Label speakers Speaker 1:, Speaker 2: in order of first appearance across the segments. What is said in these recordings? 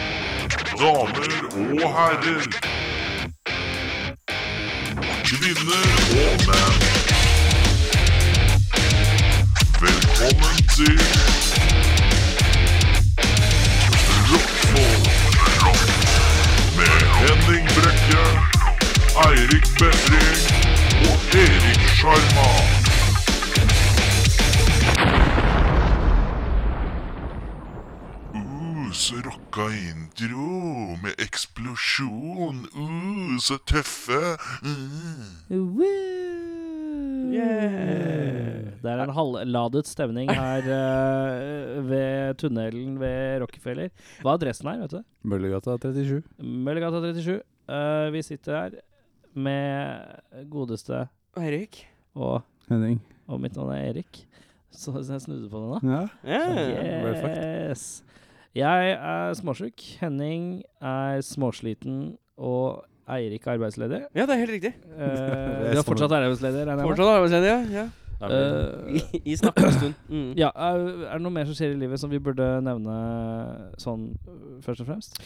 Speaker 1: Damer og herrer. Kvinner og menn. Velkommen til Rockfolk med Henning Brekke, Eirik Befring og Erik Sjarma. Uh, så rocka intro med eksplosjon. Uh, så tøffe. Mm.
Speaker 2: Woo! Det er en halvladet stemning her eh, ved tunnelen ved Rockefeller. Hva er adressen her, vet du?
Speaker 3: Møllergata 37.
Speaker 2: Møllergata 37. Eh, vi sitter her med godeste
Speaker 4: Eirik.
Speaker 2: og,
Speaker 3: Henning.
Speaker 2: og mitt navn er Erik. Så så jeg snudde på den da.
Speaker 3: Ja.
Speaker 4: Ja.
Speaker 3: Well
Speaker 2: Yes. Jeg er småsjuk. Henning er småsliten. Og Eirik er arbeidsledig.
Speaker 4: ja, det er helt riktig.
Speaker 2: Eh, du er fortsatt arbeidsledig, regner jeg med?
Speaker 4: Fortsatt arbeidsledig, ja. ja.
Speaker 2: Eh,
Speaker 4: I, i snakkende stund. Mm.
Speaker 2: Ja, er er det noe mer som skjer i livet som vi burde nevne sånn øh, først og fremst?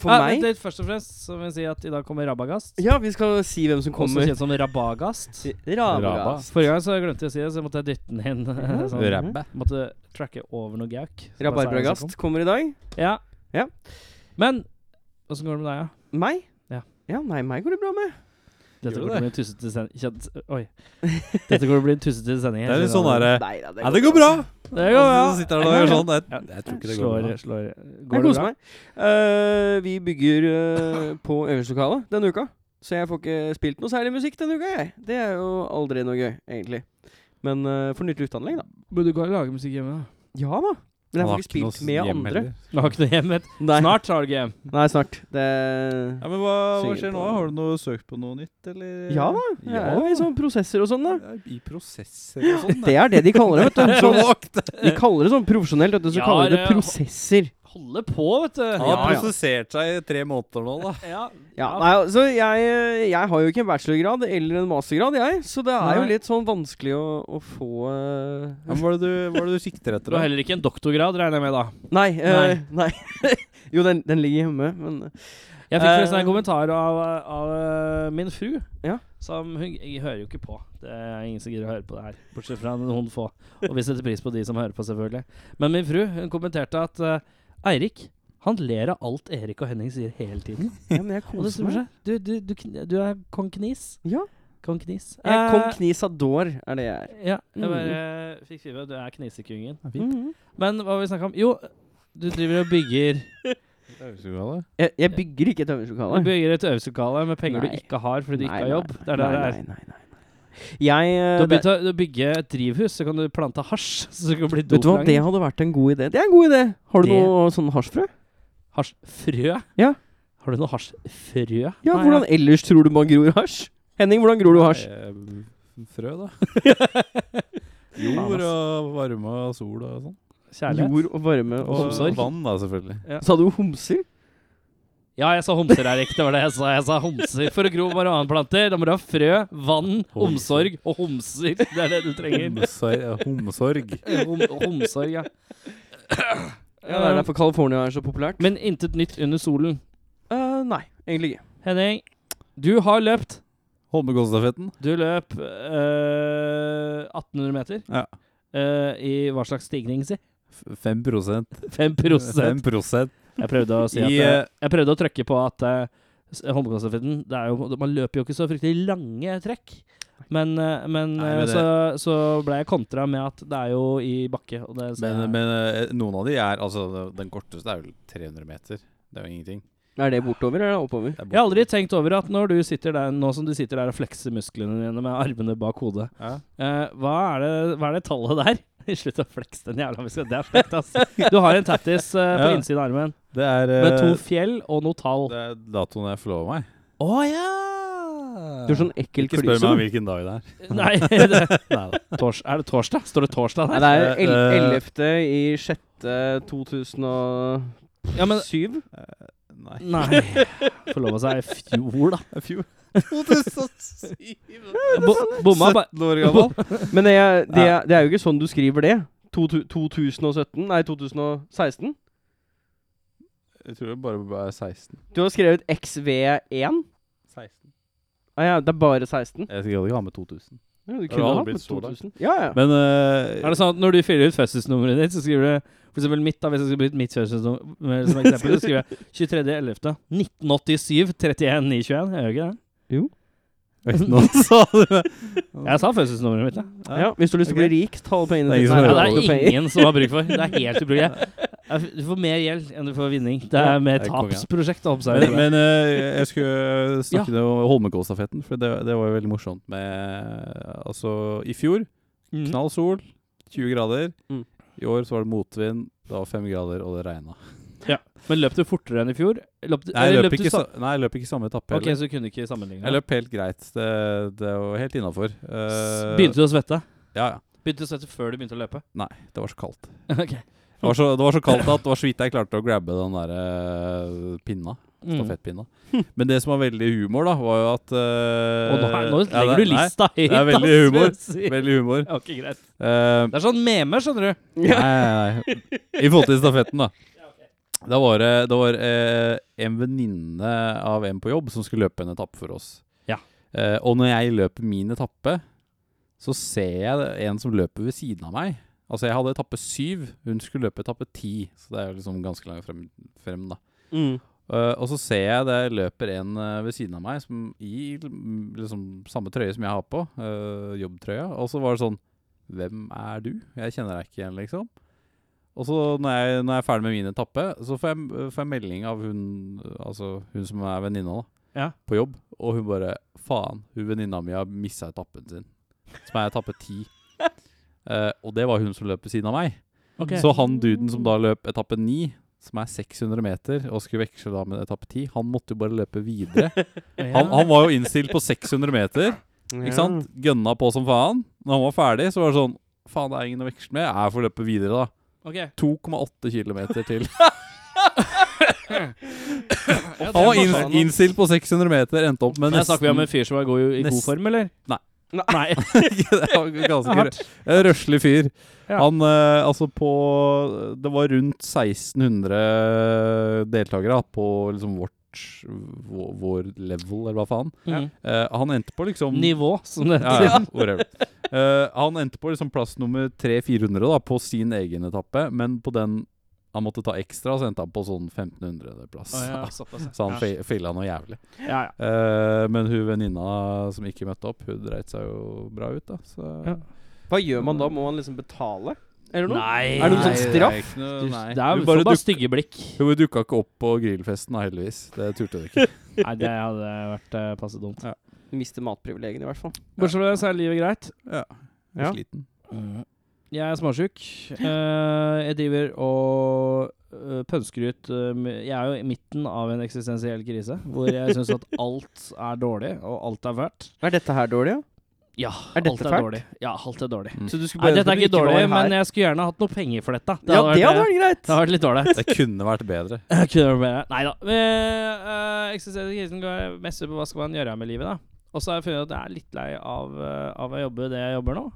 Speaker 4: For
Speaker 2: Ah, vent
Speaker 4: meg
Speaker 2: litt, først og fremst så må vi si at i dag kommer Rabagast.
Speaker 4: Ja, vi skal si hvem som
Speaker 2: Også
Speaker 4: kommer.
Speaker 2: kjent som Rabagast.
Speaker 3: Raba.
Speaker 4: Eh, Rabagast.
Speaker 2: Forrige gang så glemte jeg å si det, så jeg måtte dytte den inn. sånn,
Speaker 3: Rabba.
Speaker 2: måtte tracke over noe gauk. Så bare sa jeg hva som
Speaker 4: Rabarbragast kommer i dag.
Speaker 2: kom. Ja.
Speaker 4: Ja.
Speaker 2: Men åssen går det med deg, ja?
Speaker 4: Meg?
Speaker 2: Ja.
Speaker 4: ja, nei, meg går det bra med.
Speaker 2: Dette
Speaker 3: Gjorde
Speaker 2: kommer til å bli en tussete sending Kjent- Oi. Dette kommer til å bli en tussete sending.
Speaker 3: Det er litt sånn derre
Speaker 4: Nei da,
Speaker 3: Ja, det går bra!
Speaker 2: Det går bra.
Speaker 3: Og Så sitter han og gjør sånn. Jeg, jeg tror ikke det går
Speaker 2: Slår,
Speaker 3: bra.
Speaker 2: slår.
Speaker 4: Jeg
Speaker 2: Går det
Speaker 4: koser
Speaker 2: bra?
Speaker 4: meg. Eh, vi bygger eh, på øvingslokalet denne uka, så jeg får ikke spilt noe særlig musikk denne uka, jeg. Det er jo aldri noe gøy, egentlig. Men eh, for nytt uteanlegg, da.
Speaker 2: Men du kan lage musikk hjemme, da.
Speaker 4: Ja da. Men
Speaker 3: Han
Speaker 4: jeg får
Speaker 3: har
Speaker 4: ikke
Speaker 3: ikke noe
Speaker 4: spilt med
Speaker 3: hjem
Speaker 4: andre.
Speaker 3: heller.
Speaker 2: Du har ikke noe hjem, vet du.
Speaker 4: Nei.
Speaker 2: Snart har du ikke hjem.
Speaker 4: Nei, snart. Det
Speaker 3: Ja, men hva, hva
Speaker 4: Synger
Speaker 3: skjer
Speaker 4: på
Speaker 3: nå?
Speaker 4: det.
Speaker 3: Har du noe søkt på noe nytt, eller?
Speaker 4: Ja da,
Speaker 3: Ja.
Speaker 4: jeg er jo i sånne prosesser og sånn, da.
Speaker 3: Ja, I prosesser og sånn.
Speaker 4: Det er det de kaller det, vet du.
Speaker 3: Så
Speaker 4: Sånn-
Speaker 3: vagt!
Speaker 4: de kaller det sånn profesjonelt, vet du. Så
Speaker 2: Ja,
Speaker 4: kaller de det
Speaker 2: det-
Speaker 4: prosesser.
Speaker 2: Holde på, vet du.
Speaker 3: Han har prosessert seg i tre måneder nå, da.
Speaker 2: Ja.
Speaker 4: Ja, nei, altså, jeg, jeg har jo ikke en bachelorgrad eller en mastergrad, jeg. Så det er jo
Speaker 2: Nei.
Speaker 4: litt sånn vanskelig å, å få eh,
Speaker 3: Ja, men hva er det du, hva er det du sikter
Speaker 2: Du
Speaker 3: etter,
Speaker 2: har
Speaker 3: da?
Speaker 2: heller ikke en doktorgrad, regner jeg med, da.
Speaker 4: Nei. eh, nei. jo, den, den ligger hjemme, men
Speaker 2: Jeg fikk forresten
Speaker 4: Eh.
Speaker 2: en kommentar av, av eh, min fru.
Speaker 4: Ja.
Speaker 2: Som hun jeg hører jo ikke på. Det er ingen som gidder å høre på det her. Bortsett fra noen få. Og vi setter pris på de som hører på, selvfølgelig. Men min fru hun kommenterte at eh, Eirik han ler av alt Erik og Henning sier hele tiden.
Speaker 4: Ja, men jeg
Speaker 2: Og det
Speaker 4: koser
Speaker 2: stemmer
Speaker 4: meg.
Speaker 2: seg. Du, du, du, kn- du er kong Knis.
Speaker 4: Ja.
Speaker 2: Kong Knis.
Speaker 4: Jeg er kong
Speaker 2: Eh,
Speaker 4: Knisador, er det jeg er.
Speaker 2: Ja, jeg
Speaker 4: Mm.
Speaker 2: bare eh, fikk skrive du er knisekungen.
Speaker 4: Mhm.
Speaker 2: Men hva var det vi snakka om? Jo, du driver og bygger
Speaker 4: Jeg, jeg bygger ikke et øvingslokale.
Speaker 2: Du bygger et øvelseslokale med penger du
Speaker 4: Nei.
Speaker 2: ikke har fordi du
Speaker 4: Nei,
Speaker 2: ikke har
Speaker 4: nei,
Speaker 2: jobb. Det er det det er.
Speaker 4: Nei, nei, nei, nei. Jeg eh,
Speaker 2: Du har
Speaker 4: det-
Speaker 2: begynt å du bygge et drivhus, så kan du plante hasj. Så du kan bli
Speaker 4: Vet du hva, det
Speaker 2: doplanger.
Speaker 4: hadde vært en god idé. Det er en god idé! Har du
Speaker 2: Det-
Speaker 4: noe sånn hasjfrø?
Speaker 2: Hasjfrø?
Speaker 4: Ja.
Speaker 2: Har du noe hasjfrø?
Speaker 4: Ja,
Speaker 2: Nei,
Speaker 4: hvordan ellers tror du man gror hasj? Henning, hvordan gror du hasj?
Speaker 3: Eh, Frø, da. Jord og varme og sol og sånn.
Speaker 2: Eh, Kjærlighet.
Speaker 4: Jord og varme og
Speaker 3: Og
Speaker 2: Omsorg.
Speaker 3: vann, da, selvfølgelig.
Speaker 4: Sa du homser?
Speaker 2: Ja, jeg sa homser, Erik. Det var det jeg sa. Jeg sa homser. For å gro marihuanaplanter, da må du ha frø, vann, omsorg og homser. Det er det du trenger.
Speaker 3: Homsor- Homsorg.
Speaker 2: Hom homsorg, ja.
Speaker 4: Ja, det er derfor California er så populært.
Speaker 2: Men intet nytt under solen.
Speaker 4: Eh, nei, egentlig ikke.
Speaker 2: Henning, du har løpt.
Speaker 3: Holmenkollstafetten.
Speaker 2: Du løp eh, 1800 meter.
Speaker 3: Ja.
Speaker 2: Eh, I hva slags stigning, si?
Speaker 3: 5
Speaker 2: 5
Speaker 3: 5
Speaker 2: Jeg prøvde å si at
Speaker 3: I,
Speaker 2: eh,
Speaker 3: eh,
Speaker 2: Jeg prøvde å trykke på at eh, s- Holmenkollstafetten det er jo- Man løper jo ikke så fryktelig lange trekk. Men, eh, men,
Speaker 3: Nei, men
Speaker 2: eh, så, så ble jeg kontra med at det er jo i bakke. Og det, ser
Speaker 3: Men,
Speaker 2: jeg-
Speaker 3: men eh, noen av de er Altså, den korteste er vel 300 meter. Det er jo ingenting.
Speaker 4: Er det bortover eller er det oppover?
Speaker 3: Det er
Speaker 2: jeg har aldri tenkt over at når du sitter der nå som du sitter der og flekser musklene dine med armene bak hodet,
Speaker 3: Ja.
Speaker 2: Eh, hva, er det, hva er det tallet der? Slutt å flekse den jævla muskelen. Det er frekt, ass. Du har en tattis eh, på
Speaker 3: Ja.
Speaker 2: innsiden av armen
Speaker 3: Det er, eh,
Speaker 2: med to fjell og noe tall.
Speaker 3: det er datoen jeg forlova meg.
Speaker 2: Å ja!
Speaker 4: Du er sånn ekkel
Speaker 3: Ikke spør meg
Speaker 4: klyse. du.
Speaker 3: hvilken dag det er.
Speaker 2: Nei, det,
Speaker 3: Neida.
Speaker 2: tors, er det torsdag? Står det torsdag
Speaker 4: Nei,
Speaker 2: der?
Speaker 4: det er el-
Speaker 3: Eh, eh.
Speaker 4: 11. i 6. 2007.
Speaker 2: Ja, men
Speaker 3: Nei.
Speaker 2: Nei. Forlova seg i fjor, da.
Speaker 3: Det er fjor.
Speaker 4: 2007!
Speaker 2: Bo bomma bare
Speaker 3: 17 år gammel.
Speaker 4: Men det er, det, er, det er jo ikke sånn du skriver det. To- tu- 2017? Nei, 2016?
Speaker 3: Jeg tror jeg bare var 16.
Speaker 4: Du har skrevet E XV1?
Speaker 3: 16.
Speaker 4: Ah, ja, det er bare 16?
Speaker 3: Jeg skal ikke ha med 2000.
Speaker 4: Ja, du
Speaker 3: Det
Speaker 4: kunne
Speaker 3: har
Speaker 4: hatt
Speaker 3: blitt
Speaker 4: med
Speaker 3: så langt.
Speaker 4: 2000. Ja, ja.
Speaker 3: Men eh,
Speaker 2: Er det sånn at når du fyller ut fødselsnummeret ditt, så skriver du for eksempel mitt, da, hvis jeg skulle brukt mitt fødselsnummer eh, som eksempel, så skriver jeg 23.11. 1987 31 921. Jeg gjør ikke det?
Speaker 3: Nå sa du det!
Speaker 2: Jeg sa fødselsnummeret mitt, da.
Speaker 4: ja, Hvis du har lyst til å
Speaker 3: Ok.
Speaker 4: bli rik, ta alle pengene
Speaker 3: Det er
Speaker 4: dine.
Speaker 3: ingen
Speaker 2: Ja,
Speaker 3: som
Speaker 2: det
Speaker 3: hører
Speaker 4: alle
Speaker 2: er
Speaker 4: penger.
Speaker 2: ingen som har bruk for. Det er helt utrolig. Du får mer gjeld enn du får vinning. Det er mer
Speaker 3: det er konge, ja.
Speaker 2: tapsprosjekt å
Speaker 3: Men,
Speaker 2: observere.
Speaker 3: men eh, jeg skulle snakke om Holmenkollstafetten, for det, det var jo veldig morsomt med Altså, i fjor
Speaker 2: Mm.
Speaker 3: knall sol, 20 grader.
Speaker 4: Mm.
Speaker 3: I år så var det motvind, det var 5 grader, og det regna.
Speaker 2: Men løp du fortere enn i fjor? Løp du,
Speaker 3: Nei, jeg
Speaker 2: eller
Speaker 3: løp
Speaker 2: du
Speaker 3: ikke,
Speaker 2: Eh, sa-
Speaker 3: sa- nei, jeg løp ikke samme etappe.
Speaker 2: Ok,
Speaker 3: heller.
Speaker 2: så du kunne ikke sammenligne.
Speaker 3: Jeg løp helt greit. Det, det var helt innafor. Eh, øh,
Speaker 2: S- Begynte du å svette?
Speaker 3: Ja, ja.
Speaker 2: Begynte du å svette før du begynte å løpe?
Speaker 3: Det var så kaldt.
Speaker 2: ok.
Speaker 3: Det var, så, det var så kaldt at det var så vidt jeg klarte å grabbe den der eh, pinna.
Speaker 2: Mm.
Speaker 3: Stafettpinna. Men det som var veldig humor, da, var jo at eh,
Speaker 2: Og nå, er- nå
Speaker 3: ja, det-
Speaker 2: legger du
Speaker 3: nei,
Speaker 2: lista høyt.
Speaker 3: det er veldig
Speaker 2: ass,
Speaker 3: humor.
Speaker 2: Susi.
Speaker 3: Veldig humor.
Speaker 2: Ja, Ok, greit.
Speaker 3: Eh,
Speaker 2: Det er sånn memer, skjønner du.
Speaker 3: Nei, nei, nei. I forhold til stafetten, da. Da var det, det var, eh, en venninne av en på jobb som skulle løpe en etappe for oss.
Speaker 2: Ja.
Speaker 3: Eh, og når jeg løper min etappe, så ser jeg det- en som løper ved siden av meg. Altså, jeg hadde etappe syv, hun skulle løpe etappe ti. Så det er jo liksom ganske langt frem, frem da.
Speaker 4: Mm.
Speaker 3: Eh, og så ser jeg det løper en eh, ved siden av meg som i mm, liksom, samme trøye som jeg har på, eh, jobbtrøya. Og så var det sånn Hvem er du? Jeg kjenner deg ikke igjen, liksom. Og så når jeg, når jeg er ferdig med min etappe, så får jeg, eh, får jeg melding av hun Altså hun som er venninna da,
Speaker 2: Ja.
Speaker 3: på jobb, og hun bare Faen, hun venninna mi har missa etappen sin. Som er etappe ti. Eh, og det var hun som løp ved siden av meg. Så han duden som da løp etappe 9, som er 600 meter, og skulle veksle da med etappe 10, han måtte jo bare løpe videre. Han, han var jo innstilt på 600 meter,
Speaker 2: Mm.
Speaker 3: ikke sant? Gønna på som faen. Når han var ferdig, så var det sånn Faen, det er ingen å veksle med. Jeg får løpe videre, da. 2,8 kilometer til. Han var inn,
Speaker 4: sånn
Speaker 3: innstilt på 600 meter, endte opp med
Speaker 2: Men snakker vi om en
Speaker 3: nesten
Speaker 2: fyr som er god, i- i god
Speaker 3: Nesten-
Speaker 2: form, eller?
Speaker 3: Nei.
Speaker 2: Nei.
Speaker 3: Det var ganske rø- en røslig fyr.
Speaker 2: Ja.
Speaker 3: Han eh, altså på Det var rundt 1600 deltakere da, på liksom vårt vår, vår level, eller hva faen.
Speaker 2: Mm.
Speaker 3: Eh, han endte på liksom
Speaker 2: Nivå, som det
Speaker 3: ja,
Speaker 2: heter.
Speaker 3: ja, whatever. Eh, han endte på liksom plass nummer 300-400 da, på sin egen etappe, men på den han måtte ta ekstra, så endte han på sånn 1500.-plass.
Speaker 2: Å, ja, såpass, ja.
Speaker 3: Så han
Speaker 2: ja.
Speaker 3: fe- feila noe jævlig.
Speaker 2: Ja, ja.
Speaker 3: Eh, men hun venninna som ikke møtte opp, hun dreit seg jo bra ut, da. Så
Speaker 2: Ja.
Speaker 4: Hva gjør man da? Må man liksom betale? Eller noe?
Speaker 2: Nei.
Speaker 4: Er det noe sånn
Speaker 2: nei,
Speaker 4: straff?
Speaker 3: Det er, ikke noe, nei.
Speaker 2: Det er jo bare,
Speaker 3: Hun bare
Speaker 2: bare
Speaker 3: duk,
Speaker 2: stygge blikk.
Speaker 3: hun dukka ikke opp på grillfesten, da, heldigvis. Det turte hun ikke.
Speaker 2: Nei, det hadde vært eh, passe dumt.
Speaker 4: Du mister matprivilegiene, i hvert fall.
Speaker 2: Bortsett fra det, så er livet greit.
Speaker 3: Ja. Jeg er
Speaker 4: Ja.
Speaker 3: sliten.
Speaker 2: Jeg er småsjuk. Eh, jeg driver og eh, pønsker ut eh, med- Jeg er jo i midten av en eksistensiell krise, hvor jeg syns at alt er dårlig, og alt er fælt.
Speaker 4: Er dette her dårlig, ja?
Speaker 2: Ja,
Speaker 4: Er dette
Speaker 2: alt er
Speaker 4: fælt?
Speaker 2: dårlig. Ja, alt er dårlig.
Speaker 3: Mm.
Speaker 4: Så du skulle
Speaker 2: Nei,
Speaker 4: bare
Speaker 2: dette er
Speaker 4: ønske
Speaker 2: ikke
Speaker 4: du
Speaker 2: dårlig,
Speaker 4: var her.
Speaker 2: men jeg skulle gjerne hatt noe penger for dette.
Speaker 4: Ja, det hadde
Speaker 2: vært, eh,
Speaker 4: vært greit.
Speaker 2: det hadde vært litt dårlig.
Speaker 3: Det kunne vært bedre.
Speaker 2: Jeg Kunne vært bedre. Nei da. Eh, eh, Eksistensiell krisen går mest ut på hva skal man gjøre med livet, da. Og så har jeg funnet at jeg er litt lei av, eh, av å jobbe det jeg jobber nå.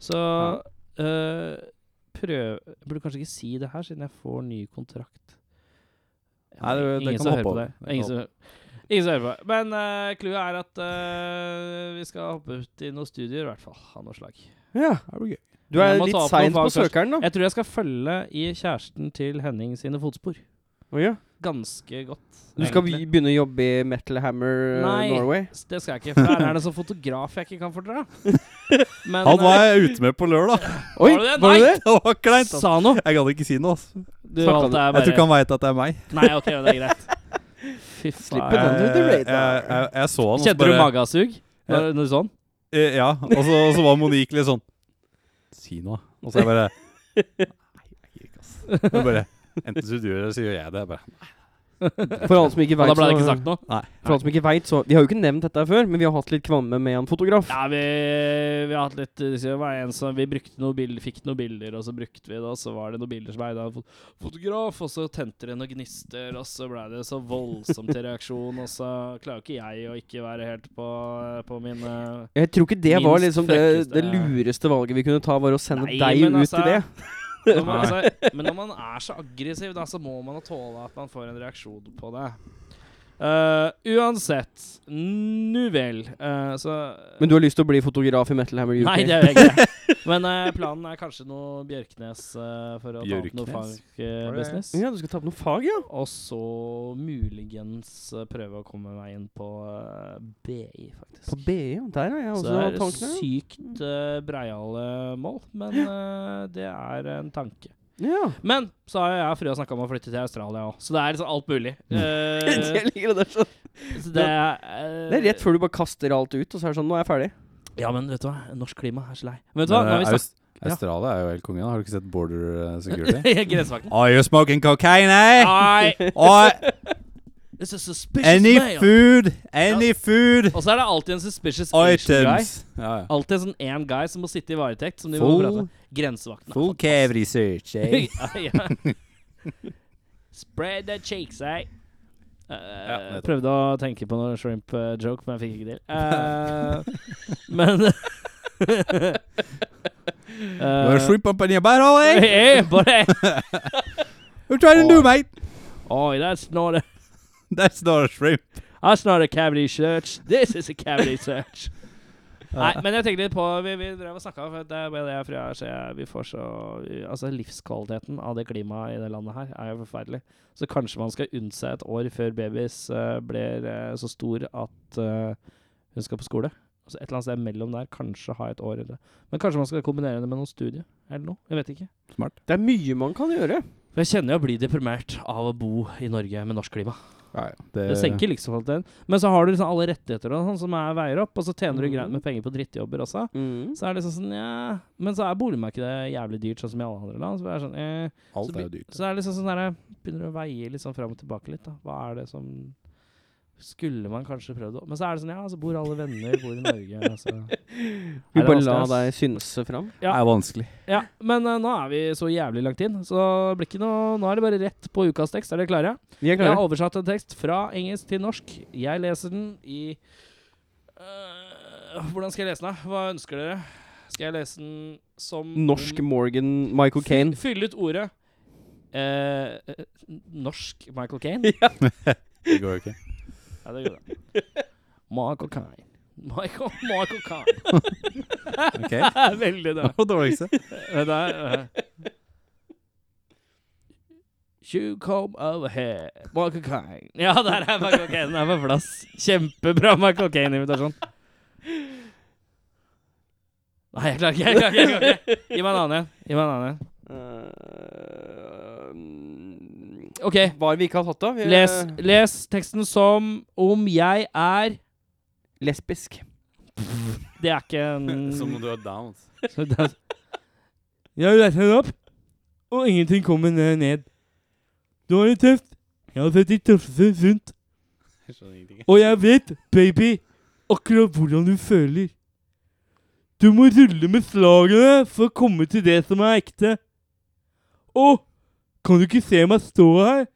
Speaker 2: Så eh, prøv Jeg burde kanskje ikke si det her, siden jeg får ny kontrakt.
Speaker 3: Nei, det- det
Speaker 2: ingen
Speaker 3: kan
Speaker 2: som
Speaker 3: hoppe
Speaker 2: hører på
Speaker 3: over.
Speaker 2: det.
Speaker 3: Det kan
Speaker 2: Ingen som, ingen som hører på. det. Men eh, clouet er at eh, vi skal hoppe ut i noen studier, i hvert fall. Av noe slag.
Speaker 4: Ja. Du er
Speaker 2: Jeg må ta
Speaker 4: litt
Speaker 2: opp noen
Speaker 4: sein på
Speaker 2: fag først.
Speaker 4: søkeren, da.
Speaker 2: Jeg tror jeg skal følge i kjæresten til Henning sine fotspor.
Speaker 4: Å, ja.
Speaker 2: Ganske godt.
Speaker 4: Du skal
Speaker 2: egentlig.
Speaker 4: begynne å jobbe i Metal Hammer eh,
Speaker 2: Nei.
Speaker 4: Norway?
Speaker 2: S- Det skal jeg ikke, for her er det sånn fotograf jeg ikke kan fordra. Men
Speaker 3: Han var
Speaker 2: eh,
Speaker 3: jeg ute med på lørdag.
Speaker 4: Oi,
Speaker 2: Var det det?
Speaker 4: var det
Speaker 2: Nei.
Speaker 4: det?
Speaker 3: Det var kleint. ass.
Speaker 2: sa noe!
Speaker 3: Jeg gadd ikke si noe. ass.
Speaker 2: Du,
Speaker 4: Snakka
Speaker 2: alt
Speaker 4: du?
Speaker 2: er
Speaker 3: Jeg tror ikke
Speaker 2: bare
Speaker 3: han veit at det er meg.
Speaker 2: Nei, ok, det er greit. Fy
Speaker 4: Slipp
Speaker 2: faen.
Speaker 4: den. under the
Speaker 3: jeg, jeg,
Speaker 4: radar.
Speaker 3: jeg, jeg så han og så
Speaker 2: Kjente du
Speaker 3: bare-
Speaker 2: magesug? Når, når du så den?
Speaker 3: Eh, Ja, og så, og så var Monique litt sånn Si noe. Og så jeg bare Nei, jeg gir ikke, ass. Jeg bare Enten så du gjør det, så gjør jeg det. Jeg bare
Speaker 4: For alle som ikke
Speaker 2: Og da
Speaker 4: vet,
Speaker 2: ble det ikke
Speaker 4: så-
Speaker 2: sagt noe?
Speaker 3: Nei.
Speaker 4: for alle som ikke vet, så Vi har jo ikke nevnt dette her før, men vi har hatt litt kvamme med en fotograf.
Speaker 2: Ja, vi, vi har hatt litt eh, det var en som, Vi brukte noen bilder, fikk noen bilder, og så brukte vi det, og så var det noen bilder som eide av en fot- fotograf, og så tente det noen gnister, og så ble det så voldsomt til reaksjon, og så klarer jo ikke jeg å ikke være helt på, på eh, mine
Speaker 4: Jeg tror ikke det
Speaker 2: Minst
Speaker 4: var liksom det,
Speaker 2: frekkeste-
Speaker 4: det lureste valget vi kunne ta, var å sende
Speaker 2: Nei,
Speaker 4: deg
Speaker 2: men
Speaker 4: ut
Speaker 2: altså-
Speaker 4: i det.
Speaker 2: når man, altså, Men når man er så aggressiv, da, så må man tåle at man får en reaksjon på det. Eh, uansett, nu vel, eh, så
Speaker 4: Men du har lyst til å bli fotograf i Metal Hammer UK?
Speaker 2: Nei, det gjør jeg ikke. Men eh, planen er kanskje noe Bjørknes eh, for å ta opp noe
Speaker 3: Bjørknes?
Speaker 2: fag-business.
Speaker 4: Ja, du skal ta opp noe fag, ja?
Speaker 2: Og så muligens eh, prøve å komme meg inn på eh, BI, faktisk.
Speaker 4: På altså, BI, ja. Der har jeg
Speaker 2: så
Speaker 4: også
Speaker 2: det er
Speaker 4: tankene. ja.
Speaker 2: sykt eh, breiale mål, men eh, det er en tanke.
Speaker 4: Ja.
Speaker 2: Men så har jeg og frua snakka om å flytte til Australia òg, så det er liksom alt mulig. Eh,
Speaker 4: Jeg liker Mm. det der sånn.
Speaker 2: så det, eh,
Speaker 4: Det er rett før du bare kaster alt ut, og så er det sånn Nå er jeg ferdig.
Speaker 2: eh, Ja, men vet du hva? Norsk klima er så lei. Men vet du hva? Nå har vi
Speaker 3: eh, Aust Australia er jo helt kongen. da. Har du ikke sett Border eh, Security?
Speaker 2: snakket Grensevakten.
Speaker 3: Are you smoking cocaine, eh?
Speaker 2: Nei!
Speaker 3: Or
Speaker 2: It's a suspicious
Speaker 3: any
Speaker 2: male.
Speaker 3: food? Any food
Speaker 2: Og så er det alltid en suspicious Asian guy.
Speaker 3: items? Ja, ja.
Speaker 2: Alltid en sånn én guy som må sitte i varetekt. Som de må prate
Speaker 3: Full,
Speaker 2: med. Grensevakten. er
Speaker 3: full cave research, eh?
Speaker 2: fantastisk. Ja, ja. Oh, Spread the cheeks, eh. Eh,
Speaker 3: nettopp.
Speaker 2: prøvde å tenke på noe shrimp eh, joke, men jeg fikk ikke til. Eh, men uh,
Speaker 3: You're a shrimp up in your barrel, eh?
Speaker 2: hey, buddy.
Speaker 3: What you trying to do, mate?
Speaker 2: Oi, that's not a
Speaker 3: That's not a shrimp.
Speaker 2: That's not a cavity search. This is a cavity search. Nei, men jeg tenkte litt på Vi, vi drev og snakka, for det er bare det jeg frøer så jeg, vi får så Altså, livskvaliteten av det klimaet i det landet her er jo forferdelig. Så kanskje man skal unne seg et år før babys eh, blir eh, så stor at eh, hun skal på skole. Altså et eller annet sted mellom der. Kanskje ha et år eller Men kanskje man skal kombinere det med noen studier eller noe. Jeg vet ikke.
Speaker 4: Det er mye man kan gjøre.
Speaker 2: For jeg kjenner jo å bli deprimert av å bo i Norge med norsk klima.
Speaker 3: Nei,
Speaker 2: Det senker livskvaliteten. Men så har du liksom alle rettigheter og sånn som er veier opp, og så tjener du
Speaker 4: Mhm.
Speaker 2: greit med penger på drittjobber også. Så er det liksom sånn, ja Men så er boligmarkedet jævlig dyrt, sånn som i alle andre land. Så det er, sånn, eh.
Speaker 3: Alt
Speaker 2: så
Speaker 3: er jo
Speaker 2: be-
Speaker 3: dyrt.
Speaker 2: så er det liksom sånn der, begynner du å veie litt sånn fram og tilbake litt. da Hva er det som Skulle man kanskje prøvd å Men så er det sånn, ja, så bor alle venner bor i Norge. Altså.
Speaker 4: Vi
Speaker 2: Nei, det er
Speaker 4: bare la
Speaker 2: vanskelig,
Speaker 4: deg
Speaker 2: ass.
Speaker 4: synse fram.
Speaker 2: Ja.
Speaker 3: Det er vanskelig.
Speaker 2: Ja, Men eh, nå er vi så jævlig langt inn, så det blir ikke noe Nå er det bare rett på ukas tekst. Er dere klare?
Speaker 4: Vi er
Speaker 2: Jeg har
Speaker 4: klare.
Speaker 2: oversatt en tekst fra engelsk til norsk. Jeg leser den i Øh, Hvordan skal jeg lese den? da? Hva ønsker dere? Skal jeg lese den som
Speaker 4: Norsk Morgan Michael Kane.
Speaker 2: Fylle ut ordet. Eh, eh, norsk Michael Kane?
Speaker 3: Det går jo ikke.
Speaker 2: ja, det gjorde jeg. Michael Kane. Michael, Michael Kane.
Speaker 3: Ok.
Speaker 2: Veldig
Speaker 3: Det
Speaker 2: bra.
Speaker 3: var dårligste.
Speaker 2: Det der eh. You come over here, Michael Caine. Ja, der er Michael Caine. Den er på plass. Kjempebra Michael Caine-invitasjon. Nei, jeg klarer ikke. Jeg klarer ikke, jeg klarer ikke. Gi meg en annen en. Gi meg en annen en.
Speaker 4: Eh,
Speaker 2: OK.
Speaker 4: Hva har vi ikke har hatt, da? Vi er-
Speaker 2: Les, les teksten som om jeg er
Speaker 4: Lesbisk.
Speaker 2: Det er ikke en
Speaker 3: du har downs.
Speaker 2: Så da- Jeg har lest den opp, og ingenting kommer ned- ned. Du har det tøft. Jeg har fått det tøffeste rundt. Og jeg vet, baby, akkurat hvordan du føler. Du må rulle med slagene for å komme til det som er ekte. Å, kan du ikke se meg stå her?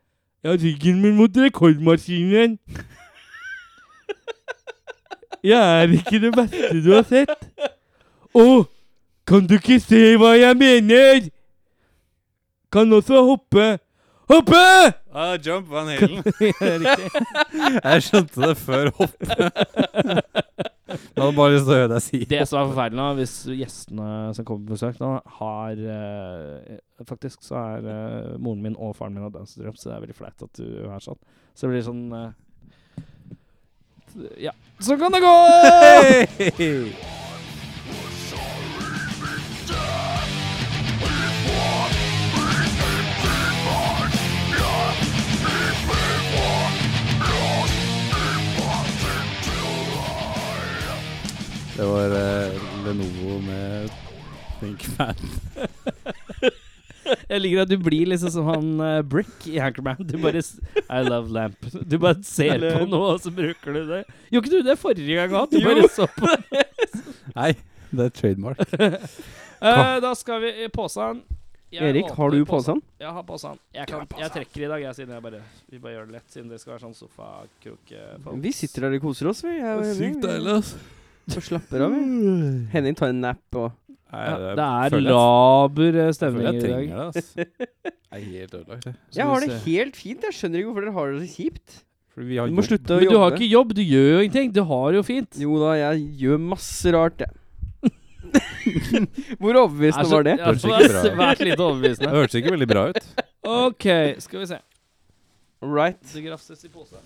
Speaker 2: Jeg har ryggen min mot rekordmaskinen. Jeg er ikke det verste du har sett. Å, kan du ikke se hva jeg mener? Kan også hoppe. Hoppe!
Speaker 3: Ah, jump Van
Speaker 2: Riktig.
Speaker 3: Jeg skjønte det før hoppet. Jeg hadde bare lyst til å høre deg si
Speaker 2: Det som er forferdelig nå, hvis gjestene som kommer på besøk nå, har eh, Faktisk så er eh, moren min og faren min har Downs syndrom, så det er veldig flaut at du er sånn. Så det blir sånn eh, Ja. Sånn kan det gå!
Speaker 3: Hey! Det var eh, Lenovo med ThinkPad.
Speaker 2: Jeg liker at du blir liksom som han eh, Brick i Anchorman. Du bare s- I love lamp. Du bare ser på noe, og så bruker du det. Gjorde ikke du det forrige gang òg? Du bare så på det.
Speaker 3: Nei, det er trademark.
Speaker 2: Eh, da skal vi i posen. Jeg
Speaker 4: Erik,
Speaker 2: åpner
Speaker 4: har du sånn? posen?
Speaker 2: Jeg har posen. Jeg, kan, jeg trekker i dag, jeg, siden jeg bare Vi bare gjør det lett, siden det skal være sånn sofakroke...
Speaker 4: Vi sitter her og koser oss, vi. Jeg,
Speaker 3: Sykt deilig, ass.
Speaker 4: Så slapper av, vi. Henning tar en nap og
Speaker 3: Nei,
Speaker 2: Ja,
Speaker 3: det,
Speaker 2: det er
Speaker 3: føler jeg-
Speaker 2: laber eh,
Speaker 3: jeg føler
Speaker 2: stemning i
Speaker 3: jeg
Speaker 2: dag.
Speaker 3: trenger det, ass. Jeg er helt ødelagt. jeg.
Speaker 2: Skal
Speaker 4: Jeg
Speaker 2: vi
Speaker 4: har det
Speaker 2: se.
Speaker 4: helt fint. Jeg skjønner ikke hvorfor dere har det så kjipt.
Speaker 3: Fordi vi har
Speaker 4: Du må
Speaker 3: jobb.
Speaker 4: slutte å
Speaker 2: Men du
Speaker 4: jobbe.
Speaker 2: har ikke jobb, du gjør jo ingenting. Du har det jo fint.
Speaker 4: Jo da, jeg gjør masse rart, jeg. Hvor overbevisende var det?
Speaker 2: Ja,
Speaker 3: Hørtes
Speaker 2: det
Speaker 3: ikke
Speaker 2: var
Speaker 3: bra ut.
Speaker 2: svært lite
Speaker 3: Det
Speaker 2: overbevisende.
Speaker 3: hørtes ikke veldig bra ut.
Speaker 2: OK, skal vi se.
Speaker 4: Right.
Speaker 2: Det grafses i pose.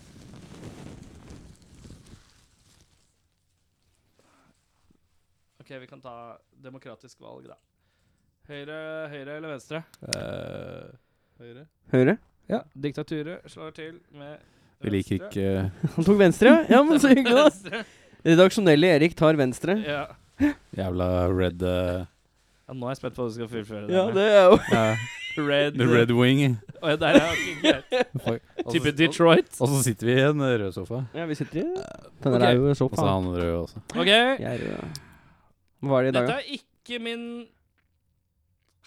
Speaker 2: OK, vi kan ta demokratisk valg, da. Høyre, høyre eller venstre?
Speaker 3: Eh, Høyre.
Speaker 4: Høyre?
Speaker 2: Ja. Diktaturet slår til med
Speaker 3: Vi liker ikke eh,
Speaker 4: Han tok venstre, ja. ja men så hyggelig, da.
Speaker 2: Venstre.
Speaker 4: Redaksjonelle Erik tar venstre.
Speaker 2: Ja.
Speaker 3: jævla red eh,
Speaker 2: ja, nå er jeg spent på hva du skal fullføre.
Speaker 4: Ja,
Speaker 2: der med.
Speaker 4: det er jo
Speaker 3: eh,
Speaker 2: Red,
Speaker 3: The Red Wing.
Speaker 2: Å, ja, der er ok, greit. Type
Speaker 4: Altså,
Speaker 2: Detroit.
Speaker 3: Og så sitter vi i en rød sofa.
Speaker 4: Ja, vi sitter i Den
Speaker 2: Ok.
Speaker 4: er jo så
Speaker 3: Og så er
Speaker 4: faen.
Speaker 3: han rød også.
Speaker 2: OK.
Speaker 4: Jeg er jo Hva er det i dag,
Speaker 2: Dette
Speaker 4: da?
Speaker 2: er ikke min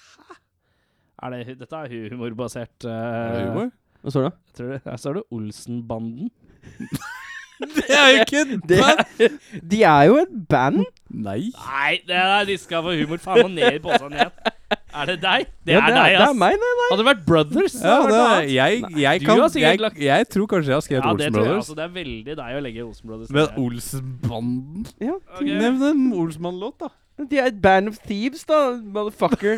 Speaker 2: Hæ? Er det, dette er humorbasert
Speaker 3: Er det
Speaker 2: eh,
Speaker 3: humor?
Speaker 4: Hva står det?
Speaker 2: Jeg tror det. Her står det Olsenbanden.
Speaker 4: Det er jo ikke et band! De er jo et band.
Speaker 3: Nei.
Speaker 2: Nei, det er diska for humor. Faen meg ned i posen igjen. Er det deg? Det
Speaker 4: Ja,
Speaker 2: er deg,
Speaker 4: Det
Speaker 2: ass.
Speaker 4: er meg, det.
Speaker 2: Hadde det vært Brothers,
Speaker 3: Ja,
Speaker 2: hadde vært
Speaker 3: det,
Speaker 2: noe
Speaker 3: er-
Speaker 2: annet.
Speaker 3: jeg, jeg,
Speaker 2: Du
Speaker 3: kan,
Speaker 2: har sikkert
Speaker 3: jeg,
Speaker 2: lagt-
Speaker 3: jeg tror kanskje jeg har skrevet
Speaker 2: ja, det
Speaker 3: Olsen
Speaker 2: tror jeg.
Speaker 3: Brothers.
Speaker 2: Altså, det er veldig deg å legge Olsen Brothers.
Speaker 3: Men Olsenbanden
Speaker 4: Ja.
Speaker 2: Ok.
Speaker 3: Nevn en Olsenmann-låt, da.
Speaker 4: De er et band of thieves, da, motherfucker.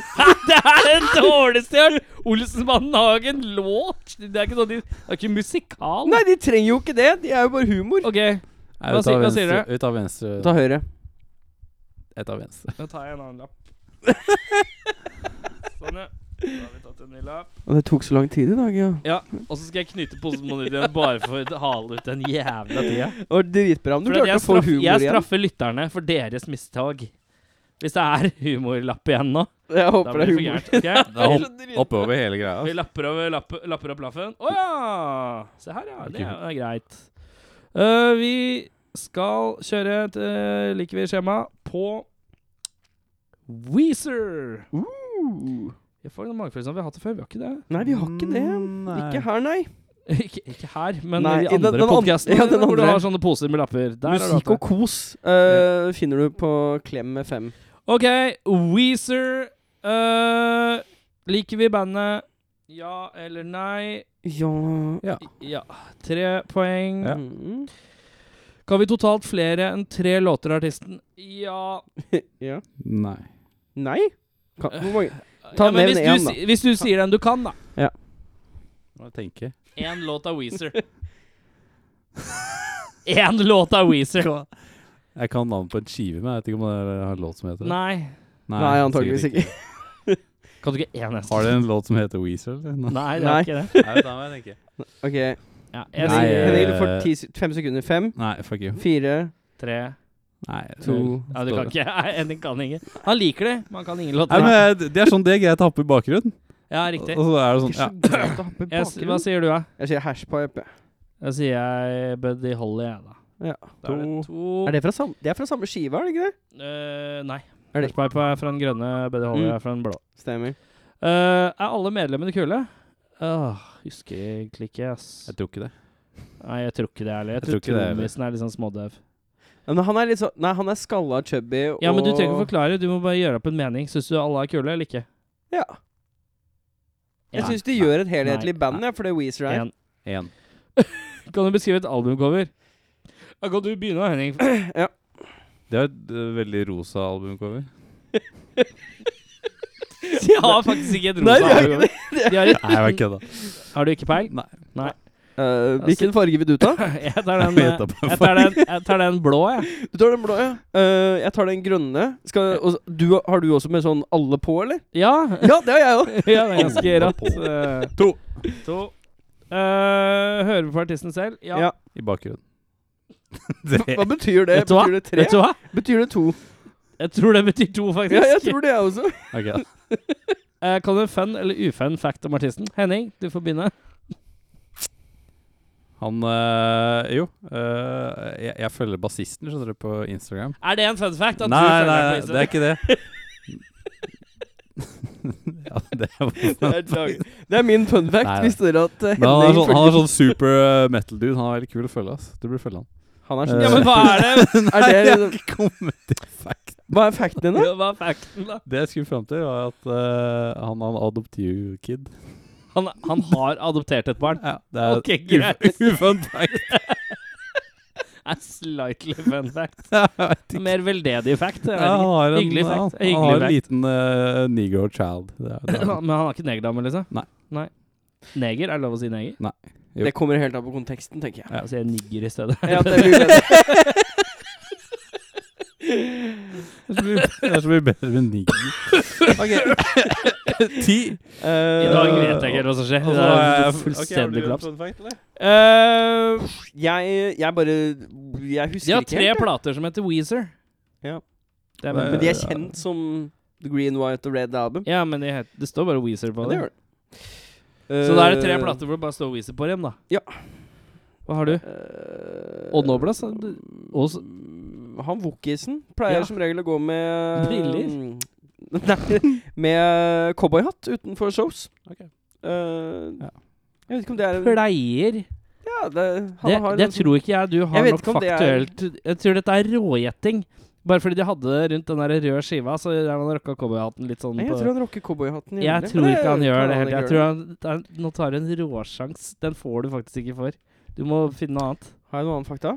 Speaker 2: det er den dårligste jeg har hørt! Olsenbanden har ikke en låt. Det er ikke sånn de Det er ikke musikal.
Speaker 4: Nei, de trenger jo ikke det. De er jo bare humor.
Speaker 2: OK, Hva
Speaker 3: vi tar
Speaker 2: sier- hva
Speaker 3: venstre-
Speaker 2: sier
Speaker 3: Vi tar venstre.
Speaker 4: Ta høyre.
Speaker 3: Jeg tar venstre.
Speaker 2: da tar jeg en annen lapp. Sånn, ja. Da har vi tatt en ny lapp.
Speaker 4: Og det tok så lang tid i dag, ja.
Speaker 2: Ja, og så skal jeg knyte posen på nytt igjen bare for å hale ut den jævla tida.
Speaker 4: Det var dritbra om du
Speaker 2: For at
Speaker 4: klarte
Speaker 2: jeg,
Speaker 4: å få
Speaker 2: straff,
Speaker 4: humor
Speaker 2: jeg
Speaker 4: igjen.
Speaker 2: straffer lytterne for deres mistak. Hvis det er humorlapp igjen nå,
Speaker 4: Jeg
Speaker 2: da
Speaker 4: håper det
Speaker 2: blir det for
Speaker 4: er humor.
Speaker 2: gærent. ok?
Speaker 3: Da hopp,
Speaker 4: Så drit-
Speaker 3: oppover hele greia.
Speaker 2: Vi
Speaker 3: ass.
Speaker 2: lapper, over, lapp, lapper opp laffen. Å ja! Se her, ja. Det er, det er greit. Eh, vi skal kjøre et eh, liker vi skjema på Weezer.
Speaker 4: Uh.
Speaker 2: Jeg får en magefølelse av at vi har hatt det før. Vi har ikke det.
Speaker 4: Nei, vi har ikke det.
Speaker 2: Mm,
Speaker 3: Nei.
Speaker 4: Ikke her, nei.
Speaker 2: ikke, ikke her, men
Speaker 4: Nei,
Speaker 2: i
Speaker 4: i
Speaker 2: de
Speaker 4: den-
Speaker 2: andre
Speaker 4: den andre-
Speaker 2: podcastene
Speaker 4: ja, den
Speaker 2: hvor du
Speaker 4: andre.
Speaker 2: har sånne poser med lapper. Der har du hatt
Speaker 4: Musikk
Speaker 2: det.
Speaker 4: og kos eh, finner du på Klem med fem.
Speaker 2: Ok, Weezer. eh, liker vi bandet? Ja eller nei?
Speaker 4: Ja
Speaker 2: Ja. Tre poeng.
Speaker 4: Mm.
Speaker 2: Kan vi totalt flere enn tre låter av artisten? Ja.
Speaker 4: ja.
Speaker 3: Nei.
Speaker 4: Nei? Kan, hvor mange? Ta
Speaker 2: ja men
Speaker 4: nevn
Speaker 2: hvis,
Speaker 4: en,
Speaker 2: du,
Speaker 4: da.
Speaker 2: si- hvis du sier den du kan, da.
Speaker 3: Må jeg tenke.
Speaker 2: Én låt av Weezer. Én låt av Weezer.
Speaker 3: Jeg kan navnet på en skive, men jeg vet ikke om det er- har en låt som heter det.
Speaker 2: Nei.
Speaker 4: Nei, antageligvis
Speaker 3: sikkert
Speaker 4: ikke.
Speaker 2: Kan du ikke én eneste?
Speaker 3: Har de en låt som heter Weezer? Eller?
Speaker 2: Nei, det
Speaker 4: Nei.
Speaker 2: er ikke det.
Speaker 3: da må jeg tenke.
Speaker 4: OK.
Speaker 2: Ja, jeg
Speaker 3: eh,
Speaker 4: Henning,
Speaker 2: sier
Speaker 4: Henning, du får ti, se- fem sekunder. Fem,
Speaker 3: Nei, fuck you.
Speaker 4: fire,
Speaker 2: tre
Speaker 3: Nei,
Speaker 4: to
Speaker 2: Ja, du kan ikke. Nei, Henning kan ingen. Han liker det, men han kan ingen
Speaker 3: Nei,
Speaker 2: låter.
Speaker 3: men jeg- Det er sånn det er greit å ha på i bakgrunnen.
Speaker 2: Ja, riktig.
Speaker 3: Og så er det
Speaker 4: Det
Speaker 3: sånn ja.
Speaker 4: er så greit å ha på i
Speaker 2: Jeg, s- hva
Speaker 4: bakgrunnen.
Speaker 2: sier du, da?
Speaker 4: Jeg sier hashpipe.
Speaker 2: Da sier jeg Buddy Holly, jeg, da.
Speaker 4: Ja.
Speaker 2: Da er det to
Speaker 4: Er det, fra sam, det er fra samme skive, er det ikke det?
Speaker 2: Eh, Nei.
Speaker 4: Er det-
Speaker 2: Flashpipe er fra den grønne, Buddy Holly
Speaker 4: Mm.
Speaker 2: er fra den blå.
Speaker 4: Stemmer.
Speaker 2: Eh, er alle medlemmene kule? Åh, husker egentlig ikke, ass.
Speaker 3: Jeg tror ikke det.
Speaker 2: Nei, jeg tror ikke det heller. Jeg
Speaker 3: Jeg
Speaker 2: tror
Speaker 3: tror ikke det heller.
Speaker 2: trommisen er litt sånn smådøv.
Speaker 4: Ja, Men han er litt sånn Nei, han er skalla chubby og
Speaker 2: Ja, men du trenger ikke forklare, du må bare gjøre opp en mening. Syns du alle er kule eller ikke?
Speaker 4: Ja. Jeg
Speaker 2: Ja.
Speaker 4: syns de
Speaker 2: Nei.
Speaker 4: gjør et helhetlig
Speaker 2: nei,
Speaker 4: band, jeg, for det er Weezer er.
Speaker 2: En.
Speaker 3: Én.
Speaker 2: Kan du beskrive et albumcover? Da kan du begynne, Henning.
Speaker 3: Det er et eh, veldig rosa albumcover.
Speaker 2: De har faktisk ikke et rosa
Speaker 4: Nei, de har
Speaker 2: albumcover. De har
Speaker 4: ikke
Speaker 2: et-
Speaker 3: Nei, jeg kødda.
Speaker 2: Har du ikke peil?
Speaker 3: Nei.
Speaker 4: Eh, hvilken farge vil du ta?
Speaker 2: Jeg tar den, eh,
Speaker 3: Jeg vet da bare
Speaker 2: jeg tar den, jeg tar den blå, jeg.
Speaker 4: Du tar den blå, ja. Eh, jeg tar den grønne. Skal, og, du, har du også med sånn alle på, eller?
Speaker 2: Ja.
Speaker 4: Ja, det har jeg òg.
Speaker 2: ja, det er ganske rått. eh.
Speaker 3: To.
Speaker 2: to. Eh, hører vi på artisten selv? Ja.
Speaker 4: Ja.
Speaker 3: I bakgrunnen. det.
Speaker 4: Hva betyr det?
Speaker 2: Vet du hva?
Speaker 4: Betyr det tre?
Speaker 2: Vet du hva?
Speaker 4: Betyr det to?
Speaker 2: Jeg tror det betyr to, faktisk.
Speaker 4: Ja, jeg tror det, jeg også.
Speaker 3: Ok, da.
Speaker 2: Eh, kan du en fun eller ufun fact om artisten? Henning, du får begynne.
Speaker 3: Han øh, Jo. øh, jeg, jeg følger bassisten, skjønner du, på Instagram.
Speaker 2: Er det en fun fact? at
Speaker 3: Nei,
Speaker 2: du
Speaker 3: nei,
Speaker 2: følger
Speaker 3: nei,
Speaker 2: deg på
Speaker 3: det er ikke det. ja, det var
Speaker 4: Det er, dag- det er min fun
Speaker 3: Nei,
Speaker 4: fact.
Speaker 3: nei.
Speaker 4: Visste dere at eh,
Speaker 3: Men han er
Speaker 4: Henning
Speaker 3: sånn, han er
Speaker 4: følger-
Speaker 3: sånn super øh, metal dude. Han er veldig kul å følge. ass Du burde følge han.
Speaker 4: Han er
Speaker 3: Eh,
Speaker 4: sånn
Speaker 2: Ja, men hva er det?
Speaker 3: Nei, jeg
Speaker 4: det- liksom-
Speaker 3: har ikke kommet til fact.
Speaker 4: Hva er facten din, da?
Speaker 2: Ja, Hva er facten, da?
Speaker 3: Det jeg skulle fram til, var at øh, han er en adoptivkid.
Speaker 2: Han, han har adoptert et barn.
Speaker 3: Ja, det er
Speaker 2: Ok,
Speaker 3: et uf-
Speaker 2: greit.
Speaker 3: ufun fact.
Speaker 2: Er slightly fun fact.
Speaker 3: Jeg vet ikke.
Speaker 2: Mer veldedig fact. jeg vet
Speaker 3: Ja, han
Speaker 2: ikke.
Speaker 3: har en,
Speaker 2: Hyggelig
Speaker 3: han,
Speaker 2: fact.
Speaker 3: han har en
Speaker 2: Hyggelig
Speaker 3: liten øh, negro child. Det er, det er.
Speaker 2: Men han har ikke negerdame, liksom?
Speaker 3: Nei.
Speaker 2: nei. Neger? Er det lov å si neger?
Speaker 3: Jo.
Speaker 4: Det kommer helt an på konteksten, tenker jeg.
Speaker 2: Ja. sier jeg nigger i stedet.
Speaker 4: Ja, det blir bedre.
Speaker 3: Det er så mye- det er så mye bedre med nigger.
Speaker 4: Ok.
Speaker 3: Ti.
Speaker 2: I dag vet jeg ikke helt hva som skjer.
Speaker 3: Og
Speaker 2: Det
Speaker 3: så har
Speaker 2: er
Speaker 3: Altså, jeg-
Speaker 2: fullstendig kollaps.
Speaker 4: Eh, jeg, jeg bare Jeg husker
Speaker 2: De har
Speaker 4: ikke
Speaker 2: tre
Speaker 4: helt. jeg.
Speaker 2: plater som heter Weezer.
Speaker 4: Ja.
Speaker 2: Det er,
Speaker 3: Men
Speaker 4: Men de er kjent som The Green, White og Red Album.
Speaker 2: Ja, men det, het- det står bare Weezer på det.
Speaker 4: Ja, det gjør det.
Speaker 2: Så da er det tre
Speaker 4: Eh,
Speaker 2: plater hvor det bare står Weezer på dem, da.
Speaker 4: Ja.
Speaker 2: Hva har du?
Speaker 4: eh,
Speaker 2: Odd Noblas? Og så-
Speaker 4: Han Wokisen pleier
Speaker 2: Ja.
Speaker 4: som regel å gå med eh,
Speaker 2: Briller?
Speaker 4: Nei, med eh, cowboyhatt utenfor shows.
Speaker 3: Ok.
Speaker 4: Eh,
Speaker 3: Ja.
Speaker 4: Jeg vet ikke om det er
Speaker 2: Pleier
Speaker 4: ja, det, han
Speaker 2: Det,
Speaker 4: har
Speaker 2: det
Speaker 4: en sånn-
Speaker 2: tror ikke jeg du har
Speaker 4: Jeg vet
Speaker 2: nok
Speaker 4: ikke om det er-
Speaker 2: faktuelt Jeg tror dette er rågjetting. Bare fordi de hadde det rundt den der røde skiva, så der man rocka cowboyhatten litt sånn
Speaker 4: Nei,
Speaker 2: på
Speaker 4: jeg tror han rocker cowboyhatten. i
Speaker 2: Jeg
Speaker 4: Norge,
Speaker 2: tror
Speaker 4: men
Speaker 2: ikke han gjør
Speaker 4: kan
Speaker 2: det helt.
Speaker 4: ikke
Speaker 2: Jeg
Speaker 4: gjøre.
Speaker 2: tror han, det er- Nå tar du en råsjans. Den får du faktisk ikke for. Du må finne noe annet.
Speaker 4: Har jeg noen annen fakta?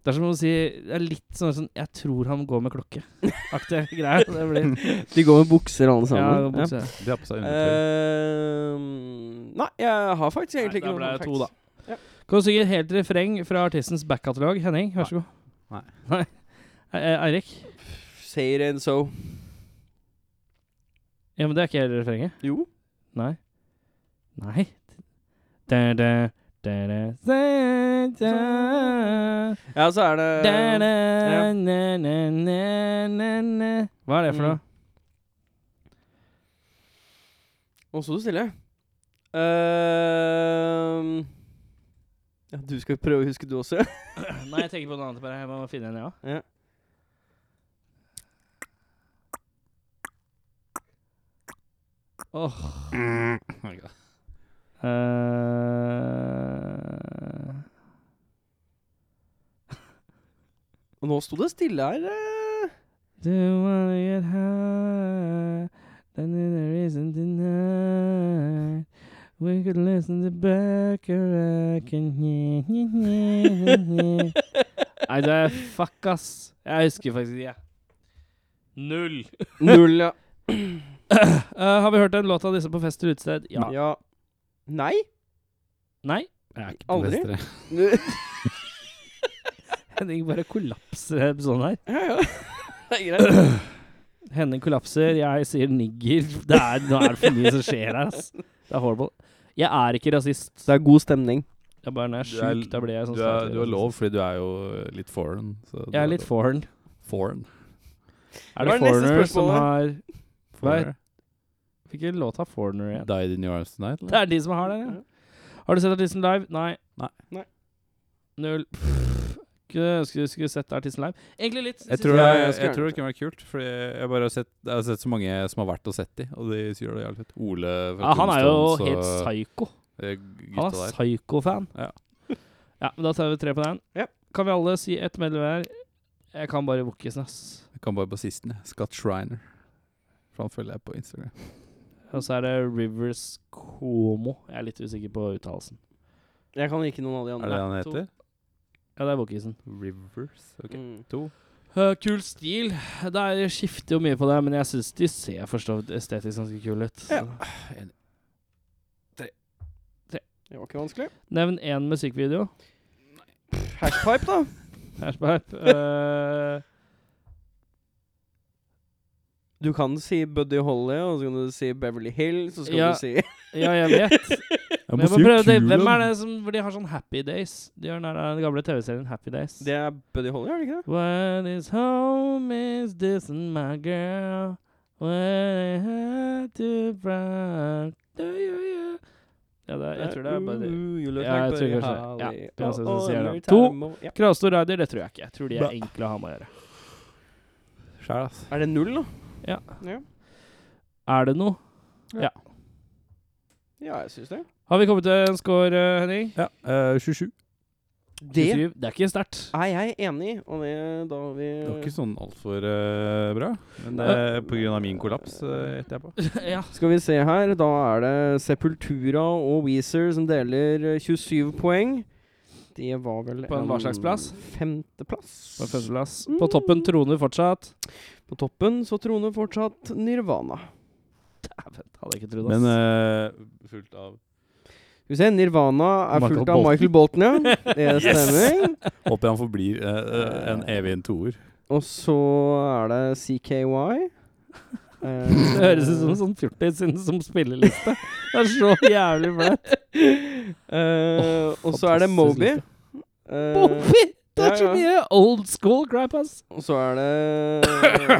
Speaker 2: Det er som å si Det er litt sånn, sånn Jeg tror han går med klokke. Aktig greie. Det blir
Speaker 4: De går med bukser, alle
Speaker 2: Ja,
Speaker 4: sammen.
Speaker 2: bukse.
Speaker 3: De har på seg undertøy.
Speaker 4: Eh, nei, jeg har faktisk
Speaker 2: Nei,
Speaker 4: egentlig
Speaker 2: da
Speaker 4: ikke
Speaker 2: ble
Speaker 4: noen
Speaker 2: det
Speaker 4: facts.
Speaker 2: to, da.
Speaker 4: Ja.
Speaker 2: Kan du synge et helt refreng fra artistens backkatalog? Henning, vær så god.
Speaker 3: Nei.
Speaker 2: Nei. Eh, Eirik?
Speaker 4: Say it and so.
Speaker 2: Ja, men det er ikke hele refrenget.
Speaker 4: Jo.
Speaker 2: Nei. Nei. Da, da, da, da, da, da.
Speaker 4: Sånn. Ja, så er det
Speaker 2: Da, da, na, na, na, na, na. Hva er det for noe?
Speaker 4: Mm. Nå sto du stille. Ehm, ja, du skal prøve å huske, du også.
Speaker 2: Nei, jeg tenker på noe annet. Bare jeg må finne en, ja.
Speaker 4: ja.
Speaker 2: Åh Oh
Speaker 3: Ok.
Speaker 2: eh,
Speaker 4: Og nå sto det stille her. eh.
Speaker 2: Do you wanna get high? Then there's a reason tonight. We could listen to Bacharach and nye, nye, nye, nye. Nei, det er fuck, ass. Jeg husker faktisk ikke. jeg. Null.
Speaker 4: Null, ja.
Speaker 2: Eh, har vi hørt en låt av disse på fest eller utested? Ja.
Speaker 4: ja. Nei?
Speaker 2: Nei?
Speaker 3: Jeg er ikke
Speaker 4: Aldri.
Speaker 3: Aldri.
Speaker 2: Henning bare kollapser eh, sånn i episoden her.
Speaker 4: ja, ja. Det er greit.
Speaker 2: Henning kollapser, jeg sier nigger. Det er, nå er det for mye som skjer her, ass. Det er horrible. Jeg er ikke rasist.
Speaker 4: Så det er god stemning.
Speaker 2: Jeg bare når jeg
Speaker 3: Du er-
Speaker 2: er sjuk, da blir jeg sånn
Speaker 3: Du er,
Speaker 2: statlig
Speaker 3: du er
Speaker 2: rasist.
Speaker 3: lov, fordi du er jo litt foreign. Så du
Speaker 2: Jeg er litt foreign.
Speaker 3: foreign.
Speaker 2: Er
Speaker 4: Hva
Speaker 2: det
Speaker 4: er neste
Speaker 2: foreigner
Speaker 4: spørsmål,
Speaker 2: som
Speaker 4: da?
Speaker 2: har
Speaker 3: Foreigner.
Speaker 2: Hvilken låt har foreigner igjen?
Speaker 3: Died in your arms tonight?
Speaker 2: Det er de som har den, ja. Har du sett artisten live? Nei.
Speaker 3: Nei.
Speaker 4: Nei.
Speaker 2: Null. Skulle skulle- skulle sett artisten live. Egentlig litt.
Speaker 3: Jeg
Speaker 2: synes
Speaker 3: tror,
Speaker 4: Ja,
Speaker 3: jeg,
Speaker 4: ja,
Speaker 3: jeg,
Speaker 4: skulle gjerne
Speaker 3: tror det kunne vært kult, Fordi jeg, bare har sett, jeg har sett så mange som har vært og sett de, og de sier det jævlig fett. Ole
Speaker 2: ja, han er jo
Speaker 3: Tombstones
Speaker 2: helt
Speaker 3: og,
Speaker 2: psycho.
Speaker 3: eh,
Speaker 2: Han
Speaker 3: Gutta
Speaker 2: er
Speaker 3: der.
Speaker 2: psycho-fan.
Speaker 3: Ja.
Speaker 2: Ja, men da tar vi tre på den.
Speaker 4: Ja.
Speaker 2: Kan vi alle si ett medlem hver? Jeg kan bare Wookisen, ass.
Speaker 3: Jeg kan bare bassisten. jeg. Scott Shriner. For han følger jeg på Instagram.
Speaker 2: Og så er det Rivers Cuomo. Jeg er litt usikker på uttalelsen.
Speaker 4: Jeg kan ikke noen av de
Speaker 3: Er
Speaker 4: andre.
Speaker 3: det han
Speaker 2: to.
Speaker 3: heter?
Speaker 2: Ja, det er Wookisen.
Speaker 3: Rivers? Ok.
Speaker 4: Mm.
Speaker 3: To.
Speaker 2: Uh, kul stil. Det er- skifter jo mye på det, men jeg syns de ser for så vidt estetisk ganske kule ut.
Speaker 4: Ja.
Speaker 2: Så-
Speaker 4: Det var ikke vanskelig.
Speaker 2: Nevn én musikkvideo.
Speaker 4: Hashpipe, da.
Speaker 2: Hashpipe. Uh,
Speaker 4: Du kan si Buddy Holly, og så kan du si Beverly Hills, og så kan
Speaker 2: Ja.
Speaker 4: du si
Speaker 2: ja, jeg vet. Men jeg må prøve det. Hvem er det som hvor De har sånn Happy Days. De har den der den gamle TV-serien Happy Days.
Speaker 4: Det er Buddy Holly, er det ikke det?
Speaker 2: When it's home is this and my girl When I had to run, do you, you. Ja, det, jeg tror det
Speaker 4: Uh,
Speaker 2: er bare det. Ja, jeg tror kanskje det. Ja, det er sånn som sier det. To.
Speaker 4: Ja.
Speaker 2: Kravstor Rider, det tror jeg ikke. Jeg tror de er enkle å ha med å gjøre.
Speaker 3: Sjæl, ass.
Speaker 4: Er det null, da?
Speaker 2: Er det noe?
Speaker 4: Ja, jeg syns det.
Speaker 2: Har vi kommet til en score, eh, Henning?
Speaker 3: Ja, eh, 27.
Speaker 4: Det
Speaker 2: 27. Det Ah. er ikke sterkt.
Speaker 4: er jeg enig i, og det da har vi
Speaker 3: Det var ikke sånn altfor uh, bra. Men det er på grunn av min kollaps, eh, gjetter jeg på.
Speaker 2: ja.
Speaker 4: Skal vi se her, da er det Sepultura og Weezer som deler eh, 27 poeng. Det var vel
Speaker 2: På en hva slags plass?
Speaker 4: Femteplass.
Speaker 2: På femteplass. På toppen troner fortsatt.
Speaker 4: På toppen så troner fortsatt Nirvana.
Speaker 2: Dæven, hadde jeg ikke trodd, ass.
Speaker 3: Men eh, fullt av
Speaker 4: Skal vi se, Nirvana er
Speaker 3: Michael
Speaker 4: fullt av Michael Bolton, ja. Det
Speaker 3: Yes!
Speaker 4: stemmer.
Speaker 3: Håper han forblir eh, eh, en evig en toer.
Speaker 4: Og så er det CKY. Eh,
Speaker 2: det høres ut som en sånn fjortis inn som spilleliste. Det er så jævlig flaut.
Speaker 4: eh, Og så er det
Speaker 2: fantastisk
Speaker 4: Moby.
Speaker 2: liste.
Speaker 4: Eh,
Speaker 2: Bobby! Det er så
Speaker 4: Ja,
Speaker 2: mye old school crap, ass.
Speaker 4: Og så er det ja,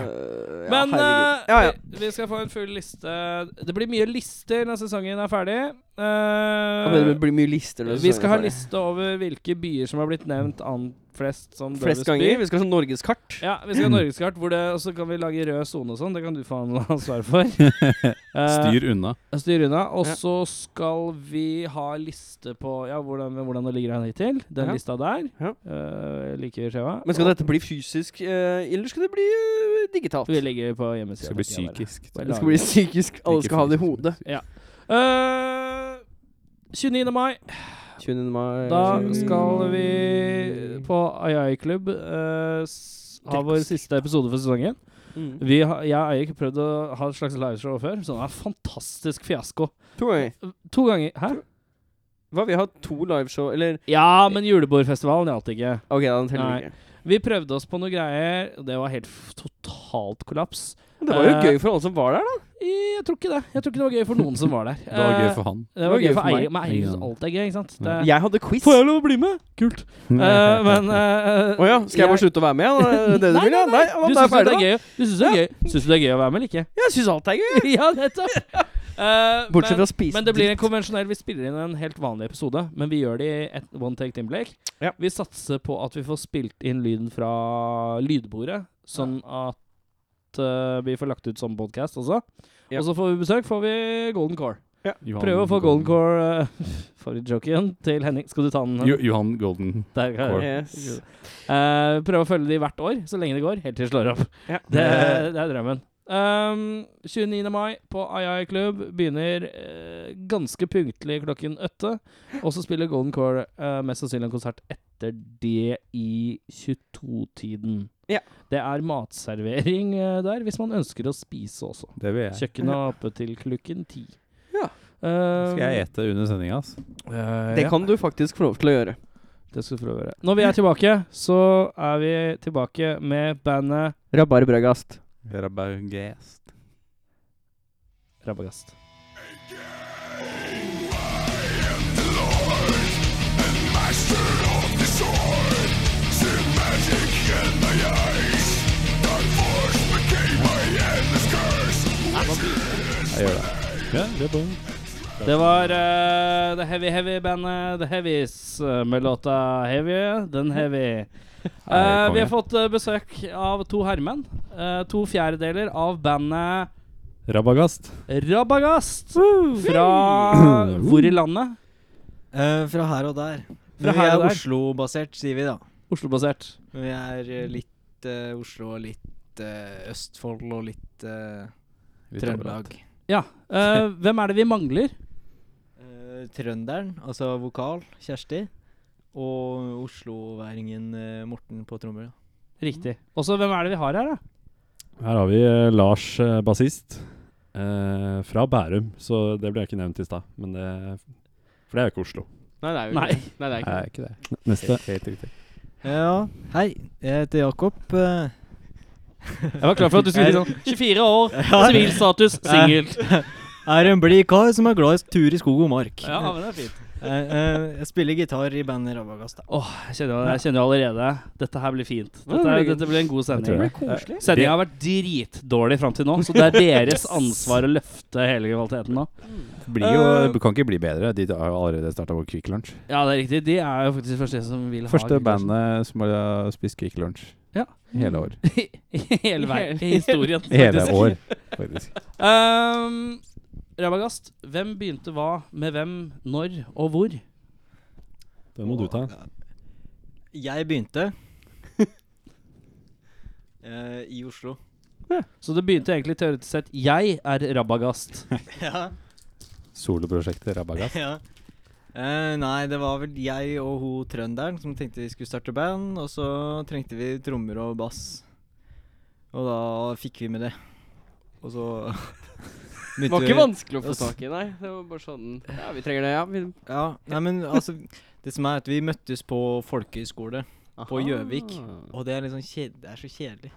Speaker 2: Men
Speaker 4: herregud.
Speaker 2: eh,
Speaker 4: ja, ja.
Speaker 2: vi vi skal få en full liste. Det blir mye lister når sesongen er ferdig. Eh,
Speaker 4: Ja, men Det blir mye lister. når
Speaker 2: vi skal ha
Speaker 4: sesongen er ferdig.
Speaker 2: liste over hvilke byer som har blitt nevnt an flest som Døves
Speaker 4: flest
Speaker 2: by.
Speaker 4: ganger. Vi skal ha sånn norgeskart.
Speaker 2: Ja, vi skal ha norgeskart, hvor det- og så kan vi lage rød sone og sånn. Det kan du faen ha ansvar for. Eh,
Speaker 3: Styr unna.
Speaker 2: Styr unna. Og
Speaker 4: Ja.
Speaker 2: så skal vi ha liste på ja, hvordan, hvordan det ligger an hittil. Den
Speaker 4: Ja.
Speaker 2: lista der.
Speaker 4: Ja.
Speaker 2: Eh, jeg liker skjeva.
Speaker 4: Men skal dette bli fysisk, eh, eller skal det bli eh, digitalt?
Speaker 2: Vi legger på hjemmesida.
Speaker 3: Det skal bli
Speaker 2: tenker jeg bare.
Speaker 3: psykisk.
Speaker 2: Bare
Speaker 4: Det skal bli psykisk. Alle
Speaker 3: Ikke
Speaker 4: skal ha det i
Speaker 3: fysisk, men
Speaker 4: hodet.
Speaker 2: Eh, 29. mai.
Speaker 4: 29. mai
Speaker 2: Da
Speaker 4: Mm.
Speaker 2: skal vi på AI Club eh, s- ha vår siste episode for sesongen.
Speaker 4: mm.
Speaker 2: Vi har, jeg har ikke prøvd å ha et slags liveshow før, så det er fantastisk fiasko.
Speaker 4: To ganger.
Speaker 2: To ganger. Hæ?
Speaker 4: Hva, vi har to liveshow, eller
Speaker 2: Ja, men julebordfestivalen gjaldt ikke.
Speaker 4: Ok, da, den teller
Speaker 2: Nei.
Speaker 4: ikke.
Speaker 2: Vi prøvde oss på noe greier, og det var helt f- totalt kollaps.
Speaker 4: Men Det var jo
Speaker 2: Eh,
Speaker 4: gøy for alle som var der, da.
Speaker 2: Jeg tror ikke det. Jeg tror ikke det var gøy for noen som var der.
Speaker 3: Det var gøy
Speaker 2: Eh,
Speaker 3: for han.
Speaker 2: det var gøy for
Speaker 4: meg.
Speaker 2: Eirik, men Eirik syns
Speaker 3: Ja.
Speaker 2: alt er gøy, ikke sant?
Speaker 3: Ja.
Speaker 2: Det-
Speaker 4: Jeg hadde quiz.
Speaker 2: Får jeg lov å bli med? Kult. Eh, men eh,
Speaker 4: Å ja, skal jeg bare slutte å være med? da? Er det Det du
Speaker 2: Nei,
Speaker 4: vil, ja?
Speaker 2: nei,
Speaker 4: Nei,
Speaker 2: Du syns
Speaker 4: men da er
Speaker 2: jo
Speaker 4: jeg
Speaker 2: det er
Speaker 4: ferdig, da.
Speaker 2: gøy. Du syns jo det er gøy. Syns du det er gøy å være med eller ikke?
Speaker 4: Jeg syns alt er gøy.
Speaker 2: ja, nettopp. Eh,
Speaker 4: Bortsett
Speaker 2: men,
Speaker 4: fra å spise
Speaker 2: men det blir en
Speaker 4: dritt.
Speaker 2: konvensjonell Vi spiller inn en helt vanlig episode, men vi gjør det i et one take timeblikk.
Speaker 4: Ja.
Speaker 2: Vi satser på at vi får spilt inn lyden fra lydbordet, sånn at eh, vi får lagt ut som podkast også.
Speaker 4: Ja.
Speaker 2: Og så får vi besøk, får vi Golden Core.
Speaker 3: Johan
Speaker 2: Prøve å få Golden Core uh, Forrige-joken til Henning. Skal du ta den?
Speaker 3: Jo, Johan Golden.
Speaker 2: Der, kan jeg-
Speaker 4: Yes.
Speaker 2: Eh, prøve å følge de hvert år, så lenge det går, helt til de slår opp.
Speaker 4: Ja.
Speaker 2: Det, det er drømmen. Um, 29. mai på II Club begynner eh, ganske punktlig klokken åtte. Og så spiller Golden Core eh, mest sannsynlig en konsert etter det i 22-tiden.
Speaker 4: Ja.
Speaker 2: Det er matservering eh, der, hvis man ønsker å spise også.
Speaker 3: Det vil jeg.
Speaker 2: Kjøkkenet er oppe til klokken ti. Um,
Speaker 4: Ja.
Speaker 2: eh,
Speaker 3: Skal jeg ete under sendinga, ass?
Speaker 4: Det kan du faktisk få lov til å gjøre.
Speaker 2: Det skal du få lov å gjøre. Når vi er tilbake, så er vi tilbake med bandet
Speaker 4: Rabarbragast.
Speaker 3: Rabaugast.
Speaker 2: Rabagast.
Speaker 3: Jeg gjør det. Ja, det er bra.
Speaker 2: Det var eh, The Heavy Heavy bandet The Heavies eh, med låta Heavy, Den Heavy. Eh, vi har fått eh, besøk av to herremenn. Eh, to fjerdedeler av bandet
Speaker 3: Rabagast.
Speaker 2: Rabagast. Fra hvor i landet?
Speaker 5: Eh, fra her og der.
Speaker 2: Fra
Speaker 5: Men vi
Speaker 2: her og
Speaker 5: er
Speaker 2: der.
Speaker 5: Oslo-basert, sier vi da.
Speaker 2: Oslo-basert.
Speaker 5: Men vi er eh, litt eh, Oslo og litt eh, Østfold og litt eh, Trøndelag.
Speaker 2: Ja. eh, hvem er det vi mangler?
Speaker 5: Eh, trønderen, altså vokal, Kjersti. Og osloværingen eh, Morten på trommer. da.
Speaker 2: Riktig. Og så hvem er det vi har her, da?
Speaker 6: Her har vi eh, Lars, eh, bassist, eh, fra Bærum. Så det ble jeg ikke nevnt i stad. Men det For det er jo ikke Oslo.
Speaker 4: Nei, det er jo
Speaker 2: Nei.
Speaker 4: ikke det. Nei, det er ikke
Speaker 3: Nei,
Speaker 4: det.
Speaker 3: ikke det.
Speaker 6: Neste.
Speaker 3: Helt riktig.
Speaker 2: Eh,
Speaker 5: Ja, hei. Jeg heter Jakob. eh,
Speaker 2: Jeg var klar for at du skulle si sånn 24 år, sivilstatus, singel.
Speaker 5: er en blid kar som er glad i tur i skog og mark.
Speaker 2: Ja, men det er fint.
Speaker 5: Eh, eh, jeg spiller gitar i bandet Rabagast. da.
Speaker 2: Åh, jeg kjenner, jo- jeg kjenner jo allerede Dette her blir fint.
Speaker 4: det
Speaker 2: Dette,
Speaker 4: blir gøy.
Speaker 2: dette blir en god
Speaker 6: Jeg
Speaker 2: sending.
Speaker 6: tror det.
Speaker 4: Koselig.
Speaker 2: Sendinga har vært dritdårlig fram til nå, så det er deres ansvar å løfte hele kvaliteten nå.
Speaker 3: Blir jo, kan ikke bli bedre. De har jo allerede starta vår Quick Lunch.
Speaker 2: Ja, det er riktig. De er jo faktisk de første som vil ha
Speaker 3: Første
Speaker 2: Quick Lunch.
Speaker 3: bandet som har eh, spist Quick Lunch
Speaker 2: Ja.
Speaker 3: hele år.
Speaker 2: Hele veien i historien.
Speaker 3: Hele
Speaker 2: faktisk.
Speaker 3: år, faktisk.
Speaker 2: Ehm, Rabagast, hvem begynte hva med hvem, når og hvor?
Speaker 6: Den må du ta.
Speaker 5: Jeg begynte eh, i Oslo.
Speaker 2: Så det begynte egentlig teoretisk sett Jeg er Rabagast.
Speaker 5: ja,
Speaker 3: Soloprosjektet Rabagast.
Speaker 5: ja. Eh, nei, det var vel jeg og ho trønderen som tenkte vi skulle starte band, og så trengte vi trommer og bass. Og da fikk vi med det. Og så
Speaker 4: Det var ikke vanskelig å få tak i, nei. Det var bare sånn Ja, vi trenger det, ja. Vi,
Speaker 5: Ja, nei, men altså Det som er at vi møttes på folkehøyskole, På Gjøvik.
Speaker 4: Ah.
Speaker 5: og det er liksom kjed det er så kjedelig.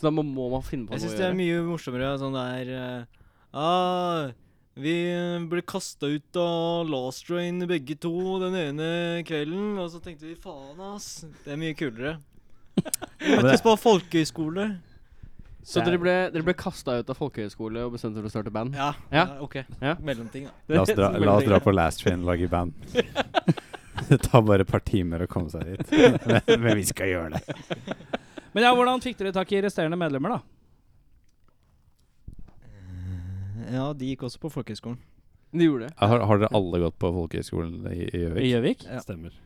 Speaker 4: Så da må, må man finne på
Speaker 5: Jeg
Speaker 4: noe å
Speaker 5: syns det er
Speaker 4: gjøre.
Speaker 5: mye morsommere sånn der eh, ah, Vi eh, ble kasta ut av Last Train begge to den ene kvelden, og så tenkte vi faen, ass. Det er mye kulere. Vi møttes på folkehøyskole.
Speaker 4: Så dere ble, dere ble kasta ut av folkehøyskole og bestemte dere for å starte band?
Speaker 5: Ja,
Speaker 4: Ja.
Speaker 5: ja, OK.
Speaker 4: Ja.
Speaker 5: Mellomting, da.
Speaker 3: La oss dra, la oss dra på Last Train og lage band. Det tar bare et par timer å komme seg dit. Men, men vi skal gjøre det.
Speaker 2: Men ja, hvordan fikk dere tak i resterende medlemmer, da?
Speaker 5: Ja, de gikk også på folkehøyskolen.
Speaker 4: De gjorde det.
Speaker 3: Har, har dere alle gått på folkehøyskolen i
Speaker 2: I
Speaker 3: i Gjøvik?
Speaker 2: Gjøvik?
Speaker 5: Ja.
Speaker 6: Stemmer.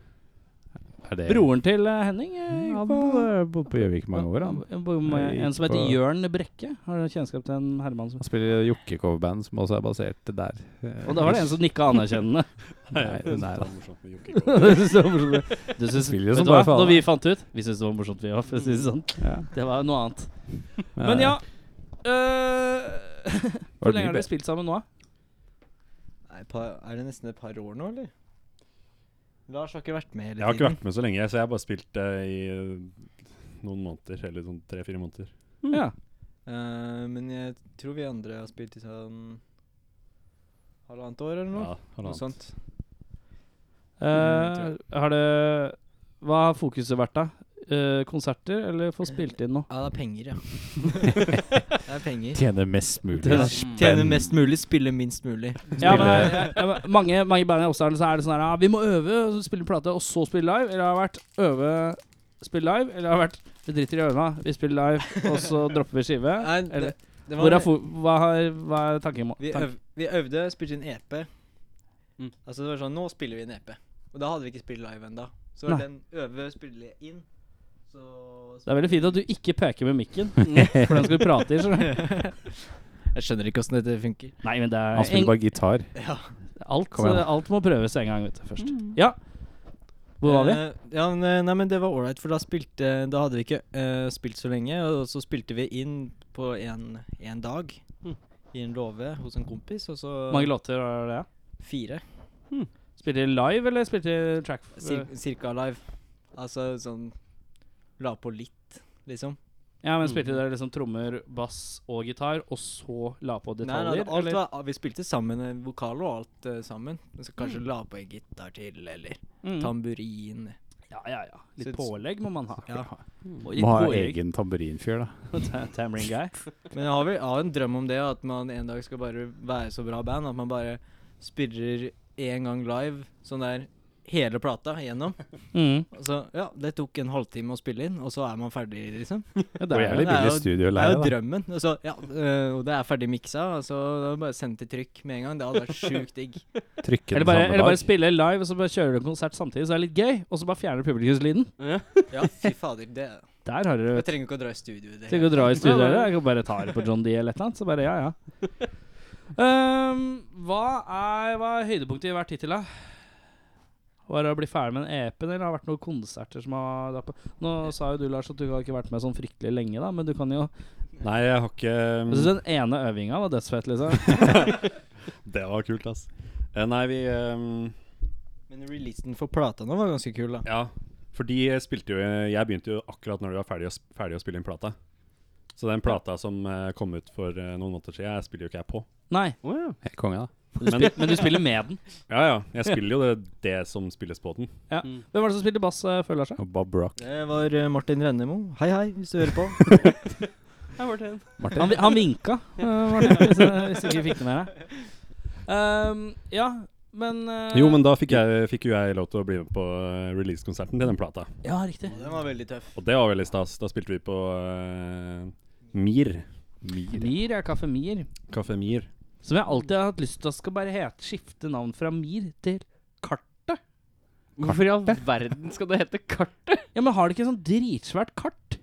Speaker 3: Er det-
Speaker 2: Broren til eh, Henning? eh, gikk
Speaker 3: Ja, Han
Speaker 2: på-
Speaker 3: har bodd på Gjøvik i mange år. Han,
Speaker 2: Ja, bo- med
Speaker 3: Gikk
Speaker 2: En som heter
Speaker 3: på-
Speaker 2: Jørn Brekke. Har du kjennskap til en herremann som
Speaker 3: han spiller jokke-coverband, som også er basert der. Eh,
Speaker 2: Og da var det en som nikka anerkjennende.
Speaker 3: Nei, nei da.
Speaker 2: Det synes jeg var morsomt. Du synes,
Speaker 3: Spiller jo
Speaker 2: vet
Speaker 3: som
Speaker 2: du hva,
Speaker 3: bare faen.
Speaker 2: når vi fant ut Vi syntes det var morsomt, vi òg. for å si det Sånn.
Speaker 3: Ja.
Speaker 2: Det var jo noe annet. Men ja øh, Hvor lenge har dere spilt sammen nå? da?
Speaker 5: Nei, pa- Er det nesten et par år nå, eller? Lars har ikke vært med
Speaker 6: Jeg har
Speaker 5: hele
Speaker 6: ikke
Speaker 5: tiden.
Speaker 6: vært med så lenge, så jeg har bare spilt eh, i eh, noen måneder. Eller sånn tre-fire måneder.
Speaker 3: Mm.
Speaker 2: Ja.
Speaker 5: Eh, men jeg tror vi andre har spilt i sånn halvannet år eller noe.
Speaker 6: Ja,
Speaker 5: noe
Speaker 6: halvannet.
Speaker 5: sånt.
Speaker 3: Mm,
Speaker 2: Eh, har det Hva har fokuset vært, da? Eh, konserter eller få spilt inn noe?
Speaker 5: Ja, det er penger, ja. det er penger.
Speaker 3: Tjene mest mulig.
Speaker 2: Tjene-
Speaker 4: Mm.
Speaker 5: Tjene mest mulig, spille minst mulig.
Speaker 2: Ja, men, jeg- jeg- mange, mange band jeg også har, så er det sånn her ja, Vi må øve, og så spille plate, og så spille live. Eller har det vært øve, spille live. Eller har det vært vi driter i å øve, da. vi spiller live, og så dropper vi skive.
Speaker 5: Nei, det-
Speaker 2: Eller,
Speaker 5: det var-
Speaker 2: hvor er fo hva, har, hva er tanken?
Speaker 5: vi,
Speaker 2: tanken?
Speaker 5: øv, vi øvde, spilte inn EP.
Speaker 4: Mm.
Speaker 5: Altså det var sånn, nå spiller vi en EP. Og da hadde vi ikke spilt live enda. Så var
Speaker 2: Nei.
Speaker 5: den øve, spille inn, så...
Speaker 2: Det er veldig fint at du ikke peker med mikken, for den skal du prate i. skjønner du.
Speaker 5: Jeg skjønner ikke hvordan dette funker.
Speaker 2: Nei, men det
Speaker 3: Han
Speaker 2: er
Speaker 3: spiller
Speaker 2: en,
Speaker 3: bare gitar.
Speaker 5: Ja.
Speaker 2: alt,
Speaker 3: Kom igjen.
Speaker 2: alt må prøves en gang, vet du. Først. Ja. Hvor var vi?
Speaker 5: Eh, ja, men, eh, nei, men det var ålreit, for da spilte Da hadde vi ikke eh, spilt så lenge, og så spilte vi inn på én dag.
Speaker 4: Mm.
Speaker 5: I en låve hos en kompis, og så
Speaker 2: Mange låter var det? ja?
Speaker 5: Fire.
Speaker 2: Spilte de live, eller spilte de track?
Speaker 5: Cir cirka live. Altså sånn La på litt, liksom.
Speaker 2: Ja, men spilte dere liksom trommer, bass og gitar, og så la på
Speaker 5: nei,
Speaker 2: detaljer?
Speaker 5: nei, alt
Speaker 2: eller?
Speaker 5: var, ah, vi spilte sammen, eh, vokal og alt eh, sammen. Men Så kanskje la på en gitar til, eller
Speaker 2: Mm.
Speaker 5: tamburin.
Speaker 2: Ja, ja, ja. Litt
Speaker 5: Syns-
Speaker 2: pålegg må man ha.
Speaker 5: Ja.
Speaker 2: Og litt
Speaker 3: Må ha
Speaker 2: pålegg.
Speaker 3: egen tamburinfyr, da.
Speaker 2: Tamarind guy.
Speaker 5: Men jeg har vel jeg har en drøm om det, at man en dag skal bare være så bra band at man bare spiller én gang live, sånn der hele plata igjennom.
Speaker 2: Mm.
Speaker 5: Og så, ja, det tok en halvtime å spille inn, og så er man ferdig, liksom.
Speaker 2: Ja,
Speaker 3: Det
Speaker 2: det
Speaker 3: var
Speaker 2: er
Speaker 3: jævlig
Speaker 5: det
Speaker 3: billig
Speaker 5: er jo- Det er jo
Speaker 3: studioleie, da.
Speaker 5: drømmen. Og så, ja, øh, og det er ferdig miksa, og så da er det bare sende til trykk med en gang. Det hadde vært sjukt digg.
Speaker 3: Trykke
Speaker 2: Eller
Speaker 3: den
Speaker 2: bare,
Speaker 3: samme
Speaker 2: eller bare
Speaker 3: dag.
Speaker 2: spille live, og så bare kjører du en konsert samtidig, så er det litt gøy. Og så bare fjerner du publikumslyden.
Speaker 5: Ja, fy fader, det
Speaker 2: Der har du
Speaker 5: Jeg trenger ikke å dra i studio. i Det.
Speaker 2: Tenk å dra i
Speaker 4: Ja,
Speaker 2: studio
Speaker 4: det er-
Speaker 2: eller? Jeg kan bare ta det på John D eller et eller annet. Så bare ja, ja. Ehm, hva, er, hva er høydepunktet i hvert hittil, da? Var det å bli ferdig med en EP, eller har det vært noen konserter som har lagt på? Nå sa jo du, Lars, at du har ikke vært med sånn fryktelig lenge, da, men du kan jo
Speaker 6: Nei, jeg har ikke eh,
Speaker 2: Jeg syns den ene øvinga var dødsfett, liksom.
Speaker 6: Det var kult, ass. Eh, Nei, vi eh,
Speaker 5: Men releasen for plata nå var ganske kul, da.
Speaker 6: eh, Ja, for de spilte jo Jeg begynte jo akkurat når de var ferdig å, sp- ferdig å spille inn plata. Så den plata som eh, kom ut for eh, noen måneder siden, jeg spiller jo ikke jeg på.
Speaker 2: Nei,
Speaker 4: Å ja.
Speaker 3: Helt konge, da.
Speaker 2: men, du spil- men du spiller med den.
Speaker 6: Ja ja, jeg spiller jo det, det som spilles på den.
Speaker 2: Ja.
Speaker 4: Mm.
Speaker 2: Hvem var det som spilte bass, eh, føler jeg seg?
Speaker 3: Og Bob Rock.
Speaker 5: Det var eh, Martin Rennemo. Hei, hei, hvis du hører på.
Speaker 4: Hei, Martin.
Speaker 3: Martin.
Speaker 2: Han, vi- han vinka, eh, var det, hvis, jeg, hvis jeg ikke fikk det med deg. Ehm, ja, men eh,
Speaker 6: Jo, men da fikk, jeg, fikk jo jeg lov til å bli med på eh, releasekonserten til den plata.
Speaker 2: Ja, riktig.
Speaker 5: Den var veldig tøff.
Speaker 6: Og det var veldig stas. Da spilte vi på eh, Mir.
Speaker 2: Mir er Kaffe Mir.
Speaker 6: Kafé Mir.
Speaker 2: Som jeg alltid har hatt lyst til at skal bare hete, skifte navn fra Mir til Kartet.
Speaker 3: Hvorfor
Speaker 2: i all verden skal det hete Kartet? Ja, men har de ikke sånn dritsvært kart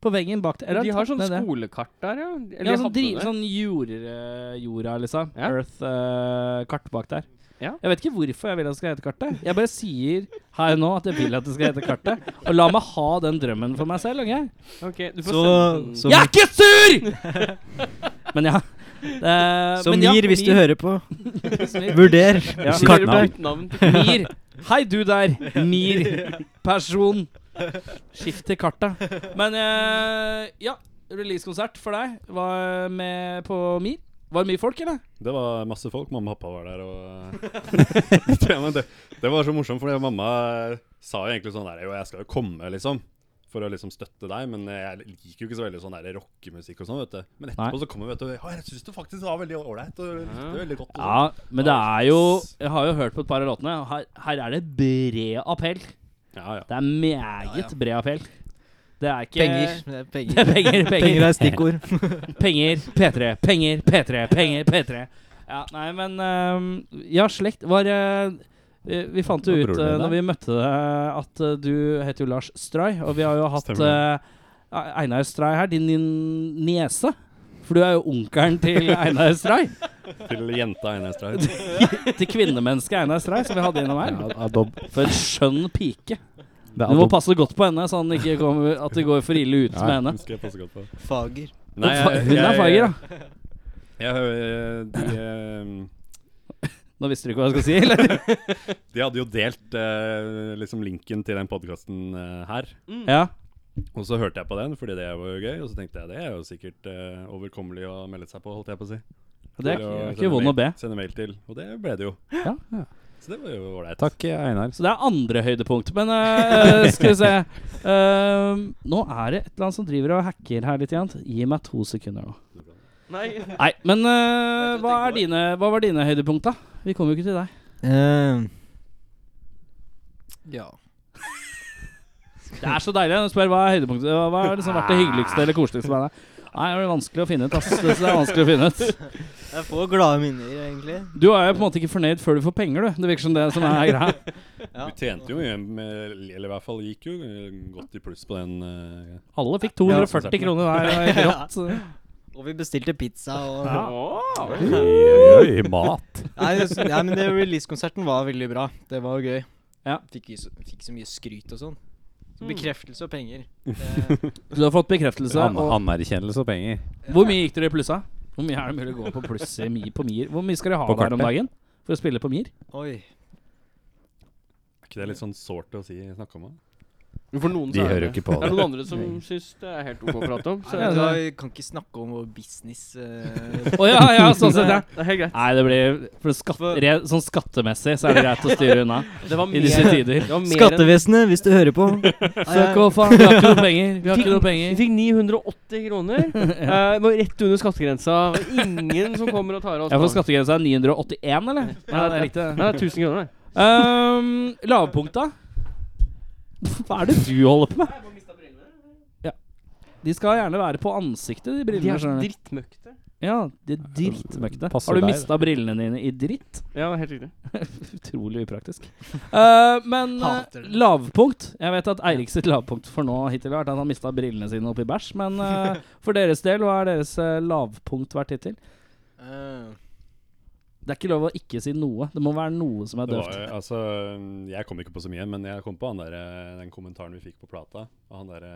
Speaker 2: på veggen bak der? Eller
Speaker 4: De
Speaker 2: har
Speaker 4: har
Speaker 2: tatt
Speaker 4: sånn
Speaker 2: ned det?
Speaker 4: skolekart der, ja. Eller
Speaker 2: Ja,
Speaker 4: hadde
Speaker 2: sånn, dri,
Speaker 4: det.
Speaker 2: sånn jord, eh, jorda, liksom.
Speaker 4: Ja.
Speaker 2: Earth-kart eh, bak der.
Speaker 4: Ja.
Speaker 2: Jeg vet ikke hvorfor jeg vil at det skal hete Kartet. Jeg bare sier her nå at jeg vil at det skal hete Kartet. Og la meg ha den drømmen for meg selv. ok?
Speaker 4: Ok, du får
Speaker 5: Så,
Speaker 4: sende den.
Speaker 5: så,
Speaker 2: Jeg er ikke sur! men ja. Eh,
Speaker 5: så
Speaker 2: men ja,
Speaker 5: Mir, hvis du hører på,
Speaker 2: Mir.
Speaker 5: vurder
Speaker 2: Ja,
Speaker 5: Kartnavn.
Speaker 2: Mir-
Speaker 3: Kartnavn.
Speaker 4: Bytt navn til
Speaker 2: Mir. Hei, du der. Mir. Person. Skift til kartet. Men eh, ja, releasekonsert for deg var eh, med på Mir. Var det mye folk, eller?
Speaker 6: Det var masse folk. Mamma og pappa var der. Og Ja, men det, det var så morsomt, fordi mamma sa jo egentlig sånn der Jo, jeg skal jo komme, liksom. For å liksom støtte deg. Men jeg liker jo ikke så veldig sånn der rockemusikk og sånn, vet du. Men etterpå
Speaker 2: Nei.
Speaker 6: så kommer vi, vet du. Ja, jeg syns det faktisk var veldig ålreit. Og likte det veldig godt. Og sånn.
Speaker 2: Ja, men det er jo Jeg har jo hørt på et par av låtene. og Her, her er det bred appell.
Speaker 6: ja, ja.
Speaker 2: Det er meget bred appell. Det er ikke
Speaker 5: Penger. Det er
Speaker 2: Det er
Speaker 5: penger.
Speaker 2: penger, penger,
Speaker 5: Penger er stikkord.
Speaker 2: penger, P3, penger, P3, penger, P3. Ja, nei, men ehm, Ja, slekt var eh, vi, vi fant jo
Speaker 3: Hva
Speaker 2: ut uh,
Speaker 3: bror du
Speaker 2: når
Speaker 3: med deg?
Speaker 2: vi møtte deg, at eh, du heter jo Lars Stray, og vi har jo hatt
Speaker 6: Stemmer
Speaker 2: eh, Einar Stray her, din, din niese. For du er jo onkelen til Einar Stray.
Speaker 6: Til jenta Einar Straut.
Speaker 2: til kvinnemennesket Einar Stray, som vi hadde innom her.
Speaker 3: Ja, altså- Adob.
Speaker 2: For en skjønn pike.
Speaker 3: Det er
Speaker 2: Du må
Speaker 3: Adob.
Speaker 2: passe godt på henne, så han ikke kommer, at det går for ille ut
Speaker 3: Ja,
Speaker 2: med henne.
Speaker 6: Det skal jeg passe godt på.
Speaker 5: Fager.
Speaker 6: Nei, jeg-
Speaker 2: Hun er
Speaker 6: jeg-
Speaker 2: fager, da.
Speaker 6: Jeg hører de, eh,
Speaker 2: Nå visste du ikke hva jeg skulle si, eller?
Speaker 6: de hadde jo delt eh, liksom linken til den podkasten her.
Speaker 2: Ja.
Speaker 6: Og så hørte jeg på den fordi det var jo gøy, og så tenkte jeg det er jo sikkert eh, overkommelig å melde seg på, holdt jeg på å si.
Speaker 2: Det er
Speaker 6: Til
Speaker 2: ikke-
Speaker 6: å
Speaker 2: ikke vond å be.
Speaker 6: mail- Sende mail til. Og det ble det jo.
Speaker 2: Ja.
Speaker 6: Så det var jo ålreit.
Speaker 3: Takk, Einar.
Speaker 2: Så det er andre høydepunkt. Men eh, skal vi se Eh, Nå er det et eller annet som driver og hacker her litt. Igjen. Gi meg to sekunder nå.
Speaker 4: Nei.
Speaker 2: Nei, men eh, hva, er dine, hva var dine høydepunkt, da? Vi kom jo ikke til deg.
Speaker 5: Eh, ja.
Speaker 2: Det er så deilig når du spør hva er høydepunktet Hva hva har liksom vært det hyggeligste eller koseligste med deg. Nei, det er vanskelig å finne ut. Ass. Det er vanskelig å finne ut.
Speaker 5: Jeg får glade minner, egentlig.
Speaker 2: Du er jo på en måte ikke fornøyd før du får penger, du. Det virker som det som er greia.
Speaker 5: Ja.
Speaker 6: Du tjente jo mye, med, eller i hvert fall gikk jo eh, godt i pluss på den. eh,
Speaker 2: Alle fikk
Speaker 6: Ja, sånn sett.
Speaker 2: 240 kroner hver. Det var helt rått.
Speaker 5: Og vi bestilte pizza og
Speaker 2: Ja.
Speaker 3: Oi, mat.
Speaker 5: Nei, det, nei men det releasekonserten var veldig bra. Det var jo gøy.
Speaker 2: Ja.
Speaker 5: Fikk, jo så, fikk så mye skryt og sånn. Så bekreftelse og penger. Det,
Speaker 2: Du har fått bekreftelse.
Speaker 3: An
Speaker 2: Og
Speaker 3: anerkjennelse og penger.
Speaker 2: Hvor mye gikk dere i plussa? Hvor mye er det mulig å gå på pluss i mi på Mir? Hvor mye skal dere ha
Speaker 3: På
Speaker 2: hver om dagen
Speaker 3: kartet?
Speaker 2: for å spille på Mir?
Speaker 5: oi.
Speaker 6: Er ikke det litt sånn sårt å si, snakke om? da?
Speaker 4: For noen
Speaker 3: De
Speaker 4: så er
Speaker 3: hører jo
Speaker 4: det
Speaker 3: ikke på
Speaker 4: Det er
Speaker 3: det.
Speaker 4: noen andre som syns det er helt OK å prate om. Så
Speaker 5: Nei,
Speaker 2: det-
Speaker 5: da, vi kan ikke snakke om vår business. eh,
Speaker 2: Å ja, ja, sånn sett, ja.
Speaker 4: det er helt greit.
Speaker 2: Nei, det blir for skatt,
Speaker 5: For-
Speaker 2: re, Sånn skattemessig så er det greit å styre unna
Speaker 4: Det var
Speaker 2: i disse tider.
Speaker 4: det var mer enn-
Speaker 5: Skattevesenet, hvis du hører på.
Speaker 2: Fuck off, faen. Vi har ikke noe penger. Vi har ikke noe
Speaker 4: Vi
Speaker 2: penger.
Speaker 4: fikk 980 kroner. Eh, det var rett under skattegrensa. Det var Ingen som kommer og tar av oss.
Speaker 2: Jeg får
Speaker 4: da.
Speaker 2: skattegrensa er 981, eller? Ja, det er riktig. det.
Speaker 4: Nei, det er 1000 kroner, det.
Speaker 2: Um, Lavpunkta? Hva er det du holder på med? Ja. De skal gjerne være på ansiktet, de
Speaker 4: De
Speaker 2: brillene.
Speaker 4: er så
Speaker 2: skjønner du.
Speaker 4: drittmøkte.
Speaker 2: Ja, de er drittmøkte.
Speaker 3: Passer
Speaker 2: Har du
Speaker 3: deg,
Speaker 2: mista brillene dine i dritt?
Speaker 4: Ja, helt riktig.
Speaker 2: Utrolig upraktisk. Eh, men eh,
Speaker 5: Hater det.
Speaker 2: lavpunkt Jeg vet at Eirik sitt lavpunkt for nå hittil har vært at han mista brillene sine oppi bæsj. Men eh, for deres del, hva har deres eh, lavpunkt vært hittil?
Speaker 5: Eh,
Speaker 2: Det er ikke lov å ikke si noe. Det må være noe som er
Speaker 6: Det var,
Speaker 2: døvt.
Speaker 6: eh, altså, mm, jeg kom ikke på så mye, men jeg kom på han der, eh, den kommentaren vi fikk på plata. Av han derre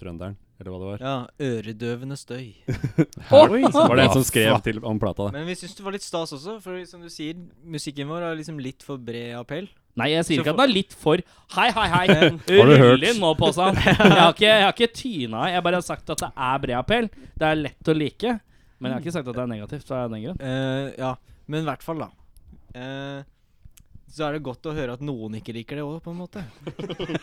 Speaker 6: trønderen, eller hva det var.
Speaker 5: ja, øredøvende støy.
Speaker 2: Oi!
Speaker 6: Så var det en som
Speaker 3: Hva
Speaker 6: skrev
Speaker 3: faen?
Speaker 6: til om plata. da
Speaker 5: Men vi syns det var litt stas også, for som du sier, musikken vår er liksom litt for bred appell.
Speaker 2: Nei, jeg sier ikke at den er litt for Hei, hei, hei.
Speaker 3: Har du hørt?
Speaker 2: Rull inn nå, Påsan. Jeg har ikke, jeg har ikke tyna i. Jeg bare har sagt at det er bred appell. Det er lett å like. Men jeg har ikke sagt at det er negativt. Så er den grunn.
Speaker 5: Eh, ja, men i hvert fall, da. Eh, så er det godt å høre at noen ikke liker det òg, på en måte.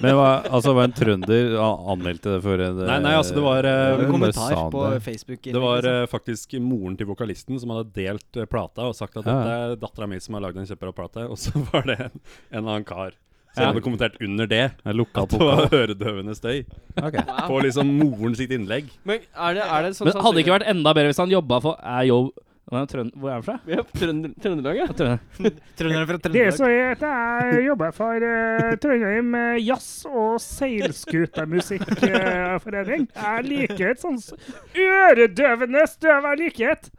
Speaker 3: Men hva, altså, var en trønder han anmeldte det før en
Speaker 6: Nei, nei, altså, det var, eh,
Speaker 5: Det var
Speaker 6: Bare
Speaker 5: en
Speaker 3: sa han
Speaker 5: kommentar på
Speaker 3: det.
Speaker 5: Facebook. liksom.
Speaker 6: Det var eh, faktisk moren til vokalisten som hadde delt eh, plata og sagt at
Speaker 3: Ja,
Speaker 6: dette er dattera mi som har lagd en kjempebra plate, og så var det en, en annen kar. som
Speaker 3: Ja.
Speaker 6: hadde kommentert under det
Speaker 3: Jeg lukka
Speaker 6: at det var øredøvende støy.
Speaker 3: Ok.
Speaker 6: På liksom moren sitt innlegg.
Speaker 4: Men er det, er det sånn
Speaker 2: Men hadde det ikke vært enda bedre hvis han jobba for Er jo Hvor er han fra?
Speaker 4: ja, Trønder, Trøndelag, ja.
Speaker 2: Trønder.
Speaker 5: Trøndere fra
Speaker 7: Det
Speaker 5: Trøndelag.
Speaker 7: som heter, jeg jobber for uh, Trondheim eh, jazz- og seilskutermusikkforening. jeg liker et sånt s- øredøvende støv jeg liker. et.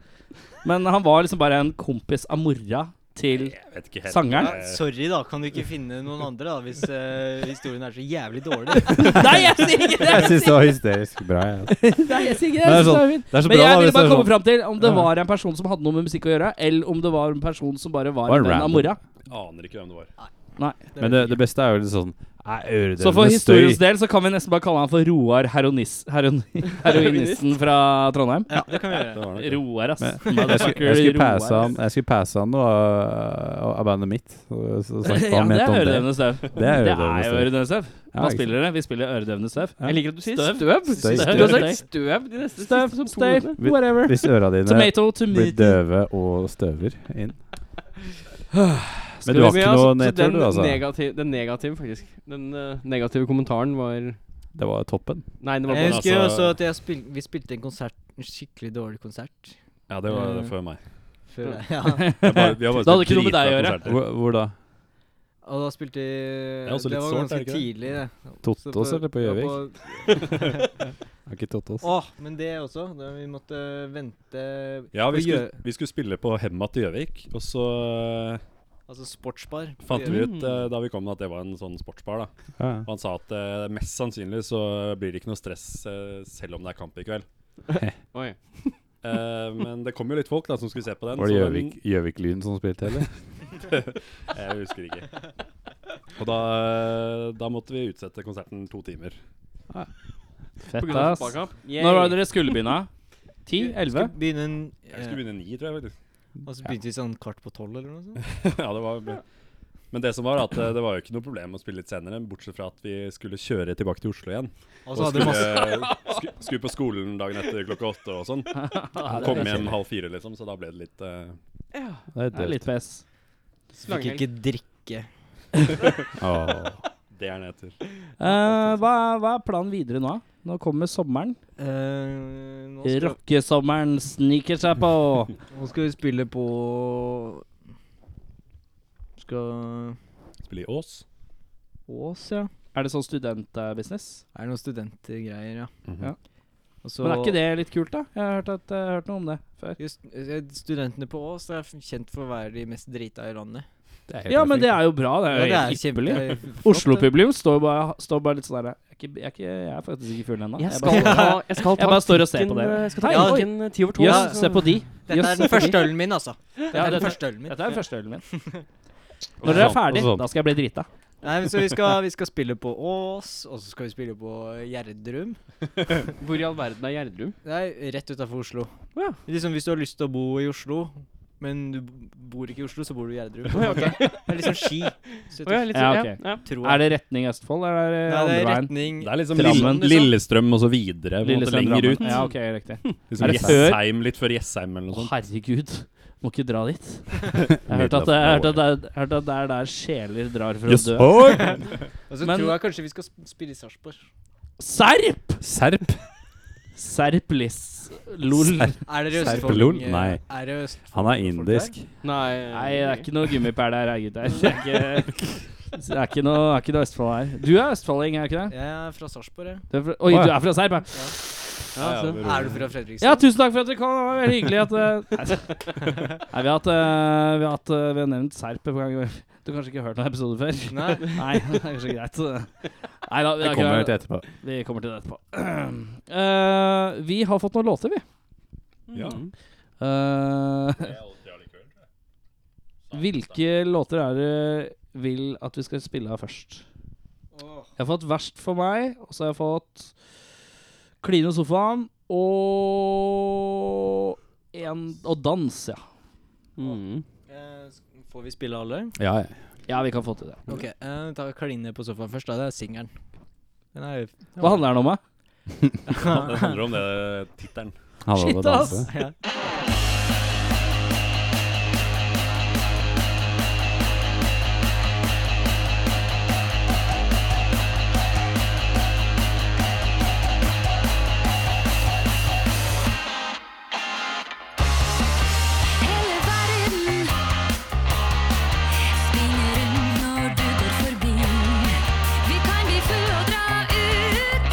Speaker 2: Men han var liksom bare en kompis av mora til
Speaker 6: Jeg vet ikke helt.
Speaker 2: sangeren.
Speaker 5: Ja, Sorry, da. Kan du ikke finne noen andre, da, hvis eh, historien er så jævlig dårlig?
Speaker 2: Nei, jeg sier ikke det!
Speaker 3: Jeg syns det var hysterisk bra. Ja.
Speaker 2: Nei, jeg sier ikke det. Jeg synes
Speaker 3: Men det er
Speaker 2: det
Speaker 3: sånn-
Speaker 2: er fint.
Speaker 3: Det er så
Speaker 2: Men
Speaker 3: bra,
Speaker 2: jeg
Speaker 3: da,
Speaker 2: ville
Speaker 3: hvis det
Speaker 2: bare
Speaker 3: er
Speaker 2: komme
Speaker 3: sånn.
Speaker 2: fram til om det
Speaker 3: Ja.
Speaker 2: var en person som hadde noe med musikk å gjøre, eller om det var en person som bare var
Speaker 3: Var
Speaker 2: en venn av
Speaker 3: random.
Speaker 2: mora.
Speaker 6: Aner ikke hvem det var.
Speaker 3: Men det, det beste er jo litt sånn Nei,
Speaker 2: Så for
Speaker 3: øredøvende støy.
Speaker 2: historiens del så kan vi nesten bare kalle han for Roar Heronis, heron, Heroinisten fra Trondheim.
Speaker 5: Ja, det kan vi gjøre.
Speaker 6: Det var nok det.
Speaker 2: Roar, ass.
Speaker 3: Men Jeg skulle, jeg skulle passe han Jeg skulle passe han noe av av bandet mitt. Så så snakket
Speaker 2: Ja, det
Speaker 3: han ment
Speaker 2: er
Speaker 3: om det.
Speaker 2: øredøvende støv.
Speaker 3: Det er
Speaker 2: Det
Speaker 3: øredøvende
Speaker 2: er jo
Speaker 3: støy.
Speaker 2: øredøvende støv.
Speaker 3: Ja,
Speaker 2: Hva
Speaker 3: ikke
Speaker 2: spiller dere? Vi spiller øredøvende støv.
Speaker 3: Ja.
Speaker 4: Jeg liker at du sier
Speaker 2: Støv.
Speaker 4: støv.
Speaker 3: Støv.
Speaker 4: Du har
Speaker 2: Støv.
Speaker 4: sagt støv de neste
Speaker 2: Støv,
Speaker 4: siste to
Speaker 2: støv,
Speaker 4: minuttene.
Speaker 2: whatever.
Speaker 3: Hvis øra dine
Speaker 2: Tomato,
Speaker 3: blir
Speaker 2: tomato.
Speaker 3: døve og støver inn.
Speaker 2: Skal
Speaker 3: Men du
Speaker 2: vi
Speaker 3: har ikke
Speaker 4: Men ja, så-
Speaker 3: noe
Speaker 4: altså, så
Speaker 3: nedtur,
Speaker 4: den
Speaker 3: du, altså?
Speaker 4: Negativ, den negative, faktisk. Den eh, negative kommentaren var
Speaker 3: Det var toppen.
Speaker 4: Nei, det var
Speaker 5: Jeg
Speaker 4: bare
Speaker 5: husker jo
Speaker 6: altså-
Speaker 5: også at jeg spil vi spilte en konsert, en skikkelig dårlig konsert.
Speaker 6: Ja, det var før meg.
Speaker 5: Før, ja.
Speaker 6: Jeg bare- vi har bare
Speaker 2: Det hadde
Speaker 6: spilt
Speaker 2: ikke noe med deg å
Speaker 6: dritbra konserter.
Speaker 3: Hvor, hvor da?
Speaker 5: Og da spilte vi
Speaker 6: er også
Speaker 5: Det
Speaker 6: litt
Speaker 5: var
Speaker 6: sårt,
Speaker 5: ganske
Speaker 6: er det ikke
Speaker 5: tidlig, det. Så
Speaker 3: Tottos eller på
Speaker 5: ja,
Speaker 3: Gjøvik?
Speaker 5: på-
Speaker 3: Har ikke Tottos.
Speaker 5: Åh, men det også. Da vi måtte vente
Speaker 6: Ja, vi
Speaker 5: på
Speaker 6: skulle,
Speaker 5: Gjø-
Speaker 6: vi skulle spille på Hemma til Gjøvik, og så eh,
Speaker 5: Altså sportsbar. på
Speaker 6: fant vi
Speaker 5: Gjøvik.
Speaker 6: ut eh, da vi kom at det var en sånn sportsbar. da
Speaker 3: Ja.
Speaker 6: Og han sa at eh, mest sannsynlig så blir det ikke noe stress eh, selv om det er kamp i kveld.
Speaker 4: Oi.
Speaker 6: Eh, men det kom jo litt folk da som skulle se på den.
Speaker 3: Var det
Speaker 6: så den-
Speaker 3: Gjøvik- Gjøvik-Lyn som spilte, eller?
Speaker 6: Jeg husker ikke. Og da, eh, da måtte vi utsette konserten to timer.
Speaker 4: På
Speaker 2: Fett,
Speaker 4: grunn av
Speaker 2: ass.
Speaker 4: fotballkamp.
Speaker 2: Når var det dere skulle begynne? Ti? Elleve?
Speaker 5: Skulle begynne en
Speaker 6: Jeg skulle begynne ni, tror jeg faktisk.
Speaker 5: eh, Og så begynte vi sånn kvart på tolv eller noe sånt.
Speaker 6: ja, det var men det som var at eh, det var jo ikke noe problem å spille litt senere, bortsett fra at vi skulle kjøre tilbake til Oslo igjen.
Speaker 5: Og
Speaker 6: Og
Speaker 5: så hadde vi
Speaker 6: skulle,
Speaker 5: masse
Speaker 6: sku, skulle på skolen dagen etter klokka åtte og sånn. Kom hjem halv fire, liksom, så da ble det litt eh,
Speaker 3: Det er
Speaker 2: Det er
Speaker 3: døvt.
Speaker 2: litt pes.
Speaker 5: Fikk ikke drikke.
Speaker 3: Åh.
Speaker 6: det er nedtur.
Speaker 2: Eh, hva, hva er planen videre nå? Nå kommer sommeren.
Speaker 5: Eh, nå, skal,
Speaker 2: Rockesommeren sniker seg på.
Speaker 5: nå skal vi spille på Skal
Speaker 6: Spille i Ås.
Speaker 5: Ås, ja.
Speaker 2: Er det sånn studentbusiness?
Speaker 5: Er det noen studentgreier, ja.
Speaker 6: Mhm.
Speaker 2: Ja.
Speaker 5: Og så
Speaker 2: Men er ikke det litt kult, da? Jeg har hørt, at, jeg har hørt noe om det før.
Speaker 5: Just, eh, studentene på Ås er f- kjent for å være de mest drita i landet.
Speaker 2: Ja, men det er jo bra. Det er jo
Speaker 5: Ja, det
Speaker 2: helt
Speaker 5: er
Speaker 2: ypperlig.
Speaker 5: kjempe- eh, flott, det.
Speaker 2: Oslo-publikum står, bare- står bare litt sånn der jeg er, ikke, jeg, er ikke, jeg er faktisk ikke full ennå.
Speaker 4: Jeg
Speaker 2: Jeg
Speaker 4: skal
Speaker 2: bare-
Speaker 4: ta Jeg skal ta
Speaker 2: Jeg bare står og ser
Speaker 4: kritikken,
Speaker 2: på dere.
Speaker 4: eh, Jeg skal ta
Speaker 5: Ja, oi.
Speaker 4: kritikken eh, ti over to.
Speaker 2: Jøss,
Speaker 5: Ja,
Speaker 4: så-
Speaker 2: se på de.
Speaker 5: Dette er
Speaker 2: Jøss,
Speaker 5: den
Speaker 2: se på de.
Speaker 5: første ølen min, altså. Dette
Speaker 2: Ja,
Speaker 5: er den
Speaker 2: dette-
Speaker 5: første ølen min.
Speaker 2: Dette er den første ølen min. Når dere er ferdig,
Speaker 3: Og sånn.
Speaker 2: da skal jeg bli drita.
Speaker 5: Nei, men så vi skal, vi skal spille på Ås, og så skal vi spille på Gjerdrum.
Speaker 4: Hvor i all verden er Gjerdrum?
Speaker 5: Nei, rett utafor Oslo.
Speaker 4: Å ja.
Speaker 5: Liksom Hvis du har lyst til å bo i Oslo, men du b- bor ikke i Oslo, så bor du i Gjerdrum.
Speaker 4: Å ja, ok.
Speaker 5: Det er liksom Ski. Så jeg
Speaker 4: Å ja, litt
Speaker 2: Ja,
Speaker 4: sånn,
Speaker 2: ok.
Speaker 4: ja, ja.
Speaker 5: tror
Speaker 2: Er
Speaker 5: jeg.
Speaker 2: det retning Østfold, eller er det
Speaker 5: Nei, det
Speaker 2: andre
Speaker 5: er
Speaker 2: veien?
Speaker 5: retning
Speaker 6: Det er liksom
Speaker 2: Drammen,
Speaker 6: Lille,
Speaker 5: liksom.
Speaker 6: Lillestrøm og så videre. På en måte
Speaker 2: Lillestrøm,
Speaker 6: lenger ut.
Speaker 2: Drammen. Ja, ok, riktig. Er
Speaker 6: Liksom
Speaker 2: det før?
Speaker 6: Jessheim, litt før Jessheim eller
Speaker 2: Å,
Speaker 6: noe sånt.
Speaker 2: herregud. Må ikke dra dit. Jeg hørte at, jeg hørte at, det er- jeg hørte at det er der sjeler drar for å dø.
Speaker 5: Og så
Speaker 2: Men-
Speaker 5: tror jeg kanskje vi skal sp- spille i Sarpsborg.
Speaker 2: Serp!
Speaker 3: Serp?
Speaker 2: Serplis. Lol.
Speaker 5: Er dere
Speaker 3: Sarpsborg,
Speaker 5: Østfold?
Speaker 3: nei.
Speaker 5: Er det Østfold?
Speaker 3: Han er indisk.
Speaker 4: Nei, eh,
Speaker 2: Nei, det er ikke noe gummipær der, jeg, gutter. Det er ikke, det er ikke, noe, det er ikke noe Østfold her. Du er østfolding, er du ikke det?
Speaker 5: Jeg er fra Sarpsborg, jeg.
Speaker 2: Du er fra, oi, du er fra Serp, ja.
Speaker 4: Ja,
Speaker 6: Ja,
Speaker 4: så.
Speaker 6: ja,
Speaker 5: altså. Er du fra Fredrikstad?
Speaker 2: Ja, tusen takk for at dere kom. Det var veldig hyggelig at eh, Nei, vi har hatt, eh, vi har, hatt eh, vi har nevnt Serp et par ganger. Du har kanskje ikke hørt noen episode før?
Speaker 5: Nei.
Speaker 2: Nei, det er kanskje greit. Nei da, vi,
Speaker 3: Det
Speaker 2: har
Speaker 3: kommer
Speaker 2: ikke-
Speaker 3: helt etterpå.
Speaker 2: vi kommer til det etterpå. Eh, vi har fått noen låter, vi.
Speaker 6: Ja.
Speaker 2: Eh, hvilke låter er det vil at vi skal spille av først. Jeg har fått verst for meg, og så har jeg fått kline sofaen og en, Og dans, ja.
Speaker 4: Mm.
Speaker 5: Eh, s- Får vi spille alle?
Speaker 3: Ja, ja.
Speaker 2: Ja, vi kan få til det.
Speaker 5: Ok, eh, ta kline på sofaen først. da, Det er singelen. Den er
Speaker 2: Hva handler den om, da?
Speaker 6: Det handler om det tittelen.
Speaker 3: Han var
Speaker 2: Shit,
Speaker 3: på
Speaker 2: ass!
Speaker 3: danse.
Speaker 5: ja.
Speaker 8: Hele verden spinner rundt når du går forbi. Vi kan bli full og dra ut,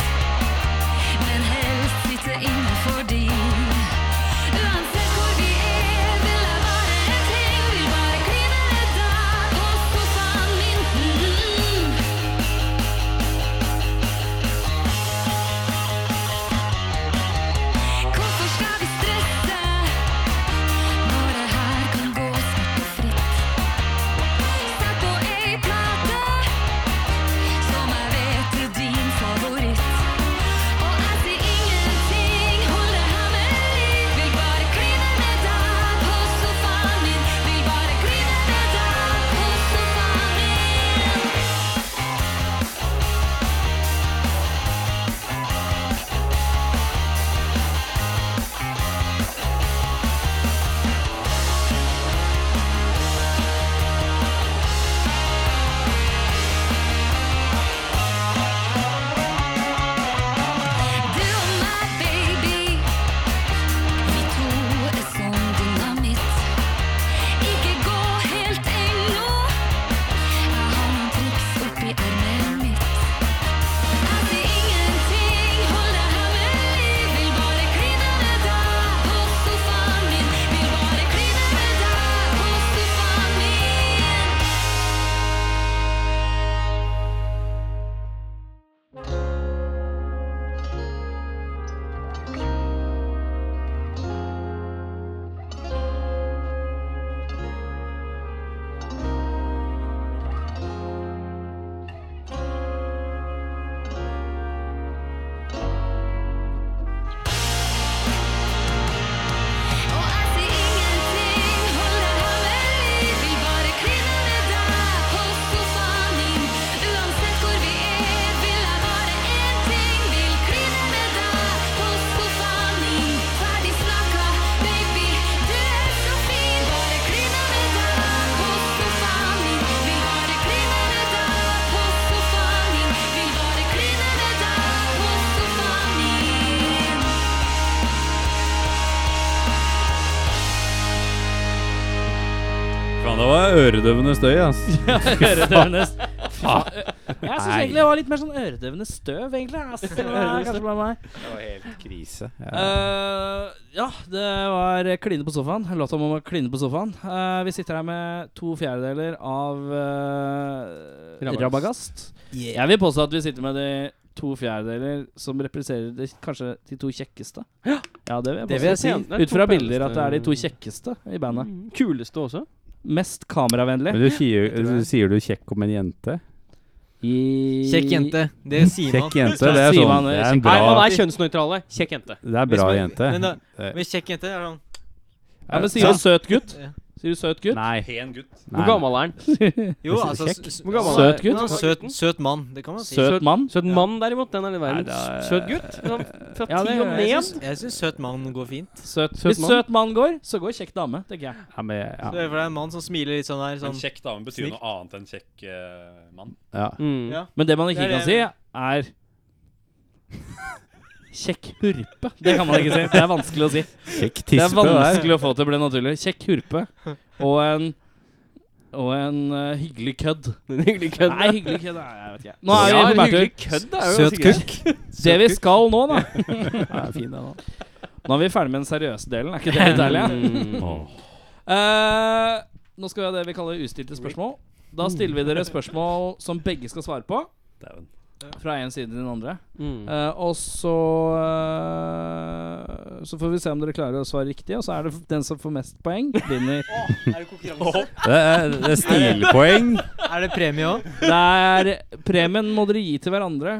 Speaker 8: men helst sitte inne fordi Uansett hvor vi er, vil jeg være en ting. Vil bare kline med deg på sofaen min. Mm. Hvorfor skal vi stresse? Når det her kan gå svært og fritt Sett på ei plate Som jeg vet er din favoritt Og jeg sier ingenting Hold det hemmelig Vil bare kline med deg på sofaen min Vil bare kline med deg på sofaen min Du og meg, baby Vi to er som dynamitt Ikke gå helt ennå Jeg har noen triks oppi armen mitt Jeg sier ingenting, hold deg hemmelig Vil bare kline med deg på sofaen min Vil bare kline med deg på sofaen min Og jeg sier ingenting, hold deg hemmelig Vil bare kline med deg på sofaen din Uansett hvor vi er, vil jeg bare én ting Vil kline med deg på sofaen din Ferdig snakka, baby, du er så fin Bare kline med deg på sofaen din Vil bare kline med deg på sofaen din Vil bare kline med deg på sofaen din
Speaker 3: Faen, det var øredøvende støy, ass.
Speaker 2: Øredøvende s- Jeg syns egentlig det var litt mer sånn øredøvende støv, egentlig. ass. Det var kanskje bare meg.
Speaker 3: Krise.
Speaker 2: Eh, ja, det var Kline på sofaen. Låta om å kline på sofaen. Eh, vi sitter her med to fjerdedeler av eh,
Speaker 4: Rabagast.
Speaker 2: Rabagast. Jeg vil påstå at vi sitter med de to fjerdedeler som representerer de, kanskje de to kjekkeste. Ja, det vil jeg
Speaker 4: Det
Speaker 2: påstå.
Speaker 4: vil jeg si, ja. Det er
Speaker 2: Ut fra
Speaker 4: to
Speaker 2: bilder at det er de to
Speaker 4: peneste-
Speaker 2: kjekkeste i bandet.
Speaker 4: Mm. Kuleste også.
Speaker 2: Mest kameravennlig.
Speaker 3: Men du sier, du sier du kjekk om en jente?
Speaker 2: I-
Speaker 5: Kjekk jente. Det sier man.
Speaker 3: Kjekk jente, det er
Speaker 2: Sier
Speaker 3: sånn.
Speaker 2: man
Speaker 3: Det
Speaker 2: det,
Speaker 3: er en
Speaker 2: kjekk-
Speaker 3: bra,
Speaker 4: Nei, man er kjønnsnøytrale. Kjekk jente.
Speaker 3: det er bra
Speaker 5: Hvis man-
Speaker 3: jente.
Speaker 5: Men, da,
Speaker 3: Det-
Speaker 5: men kjekk jente er sånn
Speaker 2: Ja, men sier du søt gutt?
Speaker 5: Ja.
Speaker 2: Sier du søt gutt?
Speaker 3: Nei.
Speaker 6: Pen gutt.
Speaker 3: nei.
Speaker 4: Hvor gammel er han?
Speaker 5: Jo,
Speaker 3: Hvis-
Speaker 5: altså
Speaker 3: kjekk?
Speaker 5: s- s-
Speaker 4: Hvor gammel
Speaker 2: Søt
Speaker 4: er
Speaker 2: gutt?
Speaker 5: Ja, søt, søt mann. Det kan man si.
Speaker 2: Søt mann?
Speaker 4: Søt mann, derimot. Den er litt verre.
Speaker 3: Nei, da-
Speaker 4: Søt gutt? Sånn Fra
Speaker 2: Ja, det
Speaker 4: ti og
Speaker 2: gjør
Speaker 5: Jeg
Speaker 4: ned?
Speaker 5: syns- Jeg syns søt mann går fint.
Speaker 2: Søt,
Speaker 4: søt
Speaker 2: Hvis
Speaker 4: mann.
Speaker 2: søt mann går, så går kjekk dame, tenker jeg.
Speaker 3: Ja, men,
Speaker 5: Så
Speaker 3: ja.
Speaker 5: det er for det er en mann som smiler litt sånn der.
Speaker 6: En
Speaker 5: Sånn.
Speaker 6: kjekk dame betyr
Speaker 5: Snilt.
Speaker 6: noe annet enn kjekk eh, mann.
Speaker 3: Ja.
Speaker 4: Mm.
Speaker 5: Ja.
Speaker 2: Men det man ikke
Speaker 5: Det er
Speaker 2: kan si, er Kjekk hurpe. Det kan man ikke si. Det er vanskelig å si.
Speaker 3: Kjekk
Speaker 2: Det er
Speaker 3: tispe der.
Speaker 2: vanskelig å få til å bli naturlig. Kjekk hurpe og en og en eh, hyggelig kødd.
Speaker 4: En hyggelig kødd.
Speaker 2: Nei, hyggelig kødd nei, jeg vet ikke. Nå er vi
Speaker 4: Ja,
Speaker 2: på bærtur.
Speaker 4: hyggelig kødd er jo
Speaker 5: Søt
Speaker 4: ganske greit.
Speaker 5: kukk.
Speaker 2: Det vi skal nå, da
Speaker 3: Ja, fin den da.
Speaker 2: Nå er vi ferdig med den seriøse delen. Er ikke det litt deilig? ja?
Speaker 4: Mm.
Speaker 2: Eh, nå skal vi ha det vi kaller ustilte spørsmål. Da stiller vi dere spørsmål som begge skal svare på.
Speaker 6: Dæven.
Speaker 3: Mm.
Speaker 2: Fra én side til den andre.
Speaker 4: Mm.
Speaker 2: Eh, og så eh, Så får vi se om dere klarer å svare riktig, og så er det f- den som får mest poeng, vinner.
Speaker 5: Er det konkurranse?
Speaker 3: Det er, det er stilpoeng.
Speaker 5: Er det premie òg?
Speaker 2: Det er Premien må dere gi til hverandre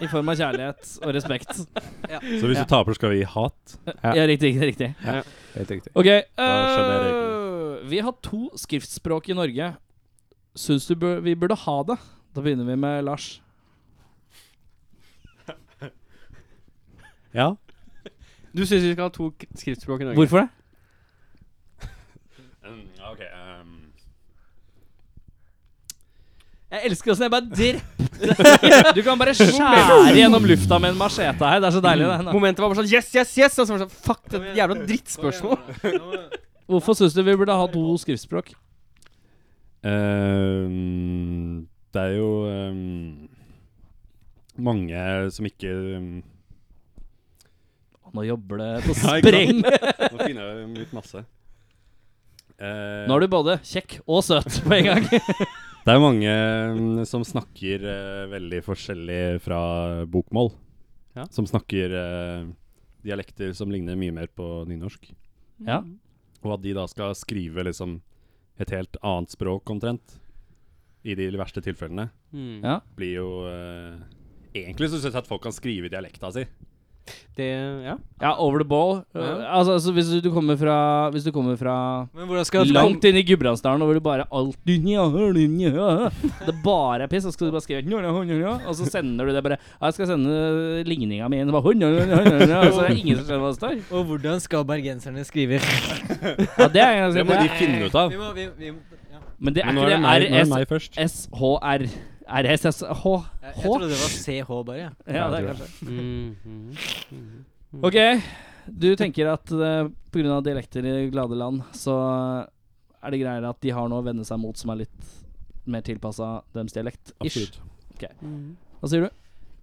Speaker 2: i form av kjærlighet og respekt.
Speaker 6: Så hvis du taper, skal vi gi hat?
Speaker 3: Ja.
Speaker 2: Ja, riktig, riktig, riktig.
Speaker 3: Helt riktig.
Speaker 2: Ok.
Speaker 3: Da skjønner jeg
Speaker 2: øh, vi har to skriftspråk i Norge. Syns du bør, vi burde ha det? Da begynner vi med Lars.
Speaker 3: Ja.
Speaker 4: Du syns vi skal ha to k- skriftspråk i Norge?
Speaker 2: Hvorfor det?
Speaker 6: ok
Speaker 5: ehm,
Speaker 6: um.
Speaker 2: Jeg elsker åssen jeg bare drepte Du kan bare skjære gjennom lufta med en machete her. Det er så deilig, det.
Speaker 4: Momentet var bare sånn Yes, yes, yes! Og så var det sånn Fuck, det er et jævla drittspørsmål.
Speaker 2: Mm. Hvorfor syns du vi burde ha to skriftspråk?
Speaker 6: Ehm, det er jo ehm, mange som ikke ehm,
Speaker 2: Nå jobber det på
Speaker 6: Ja, ikke sant?
Speaker 2: spreng.
Speaker 6: Nå finner jeg ut masse. Eh,
Speaker 2: Nå er du både kjekk og søt på en gang.
Speaker 6: Det er mange mm, som snakker eh, veldig forskjellig fra bokmål.
Speaker 4: Ja.
Speaker 6: Som snakker eh, dialekter som ligner mye mer på nynorsk.
Speaker 2: Ja.
Speaker 6: Og at de da skal skrive liksom et helt annet språk omtrent, i de verste tilfellene,
Speaker 4: Mm.
Speaker 2: Ja.
Speaker 6: blir jo eh, Egentlig så syns jeg at folk kan skrive dialekta si.
Speaker 4: Det Ja.
Speaker 2: Ja, over the ball. Uh,
Speaker 4: Ja.
Speaker 2: altså, altså, hvis du, du kommer fra Hvis du kommer fra
Speaker 5: Men hvordan skal
Speaker 2: Langt inn i Gudbrandsdalen, og hvor du bare alt Det bare er piss, og så skal du bare skrive Og så sender du det bare Ja, jeg skal sende ligninga mi inn, og bare Og så er det ingen som skjønner hva det står.
Speaker 5: Og hvordan skal bergenserne skrive?
Speaker 2: Ja, det er ganske
Speaker 6: Det må de
Speaker 2: greit.
Speaker 6: finne ut av.
Speaker 5: Vi må, vi, vi, ja.
Speaker 2: Men det er
Speaker 6: Men nå er det
Speaker 2: ikke
Speaker 6: meg, nå
Speaker 2: det
Speaker 6: er det meg først.
Speaker 2: RSHR. RSSH.
Speaker 5: Jeg, jeg trodde det var CH bare, jeg.
Speaker 2: Ja, det er kanskje
Speaker 4: Mhm.
Speaker 2: OK. Du tenker at eh, på grunn av dialekter i glade land, så er det greier at de har noe å vende seg mot som er litt mer tilpassa deres dialekt? Ish.
Speaker 6: Absolutt.
Speaker 2: Hva sier du?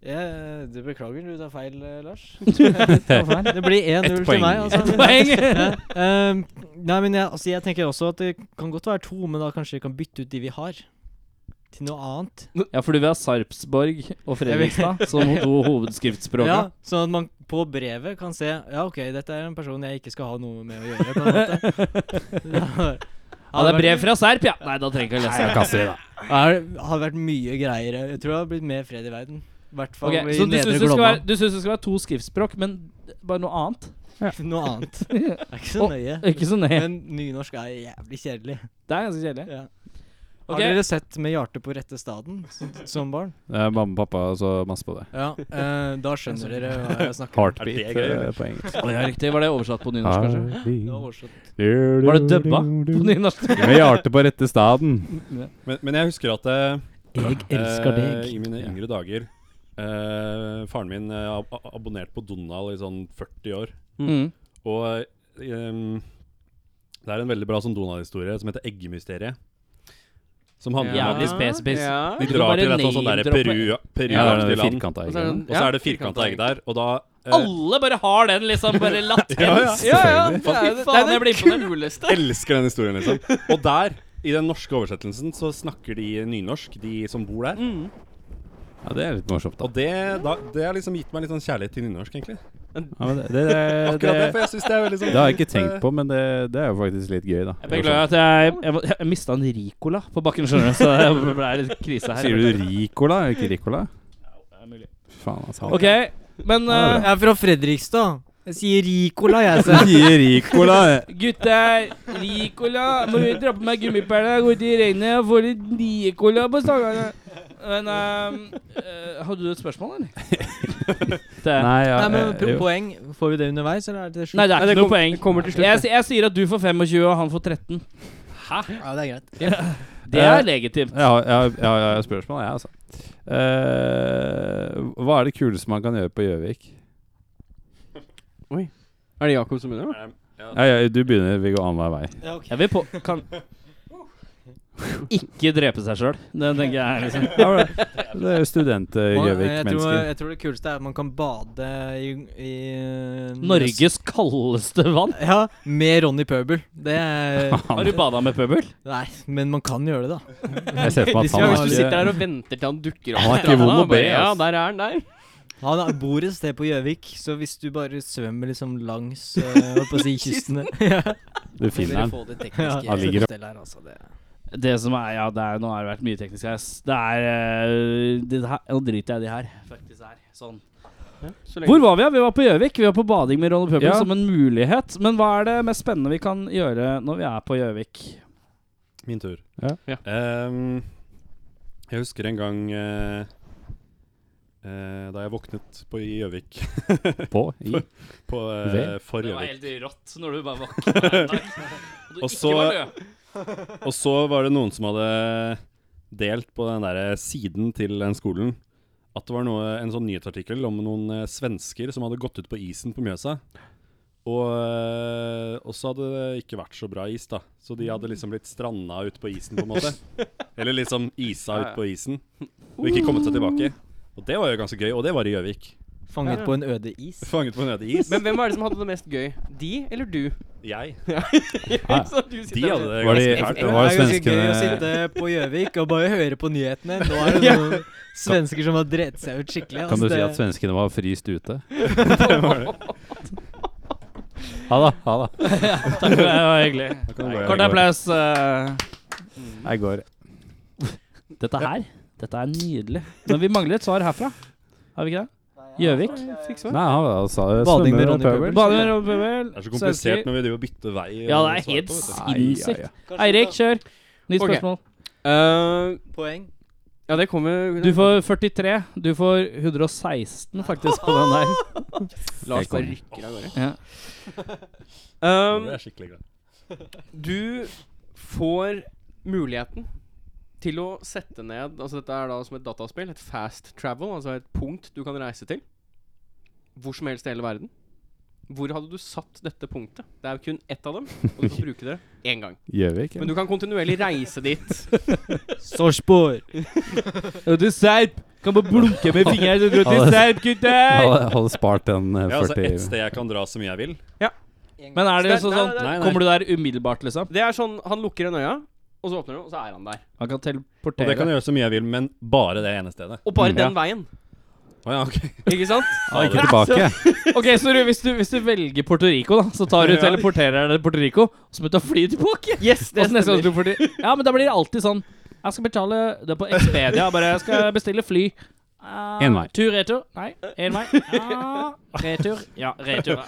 Speaker 5: jeg. eh, Du beklager, du tar feil, eh, Lars.
Speaker 2: Hvorfor?
Speaker 5: Det blir 1-0
Speaker 3: Ett
Speaker 5: til
Speaker 3: poeng.
Speaker 5: meg. Altså.
Speaker 2: Ett poeng.
Speaker 5: Ja, ehm, nei, men jeg, altså, jeg tenker også at det kan godt være to, men da kanskje vi kan bytte ut de vi har, til noe annet.
Speaker 2: Ja, for du vil ha Sarpsborg og Fredrikstad som to hovedskriftspråk.
Speaker 5: Ja, sånn at man på brevet kan se Ja, OK, dette er en person jeg ikke skal ha noe med å gjøre. På en måte.
Speaker 2: Ja, det er brev fra Serp, ja! Nei, da trenger jeg ikke å lese.
Speaker 5: Det hadde vært mye greiere. Jeg tror det hadde blitt mer fred i verden. I hvert fall
Speaker 2: Ok,
Speaker 5: i
Speaker 2: så du
Speaker 5: Nedre
Speaker 2: syns det, skal
Speaker 5: Glomma.
Speaker 2: være- du synes det skal være to skriftspråk, men bare noe annet?
Speaker 5: Noe annet. Det er ikke så
Speaker 2: Og-
Speaker 5: nøye.
Speaker 2: Ikke så nøye.
Speaker 5: Men nynorsk er jævlig kjedelig.
Speaker 2: Det er ganske kjedelig.
Speaker 5: Ja.
Speaker 2: Ok.
Speaker 5: Har dere sett Med hjertet på rette staden s- som barn?
Speaker 3: Det er mamma og pappa så masse på det.
Speaker 5: Ja, eh, da skjønner dere hva jeg snakker om.
Speaker 3: Heartbeat
Speaker 6: Er det gøy,
Speaker 3: eh,
Speaker 6: eller?
Speaker 3: på engelsk.
Speaker 2: Å, ja, riktig. Var det oversatt på nynorsk, kanskje?
Speaker 5: Det var oversatt.
Speaker 2: Var det dubba på nynorsk?
Speaker 3: Vi hjarter på rette staden.
Speaker 6: Men, men jeg husker at eh,
Speaker 2: Jeg elsker
Speaker 6: Eh, I
Speaker 2: deg.
Speaker 6: mine yngre dager eh, Faren min eh, ab ab- abonnerte på Donald i sånn 40 år.
Speaker 2: Mm.
Speaker 6: Og eh, em, det er en veldig bra sånn Donald-historie som heter Eggemysteriet. Som handler om
Speaker 2: Jævlig
Speaker 6: at
Speaker 2: spesifikt.
Speaker 4: Ja.
Speaker 6: de
Speaker 2: Kan du
Speaker 6: drar
Speaker 2: bare
Speaker 6: til et sånn
Speaker 2: name
Speaker 6: der
Speaker 2: droppe?
Speaker 6: Peru, Peru
Speaker 3: Ja, det er
Speaker 6: til
Speaker 3: det
Speaker 6: land.
Speaker 3: firkanta
Speaker 4: Og så er det
Speaker 3: egget.
Speaker 4: en-
Speaker 6: Og så
Speaker 4: ja.
Speaker 6: er det firkanta egg der, og da eh,
Speaker 2: Alle bare har den, liksom. Bare latens.
Speaker 6: Ja, ja.
Speaker 4: Ja, ja. Det
Speaker 2: Fy
Speaker 4: er det,
Speaker 2: faen, jeg
Speaker 4: det,
Speaker 2: blir
Speaker 4: er det
Speaker 2: imponert.
Speaker 4: kuleste.
Speaker 6: Elsker den historien, liksom. Og der, i den norske oversettelsen, så snakker de nynorsk, de som bor der.
Speaker 3: Ja, det er litt morsomt, da.
Speaker 6: Og det, da, det har liksom gitt meg litt sånn kjærlighet til nynorsk, egentlig.
Speaker 3: Ja, men det, det, det,
Speaker 6: Akkurat det, for jeg synes det er veldig sånn
Speaker 3: det har jeg ikke
Speaker 6: fint, eh,
Speaker 3: tenkt på, men det, det er jo faktisk litt gøy, da.
Speaker 2: Jeg beklager at jeg, jeg, jeg mista en Ricola på bakken, skjønner du. Så det ble litt krise her.
Speaker 3: Sier du Ricola, er det ikke Ricola?
Speaker 2: mulig.
Speaker 3: Fy Faen, altså.
Speaker 2: OK, men
Speaker 3: Ja,
Speaker 2: eh,
Speaker 5: Jeg er fra Fredrikstad. Jeg sier Ricola, jeg. Så.
Speaker 3: Sier Ricola.
Speaker 2: Gutter, eh, Ricola Må vi dra på meg gummipæla, gå ut i regnet og få litt Ricola på stangene? Men ehm, eh, Hadde du et spørsmål, eller? det. Nei.
Speaker 3: Nei, ja,
Speaker 5: Nei, men
Speaker 3: eh,
Speaker 5: pro
Speaker 3: jo.
Speaker 5: poeng. Får vi det underveis, eller er det til slutt?
Speaker 2: det er
Speaker 4: Nei, det
Speaker 2: ikke noe
Speaker 4: kom-
Speaker 2: poeng.
Speaker 4: det kommer til slutt,
Speaker 2: jeg, si- jeg sier at du får 25, og han får 13.
Speaker 5: Ja, det er greit.
Speaker 2: Det
Speaker 3: Eh,
Speaker 2: er legitimt.
Speaker 3: Jeg har, jeg har, jeg har, jeg har et spørsmål, jeg, altså. Eh, hva er det kuleste man kan gjøre på Gjøvik?
Speaker 4: Er det Jakob som begynner? da?
Speaker 3: Ja, ja, du begynner, vi går annenhver vei.
Speaker 5: Ja, ok.
Speaker 2: Jeg vil på Kan Ikke drepe seg sjøl. Det tenker jeg er liksom
Speaker 3: Ja, bra. det er
Speaker 5: Og, eh, jeg, tror,
Speaker 3: student-Gjøvik-mennesker.
Speaker 5: jeg tror det kuleste er at man kan bade i, i eh,
Speaker 2: Norges kaldeste vann.
Speaker 5: Ja, med Ronny Pøbel. Det er
Speaker 2: Har du bada med pøbel?
Speaker 5: Nei, men man kan gjøre det, da.
Speaker 3: Jeg ser for meg at
Speaker 5: Ja,
Speaker 3: han har
Speaker 4: Hvis du
Speaker 5: hvis det-
Speaker 4: sitter
Speaker 3: ikke
Speaker 4: der og venter til han dukker opp
Speaker 3: Han er
Speaker 4: på
Speaker 3: ikke vond å
Speaker 4: stranda,
Speaker 3: be,
Speaker 4: bare, Ja,
Speaker 3: ass.
Speaker 4: der er han der.
Speaker 5: Han er- bor et sted på Gjøvik, så hvis du bare svømmer liksom langs eh, jeg holdt på å si kystene ja.
Speaker 3: Du finner den.
Speaker 4: Få det
Speaker 5: Ja.
Speaker 4: tekniske
Speaker 3: Han ligger opp.
Speaker 4: stellet her, altså. Det.
Speaker 2: Det som er, ja, det er, Nå har det vært mye teknisk her. ass. Det er eh, det her, Nå driter jeg i de her. Fuck disse her. Sånn.
Speaker 4: Så lenge-
Speaker 2: Hvor var vi? Ja? Vi var på Gjøvik. Vi var på bading med Ronny Pøbel
Speaker 3: Ja.
Speaker 2: som en mulighet. Men hva er det mest spennende vi kan gjøre når vi er på Gjøvik?
Speaker 6: Min tur.
Speaker 3: Ja.
Speaker 4: Ja.
Speaker 6: Ehm, jeg husker en gang eh, eh, da jeg våknet på i Gjøvik.
Speaker 3: På. I.
Speaker 6: På, eh, for Gjøvik.
Speaker 2: helt rått når du bare våkner.
Speaker 6: Og så, og så var det noen som hadde delt på den der siden til den skolen at det var noe, en sånn nyhetsartikkel om noen eh, svensker som hadde gått ut på isen på Mjøsa. Og eh, og så hadde det ikke vært så bra is, da. Så de hadde liksom blitt stranda ute på isen, på en måte. Eller liksom isa ut på isen. Og ikke kommet seg tilbake. Og det var jo ganske gøy. Og det var i Gjøvik.
Speaker 5: Fanget på en øde is.
Speaker 6: Fanget på en øde is.
Speaker 4: Men hvem var det som hadde det mest gøy? De eller du?
Speaker 6: Jeg.
Speaker 4: Så du sitter
Speaker 6: De
Speaker 4: der-
Speaker 6: hadde det
Speaker 3: Var de-
Speaker 6: ganske fælt.
Speaker 5: Det
Speaker 3: Det
Speaker 6: da.
Speaker 3: var
Speaker 5: er ganske gøy å
Speaker 3: svenskene-
Speaker 5: sitte på Gjøvik og bare høre på nyhetene. Nå er det noen svensker som har drept seg ut skikkelig. altså,
Speaker 3: Kan
Speaker 2: Altså,
Speaker 3: du si at svenskene var fryst ute? Ha det. Ha det.
Speaker 2: Takk for det. Det var hyggelig.
Speaker 6: Da kan du gå igjen.
Speaker 2: Kort applaus. eh.
Speaker 3: Jeg går.
Speaker 2: Dette her Dette er nydelig. Men vi mangler et svar herfra. Har vi ikke det? Gjøvik.
Speaker 3: Nei, han altså,
Speaker 5: Bading med
Speaker 3: svømmer
Speaker 5: Ronny
Speaker 3: og pøbel.
Speaker 5: Pøbel.
Speaker 2: Baner og pøbel.
Speaker 6: Det er så komplisert når vi driver og bytter vei.
Speaker 2: Ja, det
Speaker 6: og
Speaker 2: er
Speaker 6: svar
Speaker 2: helt
Speaker 6: på, vet du.
Speaker 2: sinnssykt.
Speaker 3: Ai, ai,
Speaker 2: Eirik, kjør. Nytt
Speaker 4: Ok.
Speaker 2: spørsmål.
Speaker 4: Eh,
Speaker 5: Poeng.
Speaker 4: ja, det kommer
Speaker 2: Du får 43. Du får 116, faktisk, på den der.
Speaker 3: Jeg
Speaker 4: Lars bare
Speaker 3: kommer.
Speaker 4: rykker av gårde.
Speaker 2: Ja.
Speaker 4: Um,
Speaker 6: Det er skikkelig glad.
Speaker 4: Du får muligheten til å sette ned Altså Dette er da som et dataspill. Et fast travel, altså et punkt du kan reise til. Hvor som helst i hele verden. Hvor hadde du satt dette punktet? Det er jo kun ett av dem, og du får bruke det én gang.
Speaker 3: Gjøvik.
Speaker 4: Men du kan kontinuerlig reise dit.
Speaker 5: Sarpsborg.
Speaker 2: Og du serp! Kan bare blunke med fingeren så du
Speaker 3: til Ja, det-
Speaker 2: serp,
Speaker 3: Jeg
Speaker 2: gutter!
Speaker 3: hadde, hadde spart den eh,
Speaker 6: Ja, altså
Speaker 3: 40
Speaker 6: ett sted jeg kan dra så mye jeg vil.
Speaker 2: Men er det
Speaker 4: Så
Speaker 2: sånn
Speaker 4: det-
Speaker 2: sånn
Speaker 4: nei,
Speaker 6: nei, nei.
Speaker 2: Kommer du der umiddelbart, liksom?
Speaker 4: Det er sånn Han lukker en øya, og så åpner du, og så er han der.
Speaker 2: Han kan
Speaker 6: Og det kan
Speaker 2: teleportere.
Speaker 6: jeg gjøre så mye jeg vil, men bare det ene stedet.
Speaker 4: Og bare
Speaker 3: Mm.
Speaker 4: den veien.
Speaker 6: Å ja, ok.
Speaker 4: Ikke sant?
Speaker 3: Ah, ikke tilbake.
Speaker 2: Ok, så du, hvis, du, hvis du velger Puerto Rico, da, så tar du teleporterer deg til Puerto Rico, og så må du ta fly tilbake.
Speaker 4: Yes,
Speaker 2: Og
Speaker 4: det
Speaker 2: så neste gang
Speaker 4: stemmer.
Speaker 2: du får de- Ja, men da blir det alltid sånn Jeg skal betale det er på Expedia. Bare jeg skal bestille fly. Ah,
Speaker 3: En vei.
Speaker 2: Tur-retur. Nei, én vei. Ah, retur. Ja, retur.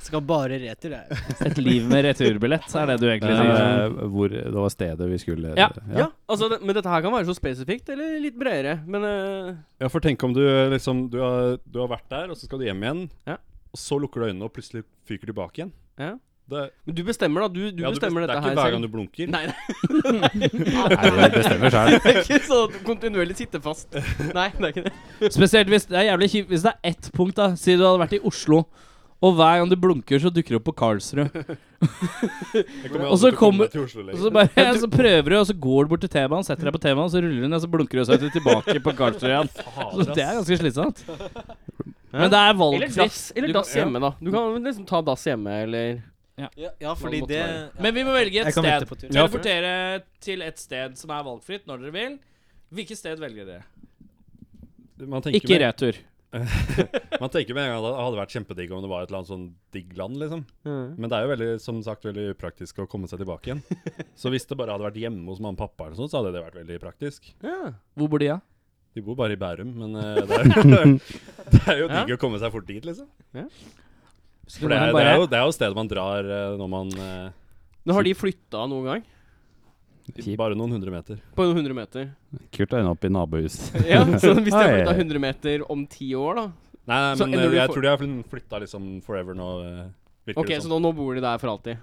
Speaker 5: Skal bare retur, jeg.
Speaker 2: Et liv med returbillett, er det du egentlig
Speaker 3: Men,
Speaker 2: sier.
Speaker 3: eh, hvor, det var stedet vi skulle
Speaker 2: Ja.
Speaker 4: Ja, altså, det, Men dette her kan være så spesifikt, eller litt bredere. Men eh,
Speaker 6: Ja, for tenk om du liksom du har, du har vært der, og så skal du hjem igjen.
Speaker 4: Ja.
Speaker 6: Og så lukker du øynene og plutselig fyker tilbake igien.
Speaker 4: Ja.
Speaker 6: Det,
Speaker 4: Men du bestemmer, da. Du, du
Speaker 6: ja,
Speaker 4: bestemmer
Speaker 6: det
Speaker 4: dette
Speaker 6: er
Speaker 4: her
Speaker 6: ikke hver gang du blunker.
Speaker 4: Nei,
Speaker 3: Nei, det bestemmer sjøl.
Speaker 4: det er ikke sånn at du kontinuerlig sitter fast. Nei, det er ikke det.
Speaker 2: Spesielt hvis det er jævlig kjipt Hvis det er ett punkt, da. Si du hadde vært i Oslo. Og hver gang du blunker, så dukker du opp på Karlsrud.
Speaker 6: Jeg kommer
Speaker 2: Og
Speaker 6: aldri
Speaker 2: så
Speaker 6: til å komme
Speaker 2: kommer-
Speaker 6: meg til Oslo
Speaker 2: Og
Speaker 6: lenger.
Speaker 2: så, bare, så prøver du, og så går du bort til T-banen, setter deg på T-banen, så ruller du ned, så blunker du, og så er du tilbake på Karlsrud igjen. Så det er ganske slitsomt. Men det er
Speaker 4: Eller
Speaker 2: valgfritt.
Speaker 4: dass, eller
Speaker 2: Du-
Speaker 4: dass
Speaker 2: ja.
Speaker 4: hjemme, da. Du kan liksom ta dass hjemme, eller
Speaker 5: Ja, ja
Speaker 4: fordi
Speaker 5: fordi
Speaker 4: det-
Speaker 5: det
Speaker 2: Men vi må velge et
Speaker 5: Jeg kan
Speaker 2: sted.
Speaker 5: vente på tur.
Speaker 2: Teleportere til et sted som er valgfritt, når dere vil. Hvilket sted velger dere?
Speaker 6: Man tenker
Speaker 2: Ikke
Speaker 6: med-
Speaker 2: retur.
Speaker 6: Man tenker med en gang at det hadde vært kjempedigg om det var et eller annet sånn digg land, liksom. Men det er jo veldig, som sagt, veldig upraktisk å komme seg tilbake igjen. Så hvis det bare hadde vært hjemme hos mamma og pappa, eller sånn, så hadde det vært veldig praktisk.
Speaker 4: ja.
Speaker 2: Hvor bor de, da?
Speaker 6: De bor bare i Bærum, men eh, det, er jo, det er jo digg å komme seg fort dit, liksom. For det er, det er, jo, det er jo stedet man drar eh, når man eh,
Speaker 4: Nå har de flytta noen gang.
Speaker 3: Kjip.
Speaker 6: Bare noen hundre meter.
Speaker 4: På 100 meter.
Speaker 3: Kult å ende opp i nabohus.
Speaker 4: Ja, Så hvis de har
Speaker 3: Oi.
Speaker 4: flytta 100 meter om ti år, da
Speaker 6: Nei, nei
Speaker 4: Så
Speaker 6: men
Speaker 4: ender
Speaker 6: eh,
Speaker 4: du
Speaker 6: jeg
Speaker 4: for-
Speaker 6: tror de har flytta liksom forever nå, eh, virker
Speaker 4: Ok,
Speaker 6: det
Speaker 4: så
Speaker 6: som.
Speaker 4: nå, nå bor de der for alltid.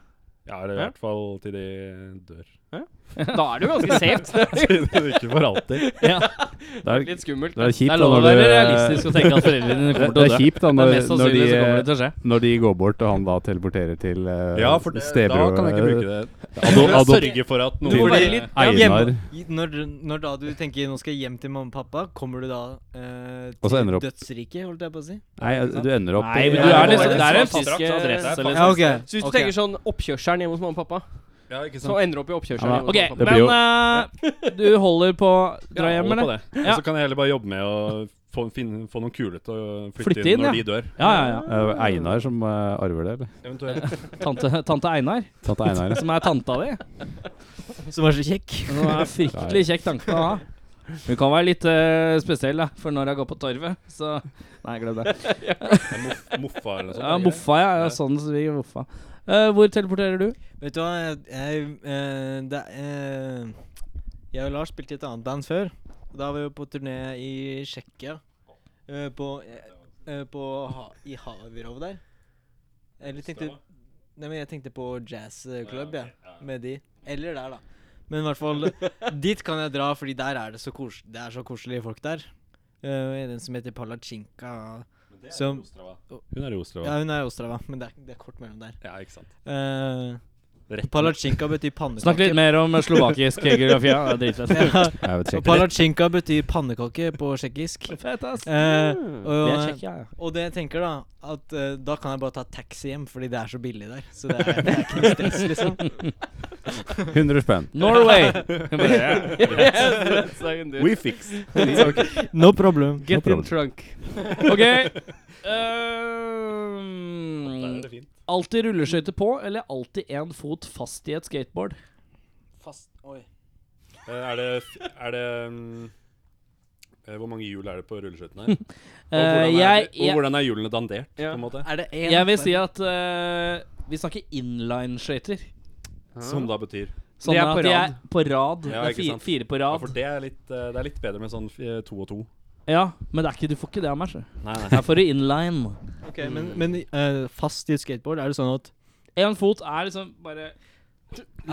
Speaker 6: Ja, eller i
Speaker 4: Ja.
Speaker 6: hvert fall til de dør.
Speaker 4: Da er det jo ganske safe.
Speaker 6: Ikke for alltid.
Speaker 3: Det er,
Speaker 4: Litt skummelt.
Speaker 3: det er kjipt
Speaker 2: Det er
Speaker 3: da
Speaker 2: lov å
Speaker 3: når
Speaker 2: være
Speaker 3: du eh,
Speaker 2: realistisk og tenke at foreldrene dine
Speaker 3: det,
Speaker 2: kommer
Speaker 3: det
Speaker 2: til
Speaker 3: er
Speaker 2: å dø.
Speaker 3: kjipt da
Speaker 2: Men
Speaker 3: når,
Speaker 2: mest
Speaker 3: når,
Speaker 2: sannsynlig så kommer det
Speaker 3: de,
Speaker 2: til å skje.
Speaker 3: når de går bort og han da teleporterer til eh,
Speaker 6: Ja, for det, da
Speaker 3: stebror-
Speaker 6: kan jeg ikke bruke det.
Speaker 3: Ado,
Speaker 6: Du må
Speaker 3: ado,
Speaker 6: sørge for at
Speaker 4: Du må
Speaker 6: noen
Speaker 4: være
Speaker 6: eh,
Speaker 4: litt
Speaker 3: Einar.
Speaker 2: liksom-
Speaker 5: Når, når da du tenker nå skal jeg hjem til mamma og pappa, kommer du da eh,
Speaker 3: Og så
Speaker 5: til
Speaker 3: ender du opp-
Speaker 5: dødsriket, holdt jeg på å si?
Speaker 3: Nei, altså, du ender opp
Speaker 2: Nei,
Speaker 3: i-
Speaker 2: men du er liksom,
Speaker 4: det
Speaker 2: det er en
Speaker 4: er
Speaker 2: fysisk
Speaker 4: fast-
Speaker 2: adresse,
Speaker 6: det er
Speaker 2: liksom.
Speaker 4: Så hvis du tenker sånn oppkjørselen hjemme hos mamma og pappa,
Speaker 6: Ja, ikke sant.
Speaker 4: så ender du opp i oppkjørselen.
Speaker 3: Ja,
Speaker 4: hjemme
Speaker 2: Ok,
Speaker 4: hos mamma og
Speaker 3: Det blir
Speaker 2: men eh, du holder på å dra
Speaker 6: Ja,
Speaker 2: hjem,
Speaker 6: hold
Speaker 2: eller?
Speaker 6: på det. Og så kan jeg heller bare jobbe med å få, finne, få noen kule til å flytte,
Speaker 2: Flytte
Speaker 6: inn
Speaker 2: inn, ja.
Speaker 6: når de dør.
Speaker 2: Ja, ja, ja.
Speaker 3: Eh, Einar som eh, arver det, eller?
Speaker 6: Eventuelt.
Speaker 2: Tante, tante Einar,
Speaker 3: Tante Einar, ja.
Speaker 2: som er tanta di.
Speaker 5: Som er så kjekk.
Speaker 2: Hun er fryktelig kjekk tanke å ha. Hun kan være litt eh, spesiell, da, for når jeg går på torvet, så Nei, glem det.
Speaker 6: Moff, moffa eller noe sånt.
Speaker 2: Ja, moffa, ja. ja sånn sviger moffa. Eh, hvor teleporterer du?
Speaker 5: Vet du hva, jeg, jeg, eh, det, eh, jeg og Lars spilte i et annet band før. Og Da var vi jo på turné i Tsjekkia. eh, på eh, eh, på ha, I Havirov der. Eller tenkte Nei, men jeg tenkte på jazzklubb, jeg. Ja, med de. Eller der, da. Men i hvert fall dit kan jeg dra, fordi der er det så, kos det er så koselige folk der. Uh, en som heter Palachinka. Som,
Speaker 6: Hun er i Ostrava.
Speaker 5: ja, hun er i Ostrava, men det er, det er kort mellom der.
Speaker 6: Ja, ikke sant.
Speaker 5: Eh,
Speaker 6: Rett
Speaker 5: Palachinka betyr pannekake.
Speaker 2: Snakk litt mer om slovakisk geografi. Ja, det er dritfett.
Speaker 5: Ja,
Speaker 3: Jeg vet
Speaker 5: og
Speaker 3: ikke.
Speaker 5: Palachinka betyr pannekake på tsjekkisk.
Speaker 2: Fett, ass. Det
Speaker 5: Eh,
Speaker 2: er
Speaker 5: og,
Speaker 2: kjekk, ja. ja.
Speaker 5: og det jeg tenker, da At eh, da kan jeg bare ta taxi hjem, fordi det er så billig der. Så det er, det er ikke noe stress, liksom.
Speaker 3: 100 spenn.
Speaker 2: Norway.
Speaker 4: Yes, that's it.
Speaker 6: We fix.
Speaker 5: No problem.
Speaker 4: Get in
Speaker 3: problem.
Speaker 4: trunk.
Speaker 2: OK. Um, alltid rulleskøyter på, eller alltid én fot fast i et skateboard?
Speaker 5: Fast, oi.
Speaker 6: Eh, Er det, er det mm, eh, Hvor mange hjul er det på rulleskøytene her? Og
Speaker 2: Eh,
Speaker 6: hvordan er,
Speaker 2: jeg,
Speaker 6: det- og
Speaker 2: jeg,
Speaker 6: hvordan er hjulene dandert,
Speaker 4: Ja.
Speaker 6: på en måte?
Speaker 5: Er det én
Speaker 2: jeg vil si at eh, vi snakker inline-skøyter. Ah.
Speaker 6: Som da betyr
Speaker 2: Sånn
Speaker 4: De er
Speaker 2: at
Speaker 4: på
Speaker 2: de
Speaker 4: rad.
Speaker 2: er på rad.
Speaker 6: Ja,
Speaker 2: det er
Speaker 6: ikke
Speaker 2: fire,
Speaker 6: sant.
Speaker 2: fire på
Speaker 6: Ja,
Speaker 2: rad.
Speaker 6: for det er, litt, eh, det er litt bedre med sånn eh, to og to.
Speaker 2: Ja, men det er ikke, du får ikke det av meg. sjø.
Speaker 6: Nei, nei.
Speaker 2: Her får du inline.
Speaker 5: Ok, Men, men eh, fast i et skateboard, er det sånn at
Speaker 2: Én fot er liksom bare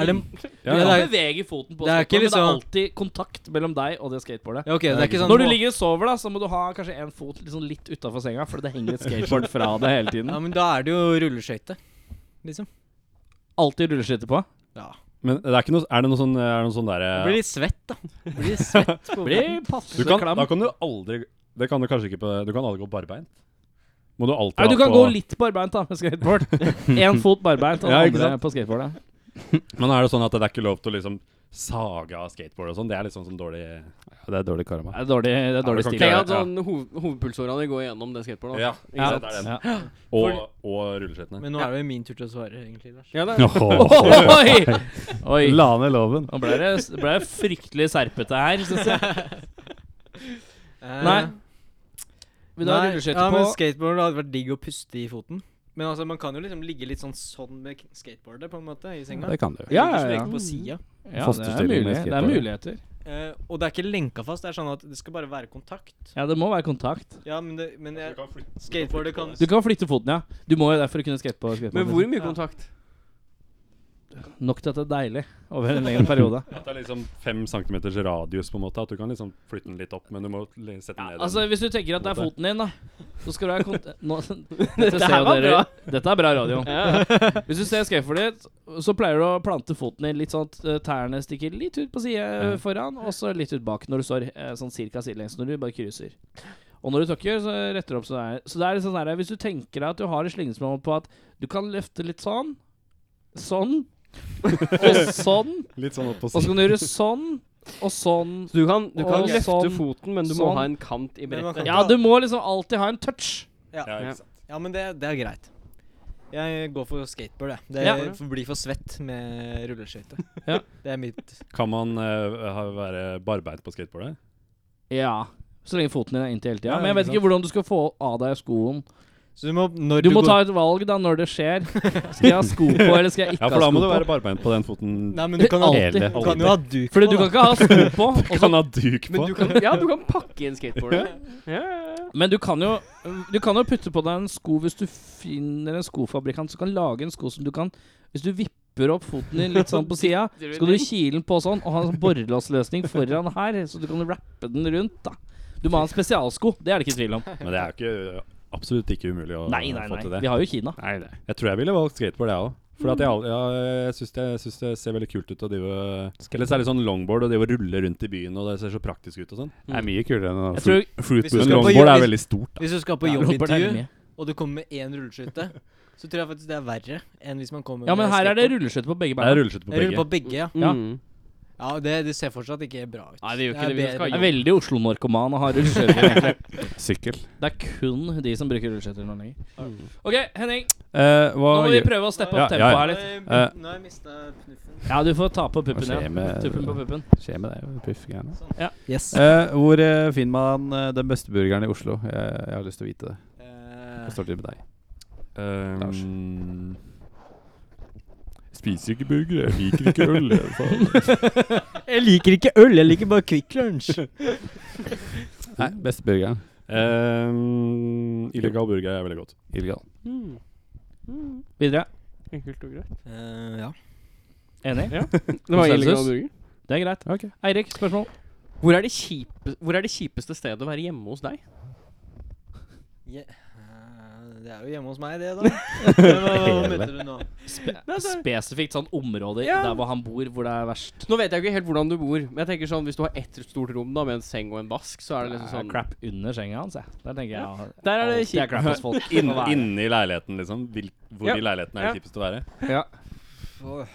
Speaker 5: er det,
Speaker 2: Du
Speaker 5: ja.
Speaker 2: kan bevege foten på
Speaker 5: Det er
Speaker 2: skateboardet, men det
Speaker 5: ikke
Speaker 2: er
Speaker 5: liksom-
Speaker 2: alltid kontakt mellom deg og det skateboardet.
Speaker 5: ja, ok, det er ikke sånn
Speaker 2: Når du ligger og sover, da, så må du ha kanskje en fot liksom litt utafor senga, for det henger et skateboard fra deg hele tiden.
Speaker 5: Ja, men da er det jo rulleskøyte, liksom.
Speaker 2: Alltid rulleskøyter på.
Speaker 5: Ja.
Speaker 6: Men det er, ikke noe, er det noe sånn, er det noe sånn derre
Speaker 5: Blir litt svett, da. Blir litt svett på
Speaker 2: Blir passe
Speaker 6: du kan,
Speaker 2: klam.
Speaker 6: Da kan du aldri Det kan du kanskje ikke på Du kan aldri gå barbeint. Må du alltid
Speaker 2: Nei, du
Speaker 6: ha
Speaker 2: kan
Speaker 6: på
Speaker 2: gå litt barbeint da med skateboard. Én fot barbeint og den
Speaker 6: Ja, ikke
Speaker 2: andre
Speaker 6: sant?
Speaker 2: på skateboardet.
Speaker 6: Men er det sånn at det er ikke lov til å liksom sage av skateboard og sånn? Det er litt sånn som dårlig
Speaker 3: Ja, Det er dårlig karma.
Speaker 2: Det er dårlig, det er dårlig
Speaker 6: kan
Speaker 2: stil.
Speaker 6: ikke-
Speaker 4: Tenk
Speaker 6: Ja,
Speaker 4: at sånn hoved, hovedpulsåra di går gjennom det skateboardet. da.
Speaker 6: Ja,
Speaker 4: Ikke sant?
Speaker 6: det er
Speaker 2: Ja.
Speaker 6: Og, og rulleskøytene.
Speaker 5: Men nå er det jo min tur til å svare, egentlig. Lars.
Speaker 4: Ja, det er.
Speaker 3: Åh,
Speaker 2: Oi! Oi.
Speaker 3: La ned loven.
Speaker 2: Nå ble det, ble det fryktelig serpete her, syns jeg.
Speaker 5: Eh,
Speaker 2: Nei. Vil du ha
Speaker 5: Nei,
Speaker 2: rulleskøyter
Speaker 5: ja,
Speaker 2: på?
Speaker 5: men skateboard hadde vært digg å puste i foten. Men altså, man kan jo liksom ligge litt sånn sånn med k- skateboardet, på en måte, i senga.
Speaker 3: Det kan du.
Speaker 2: Ja,
Speaker 5: Ikke
Speaker 2: ja,
Speaker 5: så
Speaker 2: ja.
Speaker 5: lenge på siden.
Speaker 2: ja det, er
Speaker 3: Fosterstilling
Speaker 2: mulig.
Speaker 3: med
Speaker 2: det er
Speaker 3: skateboard.
Speaker 2: muligheter.
Speaker 5: Eh, og det er ikke lenka fast, det er sånn at det skal bare være kontakt.
Speaker 2: Ja, det må være kontakt.
Speaker 5: Ja, men, det, men
Speaker 6: Du
Speaker 5: jeg,
Speaker 6: kan flytte-
Speaker 5: skateboardet kan
Speaker 2: Du kan flytte foten, ja. Du må jo derfor kunne skate på skateboard.
Speaker 4: Men hvor mye kontakt?
Speaker 2: Nok til at det er deilig over en lengre periode.
Speaker 6: At det er liksom fem centimeters radius, på en måte. At du kan liksom flytte den litt opp, men du må le- sette den ned. igjen.
Speaker 2: Altså, Hvis du tenker at det er foten din, da, så skal du ha kont... Nå, dette,
Speaker 4: Dette
Speaker 2: ser
Speaker 4: her
Speaker 2: jo
Speaker 4: var
Speaker 2: dere,
Speaker 4: bra.
Speaker 2: dette er bra radio. Hvis du ser skateboardet ditt, så pleier du å plante foten din litt sånn at eh, tærne stikker litt ut på side eh, foran, og så litt ut bak når du står eh, sånn cirka sidelengs, når du bare krysser. Og når du tråkker, så retter du opp sånn her. Så det er litt sånn her, hvis du tenker deg at du har et slingringsmål på at du kan løfte litt sånn, sånn, og sånn,
Speaker 6: litt sånn opp på
Speaker 2: og så
Speaker 6: siden.
Speaker 2: kan du gjøre sånn, og sånn
Speaker 4: Så du kan, du kan
Speaker 2: Og
Speaker 4: løfte
Speaker 2: sånn.
Speaker 4: foten, men du må
Speaker 2: Sånn.
Speaker 4: ha en kant i
Speaker 5: Men man
Speaker 4: brettet.
Speaker 5: kan ikke
Speaker 2: Ja,
Speaker 5: ha-
Speaker 2: du må liksom alltid ha en touch.
Speaker 6: Ja,
Speaker 4: Ja.
Speaker 6: ikke sant.
Speaker 5: Ja, men det, det er greit. Jeg går for skateboard, jeg. Det
Speaker 2: Ja.
Speaker 5: f- blir for svett med rulleskøyte.
Speaker 2: Ja.
Speaker 5: Det er mitt
Speaker 6: Kan man eh, ha- være barbeint på skateboardet?
Speaker 2: Ja. Så lenge foten din er inntil hele tida.
Speaker 5: Ja,
Speaker 2: Men jeg vet
Speaker 5: ikke
Speaker 2: ikke hvordan du skal få av deg skoen.
Speaker 5: Så du må når
Speaker 2: Du må
Speaker 5: går-
Speaker 2: ta et valg da når det skjer. Skal jeg ha sko på, eller skal jeg
Speaker 6: Ja,
Speaker 2: ikke
Speaker 6: for
Speaker 2: ha
Speaker 6: da må
Speaker 2: sko
Speaker 6: du være
Speaker 2: på?
Speaker 6: barbeint på den foten.
Speaker 5: Nei, men du kan, al-
Speaker 2: Alltid.
Speaker 5: du kan jo ha duk
Speaker 2: Fordi du
Speaker 5: på,
Speaker 2: kan
Speaker 5: da.
Speaker 2: ikke ha sko på, og så,
Speaker 6: Kan ha duk på.
Speaker 4: Men du kan, ja, du kan pakke inn skateboardet. Ja, ja, ja.
Speaker 2: men du kan, jo, du kan jo putte på deg en sko hvis du finner en skofabrikant som kan lage en sko som du kan Hvis du vipper opp foten din litt sånn på sida, skal du kile den på sånn og ha en sånn borrelåsløsning foran her, så du kan rappe den rundt, da. Du må ha en spesialsko, det er det ikke tvil om.
Speaker 6: Men det er jo ikke, absolutt ikke umulig å
Speaker 2: Nei, nei,
Speaker 6: få til
Speaker 2: nei.
Speaker 6: det.
Speaker 2: Vi har jo Kina.
Speaker 6: Nei, nei. Jeg tror jeg ville valgt skateboard, jeg òg. For at jeg, al- ja, jeg syns det, jeg synes det ser veldig kult ut å drive Eller særlig sånn longboard og drive og rulle rundt i byen, og det ser så praktisk ut og sånn.
Speaker 3: Det er mye kulere enn
Speaker 2: Jeg tror
Speaker 3: fruit
Speaker 5: Hvis du
Speaker 3: boot.
Speaker 5: skal på
Speaker 3: Longboard
Speaker 5: jobb-
Speaker 3: er veldig stort.
Speaker 5: Hvis du skal på
Speaker 2: Ja, Robert er
Speaker 5: jobbintervju,
Speaker 2: med.
Speaker 5: og du kommer med én rulleskøyte, så tror jeg faktisk det er verre enn hvis man kommer
Speaker 2: Ja, men
Speaker 5: med
Speaker 2: her er det
Speaker 5: skateboard.
Speaker 2: rulleskøyter på begge
Speaker 6: Det er
Speaker 2: beina.
Speaker 6: rulleskøyte på
Speaker 5: Jeg ruller
Speaker 6: begge.
Speaker 5: på begge, ja.
Speaker 2: Ja.
Speaker 4: Mm.
Speaker 5: Ja, det, det ser fortsatt ikke bra ut.
Speaker 4: Nei, det gjør ikke det. Vi
Speaker 5: er
Speaker 4: skal
Speaker 5: bedre-
Speaker 2: Jeg er veldig Oslo-narkoman og har rulleskøyter. egentlig.
Speaker 3: Sykkel.
Speaker 2: Det er kun de som bruker rulleskøyter nå lenger. OK, Henning.
Speaker 3: Eh, hva
Speaker 2: Nå må vi
Speaker 3: gjør-
Speaker 2: prøve å steppe
Speaker 3: Ja,
Speaker 2: opp
Speaker 3: ja,
Speaker 2: tempoet
Speaker 3: ja.
Speaker 2: her litt.
Speaker 5: Nå
Speaker 3: Eh.
Speaker 5: har jeg- Nå har jeg mista knuffen.
Speaker 2: Ja, du får ta på puppen.
Speaker 3: Hva skjer
Speaker 2: Ja.
Speaker 3: med-
Speaker 2: Tuppen på puppen.
Speaker 3: skjer med det? Puffgreiene.
Speaker 5: Yes.
Speaker 3: Eh, hvor eh, finner man eh, den beste burgeren i Oslo? Jeg, jeg har lyst til å vite det.
Speaker 5: Eh,
Speaker 3: Hva står det til med deg?
Speaker 6: Ehm,
Speaker 3: Lars.
Speaker 6: Um,
Speaker 3: Spiser ikke burger, jeg liker ikke øl.
Speaker 5: jeg liker ikke øl, jeg liker bare Kvikk Lunsj.
Speaker 3: Nei, beste burgeren.
Speaker 6: um, illegal burger er veldig godt.
Speaker 3: Illegal.
Speaker 4: Mm.
Speaker 2: Videre.
Speaker 4: Enkelt og greit.
Speaker 5: Eh, ja.
Speaker 2: Enig?
Speaker 4: Det var
Speaker 2: Konsensus?
Speaker 4: illegal burger.
Speaker 2: Det er greit.
Speaker 3: Ok.
Speaker 2: Eirik, spørsmål?
Speaker 4: Hvor er, det kjipe, hvor er det kjipeste stedet å være hjemme hos deg?
Speaker 5: Je- eh, Det er jo hjemme hos meg, det, da. Hva
Speaker 3: Hele.
Speaker 5: møter du nå?
Speaker 2: Spesifikt sånn område
Speaker 4: Ja.
Speaker 2: der hvor han bor, hvor det er verst.
Speaker 4: Nå vet jeg jo ikke helt hvordan du bor, men jeg tenker sånn hvis du har ett stort rom da med en seng og en vask, så er det
Speaker 2: Det
Speaker 4: liksom
Speaker 2: er
Speaker 4: sånn
Speaker 2: crap under senga hans, jeg. Der tenker jeg ja.
Speaker 4: Der er det
Speaker 2: alltid er
Speaker 4: kjipt.
Speaker 2: crap hos folk.
Speaker 6: Inn,
Speaker 2: Må være.
Speaker 6: inne i leiligheten, liksom. Hvil, hvor
Speaker 4: Ja.
Speaker 6: i leiligheten er det
Speaker 4: Ja.
Speaker 6: kjipest å være?
Speaker 5: Åh.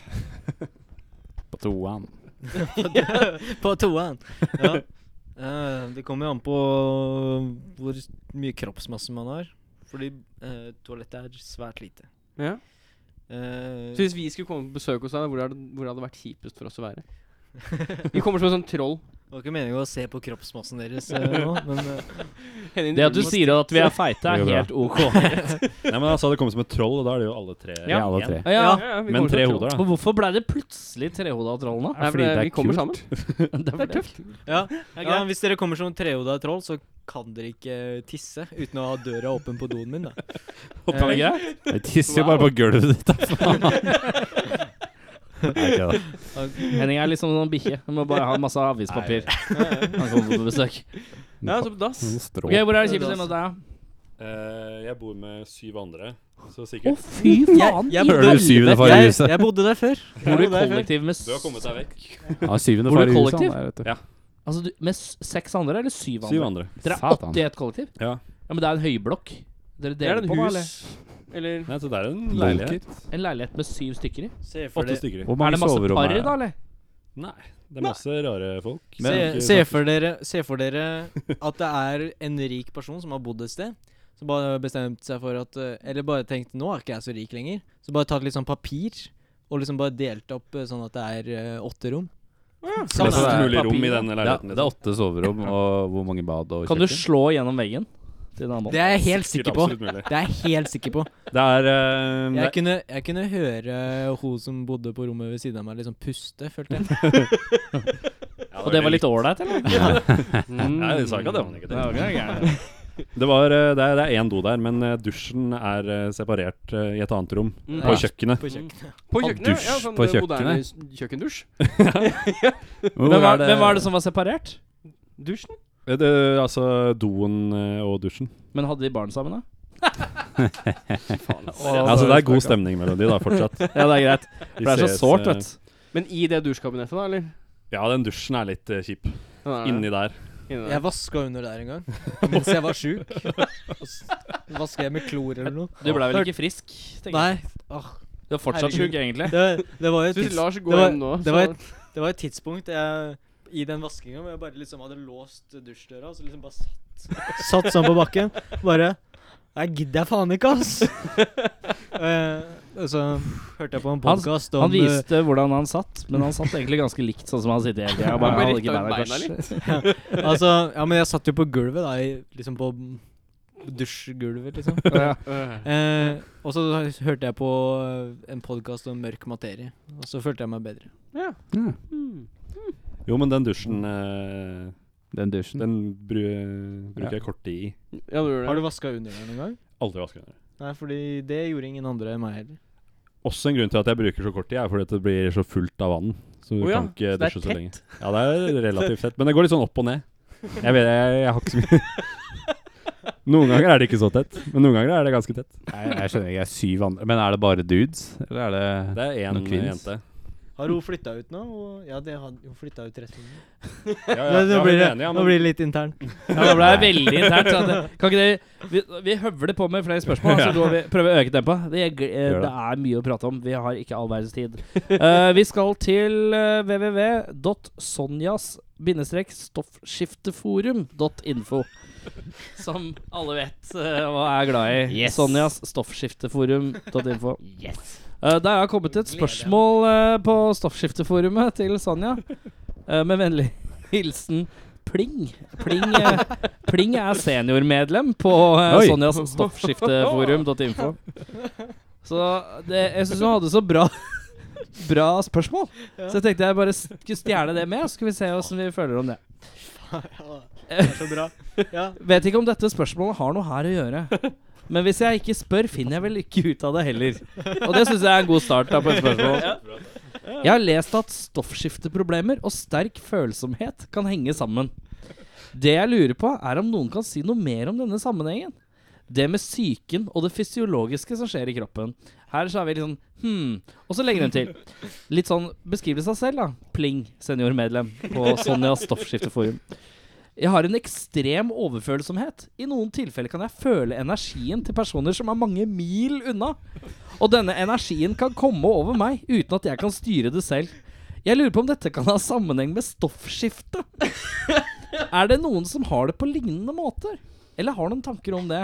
Speaker 3: På toan.
Speaker 5: På toeren. Ja. Eh, det kommer jo an på hvor mye kroppsmasse man har. Fordi eh, toalettet er svært lite.
Speaker 4: Ja.
Speaker 5: Eh,
Speaker 4: Så hvis vi skulle komme på besøk hos deg, hvor, er det, hvor hadde det vært kjipest for oss å være? Vi kommer som en sånn troll.
Speaker 5: det var ikke meningen å se på kroppsmassen deres eh, nå, men eh,
Speaker 4: Henning,
Speaker 2: Det at du sier at vi er feite, er
Speaker 3: Det går bra.
Speaker 2: helt OK.
Speaker 6: Nei, men altså, det kommer som et troll, og da er det jo alle tre.
Speaker 3: Ja, alle tre.
Speaker 2: Ja,
Speaker 4: Ja, ja, vi
Speaker 6: Men
Speaker 4: kommer som
Speaker 6: tre
Speaker 4: et troll.
Speaker 6: hoder, da.
Speaker 2: Og hvorfor ble det plutselig trehoda troll nå?
Speaker 4: Nei, for
Speaker 3: Fordi
Speaker 4: det,
Speaker 3: det er
Speaker 4: vi kommer
Speaker 3: kult.
Speaker 4: sammen.
Speaker 2: Det
Speaker 4: er tøft.
Speaker 5: ja. ja,
Speaker 4: greit.
Speaker 5: Hvis dere kommer som trehoda troll, så kan dere ikke tisse uten å ha døra åpen på doen min. da Eh,
Speaker 2: Er det greit?
Speaker 3: Jeg tisser jo bare på gulvet ditt, da, faen. Nei, ikke det.
Speaker 2: Henning er liksom sånn bikkje. Han Må bare ha masse avispapir. Han kommer på besøk.
Speaker 4: Ja, så på dass.
Speaker 3: Noen strå.
Speaker 2: Ok, Hvor er det kjipeste hjemme hos deg?
Speaker 6: Eh, jeg bor med syv andre,
Speaker 2: da?
Speaker 6: så
Speaker 2: Å,
Speaker 6: sikkert
Speaker 2: fy faen!
Speaker 5: Jeg- jeg
Speaker 3: Hører du syvende far i
Speaker 5: Jeg,
Speaker 3: huset?
Speaker 5: jeg bodde der før.
Speaker 2: Bor du i
Speaker 5: Jeg bodde der før.
Speaker 2: kollektiv med s-
Speaker 6: Du har kommet deg vekk.
Speaker 3: Ja, syvende
Speaker 2: Bor du
Speaker 3: far i huset.
Speaker 2: kollektiv?
Speaker 3: han er, vet du.
Speaker 6: Ja.
Speaker 2: Altså, du, med s- seks andre, eller syv andre?
Speaker 6: Syv andre.
Speaker 2: Dere er
Speaker 3: Satan.
Speaker 2: åtte i et kollektiv?
Speaker 6: Ja.
Speaker 2: ja men det er en høyblokk. Dere
Speaker 4: Det er
Speaker 2: deler
Speaker 4: en
Speaker 2: på, da?
Speaker 4: hus.
Speaker 2: Eller?
Speaker 4: Eller
Speaker 6: Nei, så det er en
Speaker 3: Lunker.
Speaker 6: leilighet.
Speaker 2: En leilighet med syv stykker i?
Speaker 5: Se for
Speaker 6: Åtte
Speaker 5: dere,
Speaker 6: stykker.
Speaker 3: Hvor
Speaker 2: Er
Speaker 3: mange
Speaker 2: det masse
Speaker 3: soverom
Speaker 2: par,
Speaker 3: er
Speaker 2: da, eller?
Speaker 6: Nei, det er masse rare folk.
Speaker 5: se, se,
Speaker 6: Ikke sant?
Speaker 5: for dere, se for dere at det er en rik person som har bodd et sted. Som bare har bestemt seg for at eh, Eller bare tenkt nå er ikke jeg så rik lenger. Så bare tatt litt sånn papir og liksom bare delt opp eh, sånn at det er eh, åtte rom.
Speaker 3: For
Speaker 5: Sånn
Speaker 3: det er
Speaker 5: er det.
Speaker 6: Flest mulig
Speaker 3: papir,
Speaker 6: rom i denne
Speaker 3: Det er,
Speaker 6: leiligheten.
Speaker 3: det er åtte soverom, og hvor mange bad og
Speaker 2: Kan du
Speaker 3: kjøkken?
Speaker 2: slå gjennom veggen til en annen mann?
Speaker 5: Det er jeg helt sikker på.
Speaker 6: Absolutt mulig.
Speaker 5: Det er jeg helt sikker på.
Speaker 6: Det er eh,
Speaker 5: Jeg
Speaker 6: det-
Speaker 5: kunne, jeg kunne høre hun som bodde på rommet ved siden av meg, liksom puste, følte jeg.
Speaker 6: ja,
Speaker 2: Og det var litt ålreit, eller?
Speaker 6: Nei, det sa ikke at det var negativt.
Speaker 2: Ja, okay, okay.
Speaker 6: Det, var, eh, det, er, det er én do der, men eh, dusjen er eh, separert eh, i et annet rom.
Speaker 4: Mm.
Speaker 6: På
Speaker 4: Ja.
Speaker 6: kjøkkenet.
Speaker 5: På kjøkkenet.
Speaker 4: På
Speaker 3: Ha
Speaker 4: kjøkkenet? Ja,
Speaker 3: dusj
Speaker 4: sånn
Speaker 3: på
Speaker 4: eh, moderne
Speaker 3: kjøkkenet.
Speaker 4: s- kjøkkendusj.
Speaker 3: Hvor
Speaker 2: Hvem,
Speaker 3: er
Speaker 2: var, hvem var det som var separert?
Speaker 4: Dusjen?
Speaker 6: Eh, Det, altså doen eh, og dusjen.
Speaker 2: Men hadde de barn sammen, da?
Speaker 6: Ja, så altså, det er god stemning mellom de da, fortsatt.
Speaker 2: Ja, det er greit.
Speaker 6: De
Speaker 2: For det er så
Speaker 6: ses,
Speaker 2: sårt,
Speaker 6: eh,
Speaker 2: vet du.
Speaker 4: Men i det dusjkabinettet, da, eller?
Speaker 6: Ja, den dusjen er litt eh, kjip.
Speaker 4: Den er der.
Speaker 6: Inni der.
Speaker 4: Inni der.
Speaker 5: Jeg vaska under der en gang mens jeg var sjuk. Vaska jeg med klor eller noe?
Speaker 2: Du ble vel ikke frisk? tenker jeg.
Speaker 5: Nei. Åh.
Speaker 2: Du er fortsatt
Speaker 5: Herregud.
Speaker 2: sjuk, egentlig.
Speaker 5: Det, det var jo
Speaker 4: Så hvis
Speaker 5: tids-
Speaker 4: Lars
Speaker 5: det
Speaker 4: går
Speaker 5: var-
Speaker 4: hjem nå,
Speaker 5: det var et- Det var et tidspunkt jeg, i den vaskinga hvor jeg bare liksom hadde låst dusjdøra, og så liksom bare satt Satt sånn på bakken. Bare Jeg gidder jeg faen ikke, ass. Eh, og så hørte jeg på en
Speaker 2: Han-
Speaker 5: podkast om
Speaker 2: Han viste hvordan han satt, men han satt egentlig ganske likt sånn som han sitter hele tida.
Speaker 4: Han bare rikta ut beina
Speaker 2: litt.
Speaker 5: eh, Altså, ja, men jeg satt jo på gulvet, da. I, liksom på dusjgulvet, liksom.
Speaker 4: Øh.
Speaker 5: Eh, og så hørte jeg på eh, en podkast om mørk materie, og så følte jeg meg bedre.
Speaker 3: Ja,
Speaker 6: Jo, men den dusjen eh,
Speaker 3: Den dusjen.
Speaker 6: Den bru, bruker
Speaker 3: Ja.
Speaker 6: jeg kort tid i.
Speaker 4: Ja, du gjør det.
Speaker 5: Har du vaska under deg noen gang?
Speaker 6: Aldri vasker den.
Speaker 5: Nei, fordi det gjorde ingen andre enn meg heller.
Speaker 6: Også en grunn til at jeg bruker så kort tid, er fordi at det blir så fullt av vann. Så du
Speaker 4: Å ja,
Speaker 6: kan ikke
Speaker 4: så det er
Speaker 6: dusje så
Speaker 4: tett.
Speaker 6: lenge. Ja, det er relativt tett. Men det går litt sånn opp og ned. Jeg vet, jeg, jeg har ikke så mye Noen ganger er det ikke så tett, men noen ganger er det ganske tett.
Speaker 3: Nei, jeg skjønner ikke. Jeg er syv andre Men er det bare dudes? Eller er det
Speaker 6: Det er én
Speaker 3: Noen kvinnes?
Speaker 6: jente.
Speaker 5: Har hun flytta ut nå? Og- Ja, det har hun flytta ut resten.
Speaker 6: Ja, ja,
Speaker 5: Ja,
Speaker 6: ja,
Speaker 5: nå,
Speaker 6: men
Speaker 5: blir det,
Speaker 6: enig, ja,
Speaker 5: nå
Speaker 6: men
Speaker 5: blir det litt internt.
Speaker 2: Ja, det ble veldig internt. så det- Kan ikke det, vi, vi høvler på med flere spørsmål, så går vi, prøver å øke tempoet. Det, er gl- eh,
Speaker 3: Gjør det.
Speaker 2: det er mye å prate om. Vi har ikke all verdens tid. Eh, vi skal til eh, www.sonjas-stoffskifteforum.info. Som alle vet eh, og er glad i.
Speaker 4: Yes.
Speaker 2: Sonjas stoffskifteforum.info.
Speaker 4: Yes.
Speaker 2: Uh, der har kommet et spørsmål eh, på stoffskifteforumet til Sonja. Eh, med vennlig hilsen Pling. Pling, eh, Pling er seniormedlem på eh,
Speaker 3: Oi.
Speaker 2: Sonjas stoffskifteforum.info. Så det, jeg syns hun hadde så bra Bra spørsmål, så jeg tenkte jeg bare skulle stjele det med. Og så skal vi se åssen vi føler om det.
Speaker 5: Det er så bra. Ja,
Speaker 2: Vet ikke om dette spørsmålet har noe her å gjøre. Men hvis jeg ikke spør, finner jeg vel ikke ut av det heller. Og det syns jeg er en god start da på et spørsmål. Jeg har lest at stoffskifteproblemer og sterk følsomhet kan henge sammen. Det jeg lurer på, er om noen kan si noe mer om denne sammenhengen. Det med psyken og det fysiologiske som skjer i kroppen. Her så er vi litt sånn hmm. Og så legger hun til. Litt sånn beskrivelse av selv, da. Pling, seniormedlem på Sonjas stoffskifteforum. Jeg har en ekstrem overfølsomhet. I noen tilfeller kan jeg føle energien til personer som er mange mil unna. Og denne energien kan komme over meg uten at jeg kan styre det selv. Jeg lurer på om dette kan ha sammenheng med stoffskifte. Er det noen som har det på lignende måter? Eller har noen tanker om det?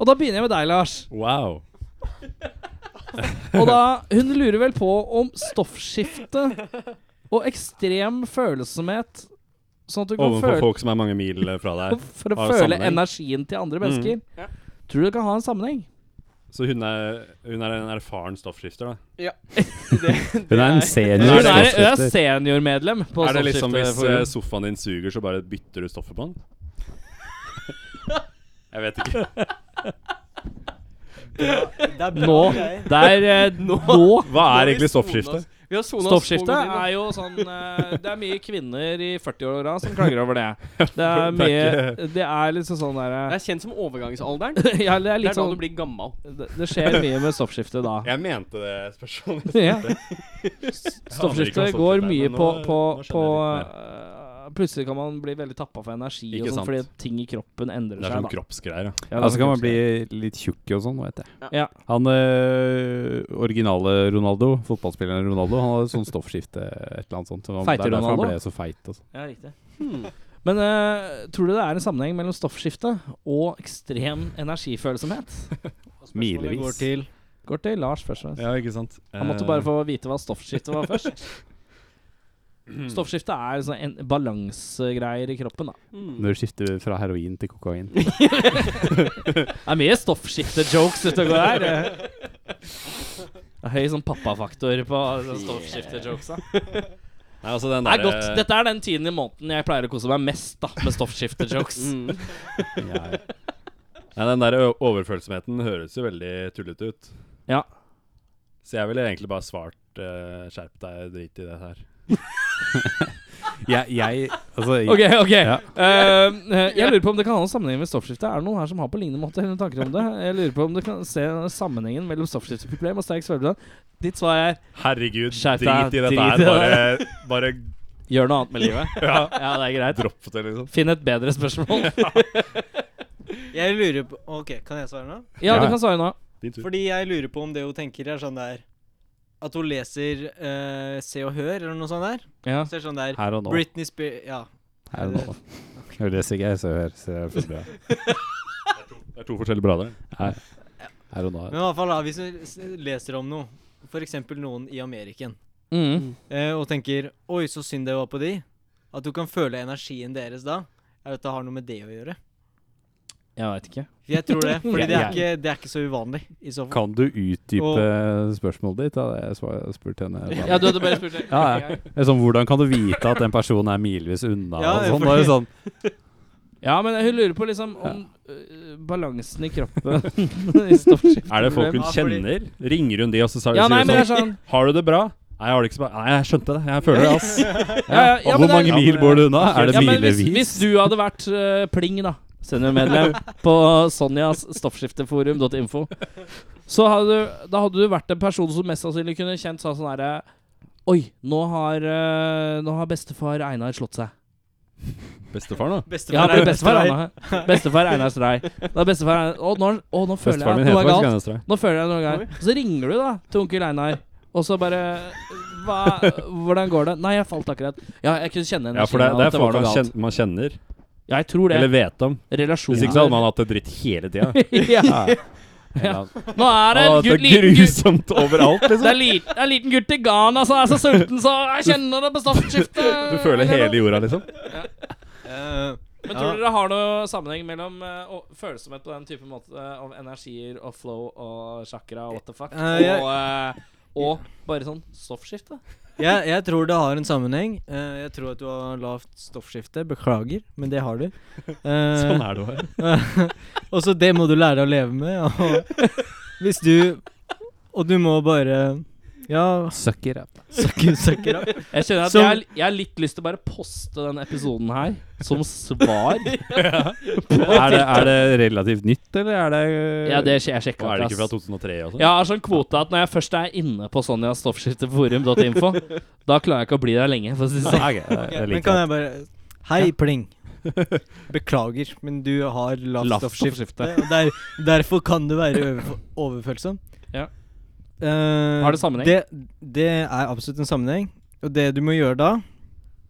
Speaker 2: Og da begynner jeg med deg, Lars.
Speaker 6: Wow.
Speaker 2: Og da, hun lurer vel på om stoffskifte og ekstrem følsomhet Sånn at du kan
Speaker 6: Overfor
Speaker 2: føle
Speaker 6: folk som er mange mil eh, fra deg.
Speaker 2: for å
Speaker 6: Har
Speaker 2: føle
Speaker 6: sammenheng. Mm.
Speaker 2: energien til andre mennesker. Tror du det kan ha en sammenheng?
Speaker 6: Så hun er, hun er en erfaren stoffskifter, da.
Speaker 3: Hun er en
Speaker 2: Hun
Speaker 3: senior
Speaker 2: er, hun er
Speaker 3: stoffskifter.
Speaker 2: seniormedlem på
Speaker 6: er det liksom hvis eh,
Speaker 2: Stoffskifteforum.
Speaker 6: sofaen din suger, så bare bytter du stoffet på den? Jeg vet ikke.
Speaker 5: det er bra.
Speaker 2: Nå.
Speaker 5: greier.
Speaker 2: Der, eh, nå
Speaker 6: Hva er
Speaker 4: vi
Speaker 6: egentlig
Speaker 4: sonet
Speaker 6: stoffskifte?
Speaker 5: altså?
Speaker 4: oss- Vi har sona oss så
Speaker 2: Stoffskifte
Speaker 4: godt inn, da.
Speaker 2: er jo sånn eh, Det er mye kvinner i 40-åra som klager over det. Det er
Speaker 6: Det
Speaker 2: mye
Speaker 6: er
Speaker 2: Det er liksom sånn
Speaker 4: Det
Speaker 2: derre
Speaker 4: er kjent som overgangsalderen.
Speaker 2: ja, det er
Speaker 4: Det
Speaker 2: litt
Speaker 4: er da
Speaker 2: sånn
Speaker 4: du blir gammal.
Speaker 2: det, det skjer mye med stoffskifte da.
Speaker 6: Jeg mente det spørsmålet.
Speaker 2: Ja.
Speaker 6: Jeg aner ikke hva
Speaker 2: Stoffskifte
Speaker 6: stoffskifte
Speaker 2: går
Speaker 6: er,
Speaker 2: mye
Speaker 6: men
Speaker 2: på,
Speaker 6: nå-
Speaker 2: på,
Speaker 6: nå skjønner
Speaker 2: på
Speaker 6: jeg
Speaker 2: eh, Plutselig kan man bli veldig tappa for energi og
Speaker 6: Ikke
Speaker 2: sånn
Speaker 6: sant.
Speaker 2: fordi ting i kroppen endrer
Speaker 6: Det er
Speaker 2: seg.
Speaker 6: sånn
Speaker 2: da.
Speaker 6: kroppsgreier, ja.
Speaker 2: Ja, det er
Speaker 3: Ja, så
Speaker 2: sånn
Speaker 3: Altså, kan man
Speaker 2: kroppslig.
Speaker 3: bli litt tjukk og sånn, vet jeg.
Speaker 2: Ja.
Speaker 3: Han eh, originale Ronaldo, fotballspilleren Ronaldo, han hadde sånn stoffskifte et eller annet sånt. Så han,
Speaker 2: Feite
Speaker 3: det er derfor
Speaker 2: Ronaldo?
Speaker 3: han ble så feit. Og sånn.
Speaker 2: Ja, riktig. Men eh, tror du det er en sammenheng mellom stoffskifte og ekstrem energifølsomhet?
Speaker 5: Spørsmålet går
Speaker 3: Milevis.
Speaker 5: til
Speaker 2: Går til Lars først. og fremst.
Speaker 6: Ja, ikke sant.
Speaker 2: Han måtte bare få vite hva stoffskifte var først. Stoffskifte er sånn en balansegreier i kroppen. da
Speaker 4: Hmm.
Speaker 3: Når du skifter fra heroin til kokain.
Speaker 2: Det er mye stoffskifte-jokes ute og går her. eh. Det er høy sånn pappafaktor på sånn stoffskifte-jokesa.
Speaker 6: Nei, altså den
Speaker 2: Det er
Speaker 6: der,
Speaker 2: godt. Dette er den tiden i måneden jeg pleier å kose meg mest da med stoffskifte-jokes.
Speaker 4: Hmm.
Speaker 3: Jeg,
Speaker 6: eh, Nei, den der ø- overfølsomheten høres jo veldig tullete ut.
Speaker 2: Ja.
Speaker 6: Så jeg ville egentlig bare svart eh, skjerp deg, drit i det her.
Speaker 3: jeg, jeg altså jeg,
Speaker 2: Ok, ok.
Speaker 3: Ja.
Speaker 2: Eh, eh, jeg lurer på om det kan ha noen sammenheng med stoffskifte. Er det noen her som har på lignende måte eller noen tanker om det? Jeg lurer på om du kan se sammenhengen mellom stoffskifteproblem og sterk svølvdød. Ditt svar er
Speaker 6: Herregud,
Speaker 2: Skjerp deg,
Speaker 6: drit i dette
Speaker 2: drit i
Speaker 6: her. Bare, bare
Speaker 2: gjør noe annet med livet. ja. det er greit.
Speaker 6: dropp det, liksom.
Speaker 2: Finn et bedre spørsmål.
Speaker 5: Jeg lurer på OK, kan jeg svare nå?
Speaker 2: Ja,
Speaker 3: Ja.
Speaker 2: du kan svare nå.
Speaker 6: Din tur.
Speaker 5: Fordi jeg lurer på om det hun tenker, er sånn der At hun leser eh, Se og Hør eller noe sånt der.
Speaker 2: Ja.
Speaker 5: Så er det sånn der
Speaker 3: Her og nå.
Speaker 5: Britney Spears Ja.
Speaker 3: Her og nå. Jeg leser ikke, jeg ser hør. Så jeg føler det.
Speaker 6: Det er to forskjellige brader.
Speaker 3: Her, her og nå.
Speaker 5: Men i hvert fall, da, hvis du s- leser om noe, f.eks. noen i Ameriken,
Speaker 2: Mm.
Speaker 5: eh, og tenker Oi, så synd det var på de. At du kan føle energien deres da, er at det har noe med det å gjøre.
Speaker 2: Jeg veit ikke.
Speaker 5: For Jeg tror det, fordi det er
Speaker 3: Jeg-
Speaker 5: ikke, det er ikke så uvanlig i så fall.
Speaker 3: Kan du utdype spørsmålet ditt? Da? Jeg svar- spurte henne. da.
Speaker 2: Ja, du hadde bare spurt.
Speaker 3: Ja, ja. Det er Sånn, hvordan kan du vite at den personen er milevis unna?
Speaker 5: Ja,
Speaker 3: og sånn.
Speaker 5: fordi-
Speaker 3: Det er jo sånn
Speaker 2: ja, men hun lurer på liksom om øh, balansen i kroppen i stoffskifte.
Speaker 6: Er det folk hun
Speaker 5: Ja, fordi-
Speaker 6: kjenner? Ringer hun de, og så sa-
Speaker 2: Ja,
Speaker 6: sier
Speaker 2: nei,
Speaker 6: hun
Speaker 2: men det er
Speaker 6: sånn
Speaker 2: sånn
Speaker 6: Har du det bra? Nei, jeg har det ikke så bra. Nei, jeg skjønte det. Jeg føler det, ass.
Speaker 2: ja, ja, ja,
Speaker 3: Hvor
Speaker 2: men det er- sånn.
Speaker 3: mange mil bor du unna? Er det
Speaker 2: ja, men hvis,
Speaker 3: milevis?
Speaker 2: hvis du hadde vært eh, pling, da, seniormedlem på Sonjas stoffskifteforum.info, så hadde du, da hadde du vært en person som mest sannsynlig kunne kjent sånn sånn herre Oi, nå har, eh, nå har bestefar Einar slått seg.
Speaker 3: Bestefar, da?
Speaker 2: Ja,
Speaker 5: Bestefar
Speaker 2: det
Speaker 5: er
Speaker 2: er bestefar
Speaker 5: bestefar.
Speaker 2: Einar. Bestefar Einar Strei. Da er bestefar Einar Å, nå, å, nå føler
Speaker 3: Bestefaren
Speaker 2: jeg at
Speaker 3: min
Speaker 2: noe er
Speaker 3: heter faktisk
Speaker 2: galt.
Speaker 3: Gunnar
Speaker 2: Nå føler jeg noe er galt. Så ringer du, da, til onkel Einar. Og så bare hva, Hvordan går det? Nei, jeg falt akkurat. Ja, jeg kunne kjenne energien.
Speaker 6: Ja, for det,
Speaker 2: av
Speaker 6: det
Speaker 2: at
Speaker 6: er folk
Speaker 2: var noe
Speaker 6: man
Speaker 2: galt.
Speaker 6: kjenner, man kjenner
Speaker 2: Ja, jeg tror det.
Speaker 6: eller vet om. Hvis ikke så hadde
Speaker 2: Relasjoner.
Speaker 6: man hatt det dritt hele tida.
Speaker 2: ja.
Speaker 3: Ja.
Speaker 2: Nå er det en
Speaker 6: Og
Speaker 2: gutt,
Speaker 6: Det er
Speaker 2: liten gutt
Speaker 6: grusomt overalt,
Speaker 2: Det
Speaker 6: liksom.
Speaker 2: er lit- det er en liten gutt i Ghana som er så sulten, så jeg kjenner det på stoffskiftet.
Speaker 6: Du føler hele jorda, liksom.
Speaker 5: Eh,
Speaker 2: Men
Speaker 5: Ja.
Speaker 2: tror dere det har noe sammenheng mellom eh, å- følsomhet på den type måte eh, av energier og flow og chakra og what the fuck?
Speaker 5: Eh, jeg-
Speaker 2: og, eh, og bare sånn stoffskifte?
Speaker 5: jeg, jeg tror det har en sammenheng. Eh, jeg tror at du har lavt stoffskifte. Beklager, men det har du.
Speaker 6: Sånn
Speaker 5: Uh,
Speaker 6: er det bare.
Speaker 5: og så det må du lære å leve med. Og hvis du Og du må bare Ja,
Speaker 3: Sucker up.
Speaker 5: sucker sucker up.
Speaker 2: Jeg kjenner at
Speaker 5: Som-
Speaker 2: jeg, jeg har litt lyst til å bare poste den episoden her som svar.
Speaker 3: Er det, er det relativt nytt, eller er det
Speaker 2: ja, det skjer. Jeg
Speaker 6: Og altså.
Speaker 2: sjekka
Speaker 6: er det ikke fra 2003 også?
Speaker 2: Jeg har sånn kvote at når jeg først er inne på Sonjas stoffskifteforum.info, da klarer jeg ikke å bli der lenge. For å si det sånn.
Speaker 3: Nei, ok, jeg- jeg
Speaker 5: men
Speaker 3: liker
Speaker 5: kan
Speaker 3: det.
Speaker 5: jeg bare Hei, pling. Beklager, men du har lavt
Speaker 2: Lavt
Speaker 5: stoffskifte.
Speaker 2: stoffskifte.
Speaker 5: og Der, derfor kan du være overf- overfølsom.
Speaker 2: Ja.
Speaker 5: Eh,
Speaker 2: Har det sammenheng?
Speaker 5: Det, det er absolutt en sammenheng. Og det du må gjøre da,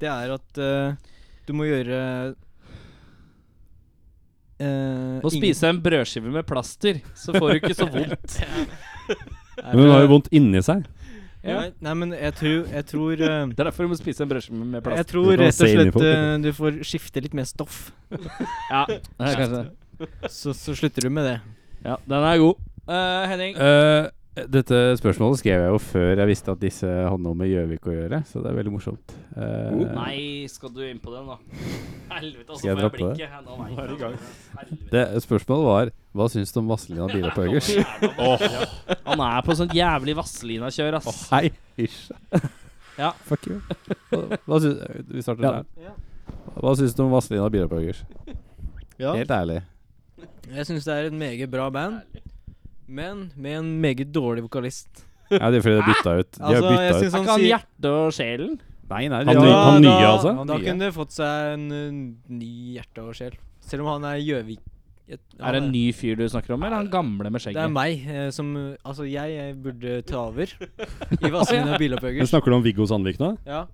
Speaker 5: det er at eh, du må gjøre eh,
Speaker 2: Nå spiser jeg en brødskive med plaster, så får du ikke så vondt.
Speaker 5: ingen-
Speaker 6: Men hun har jo vondt inni seg.
Speaker 2: Ja.
Speaker 5: Nei, nei, men jeg tror Jeg tror, eh,
Speaker 2: Det er derfor du må spise en brødskive med
Speaker 5: jeg
Speaker 2: plaster.
Speaker 5: tror
Speaker 6: kan
Speaker 5: rett og
Speaker 6: se inn i
Speaker 5: slett
Speaker 6: folk,
Speaker 5: eh, du får skifte litt mer stoff.
Speaker 2: Ja, det er kanskje.
Speaker 5: Så, så slutter du med det.
Speaker 2: ja den er god. Eh, Henning,
Speaker 3: Eh, dette spørsmålet skrev jeg jo før jeg visste at disse hadde noe med Gjøvik å gjøre, så det er veldig morsomt. Eh,
Speaker 2: Nei, skal du inn på den, da? Helvete, altså,
Speaker 3: Skal
Speaker 2: får Oh. jeg
Speaker 3: jeg droppe det?
Speaker 2: blikket. Ja, Nå vet jeg Helvete.
Speaker 3: Det, spørsmålet var Hva syns du om Vazelina Bilopphøggers?
Speaker 2: Han er på sånt jævlig Vazelina-kjør, ass.
Speaker 3: Hei, hysj.
Speaker 2: Ja.
Speaker 3: Fuck you. Hva, hva syns, vi starter
Speaker 2: Ja.
Speaker 5: Ja.
Speaker 3: der. Hva syns du om Vazelina Bilopphøggers?
Speaker 5: Ja.
Speaker 3: Helt ærlig.
Speaker 5: Jeg syns det er et meget bra band, men med en meget dårlig vokalist.
Speaker 3: Ja, det er fordi de bytta ut. De har bytta
Speaker 5: altså, jeg
Speaker 3: ut.
Speaker 5: synes
Speaker 2: Er
Speaker 5: han
Speaker 2: ikke han
Speaker 5: sier-
Speaker 2: hjertet Sånn og sjelen?
Speaker 3: Nei, nei,
Speaker 6: Han
Speaker 3: de
Speaker 6: ny-
Speaker 3: har,
Speaker 6: han nye,
Speaker 5: da,
Speaker 6: altså?
Speaker 5: Da
Speaker 3: Han nye.
Speaker 5: kunne det fått seg en uh, ny hjerte og sjel. Selv om han er Gjøvik... et-
Speaker 2: Er det
Speaker 5: han
Speaker 2: en ny fyr du snakker om, eller han gamle med
Speaker 5: Det er
Speaker 2: skjegget?
Speaker 5: meg eh, som eh, Altså, jeg, eh, burde ta over i Vazelina og
Speaker 6: Men
Speaker 5: Bilopphøggers.
Speaker 6: snakker du om Viggo Sandvik nå?
Speaker 5: Ja.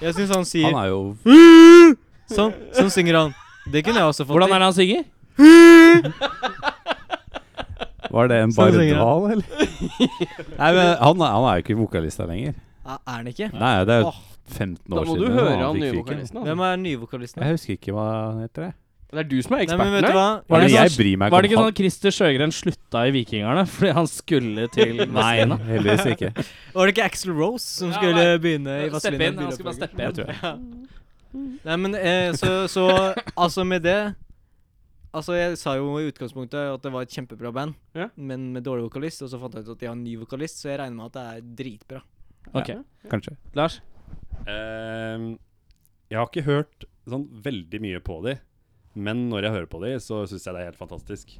Speaker 5: Jeg syns han sier
Speaker 3: han er jo
Speaker 5: Sånn, sånn synger han. Det kunne jeg også fått
Speaker 2: Hvordan er det han synger?
Speaker 3: Var det en
Speaker 5: Sånn synger
Speaker 3: Bardal, eller? nei, men han, er- han er jo ikke vokalista lenger.
Speaker 5: Ah, Er han ikke?
Speaker 3: Nei, det er jo
Speaker 4: Åh.
Speaker 3: 15
Speaker 4: Da
Speaker 3: år
Speaker 4: må
Speaker 3: siden.
Speaker 4: du høre han
Speaker 3: fikk
Speaker 4: nye
Speaker 3: fyken.
Speaker 4: vokalisten. Altså.
Speaker 5: Hvem er den nye vokalisten?
Speaker 3: Jeg husker ikke hva han heter. Jeg.
Speaker 4: Det er du som er
Speaker 5: Nei, men vet
Speaker 4: eksperten her.
Speaker 5: du hva?
Speaker 3: Var det
Speaker 2: det
Speaker 3: jeg
Speaker 2: sånn-
Speaker 3: bryr meg
Speaker 2: Var det
Speaker 3: ikke
Speaker 2: ikke
Speaker 3: om
Speaker 2: sånn at Christer Sjøgren slutta i Vikingerne fordi han skulle til
Speaker 3: han.
Speaker 2: Vazelina?
Speaker 3: Nei, heldigvis ikke.
Speaker 5: Var det ikke Axel Rose som
Speaker 2: Ja,
Speaker 5: skulle
Speaker 2: nei.
Speaker 5: begynne i
Speaker 2: Steppe
Speaker 5: Vazelina
Speaker 2: inn. Han skulle bare steppe
Speaker 3: Jeg
Speaker 2: inn.
Speaker 3: tror jeg.
Speaker 5: Nei, men eh, så, så Altså, med det Altså, jeg sa jo i utgangspunktet at det var et kjempebra band,
Speaker 4: Ja.
Speaker 5: men med dårlig vokalist. Og så fant jeg ut at de har en ny vokalist, så jeg regner med at det er dritbra.
Speaker 2: Ok,
Speaker 3: Kanskje.
Speaker 2: Lars.
Speaker 6: Ehm, jeg har ikke hørt sånn veldig mye på de, men når jeg hører på de, så syns jeg det er helt fantastisk.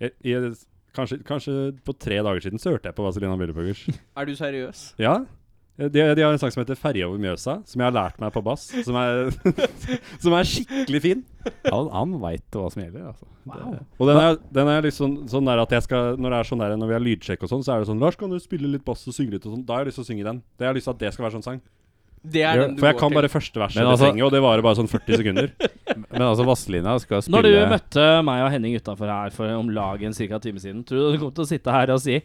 Speaker 6: Jeg, jeg, kanskje, kanskje på tre dager siden så hørte jeg på Vazelina Bilopphøggers.
Speaker 4: Er du seriøs?
Speaker 6: Ja. eh, De, de har en sang som heter 'Ferja over Mjøsa', som jeg har lært meg på bass. Som er, som er skikkelig fin.
Speaker 3: Han, han veit hva som gjelder, altså. Det,
Speaker 6: Og den er, den er liksom sånn der at jeg skal Når det er sånn der Når vi har lydsjekk og sånn, så er det sånn 'Lars, kan du spille litt bass og synge litt?' og sånn. Da har jeg lyst til å synge den. Det har jeg lyst til at det skal være sånn sang.
Speaker 4: Det er den du
Speaker 6: For jeg
Speaker 4: går
Speaker 6: kan
Speaker 4: til.
Speaker 6: bare første verset
Speaker 3: Men
Speaker 6: i
Speaker 3: altså-
Speaker 6: refrenget, og det varer bare sånn 40 sekunder.
Speaker 3: men altså, Vazelina skal spille
Speaker 2: Når du møtte meg og Henning utafor her for om lag en cirka time siden, tror du du kom til å sitte her og si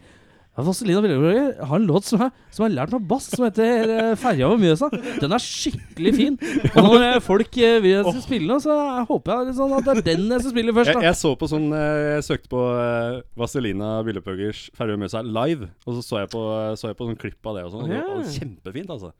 Speaker 2: ja, Vazelina Villebroger har en låt som jeg, som jeg har lært meg bass, som heter eh, 'Ferja over Mjøsa'. Den er skikkelig fin. Og når eh, folk eh, vil jeg skal spille nå, så håper jeg liksom at det er den jeg skal spille først.
Speaker 6: Jeg,
Speaker 2: Da.
Speaker 6: jeg så på sånn eh, Jeg søkte på eh, Vazelina Byllepøggers Ferje og Mjøsa live, og så så jeg på, så jeg på sånn klipp av det og sånn. og det var Kjempefint, altså.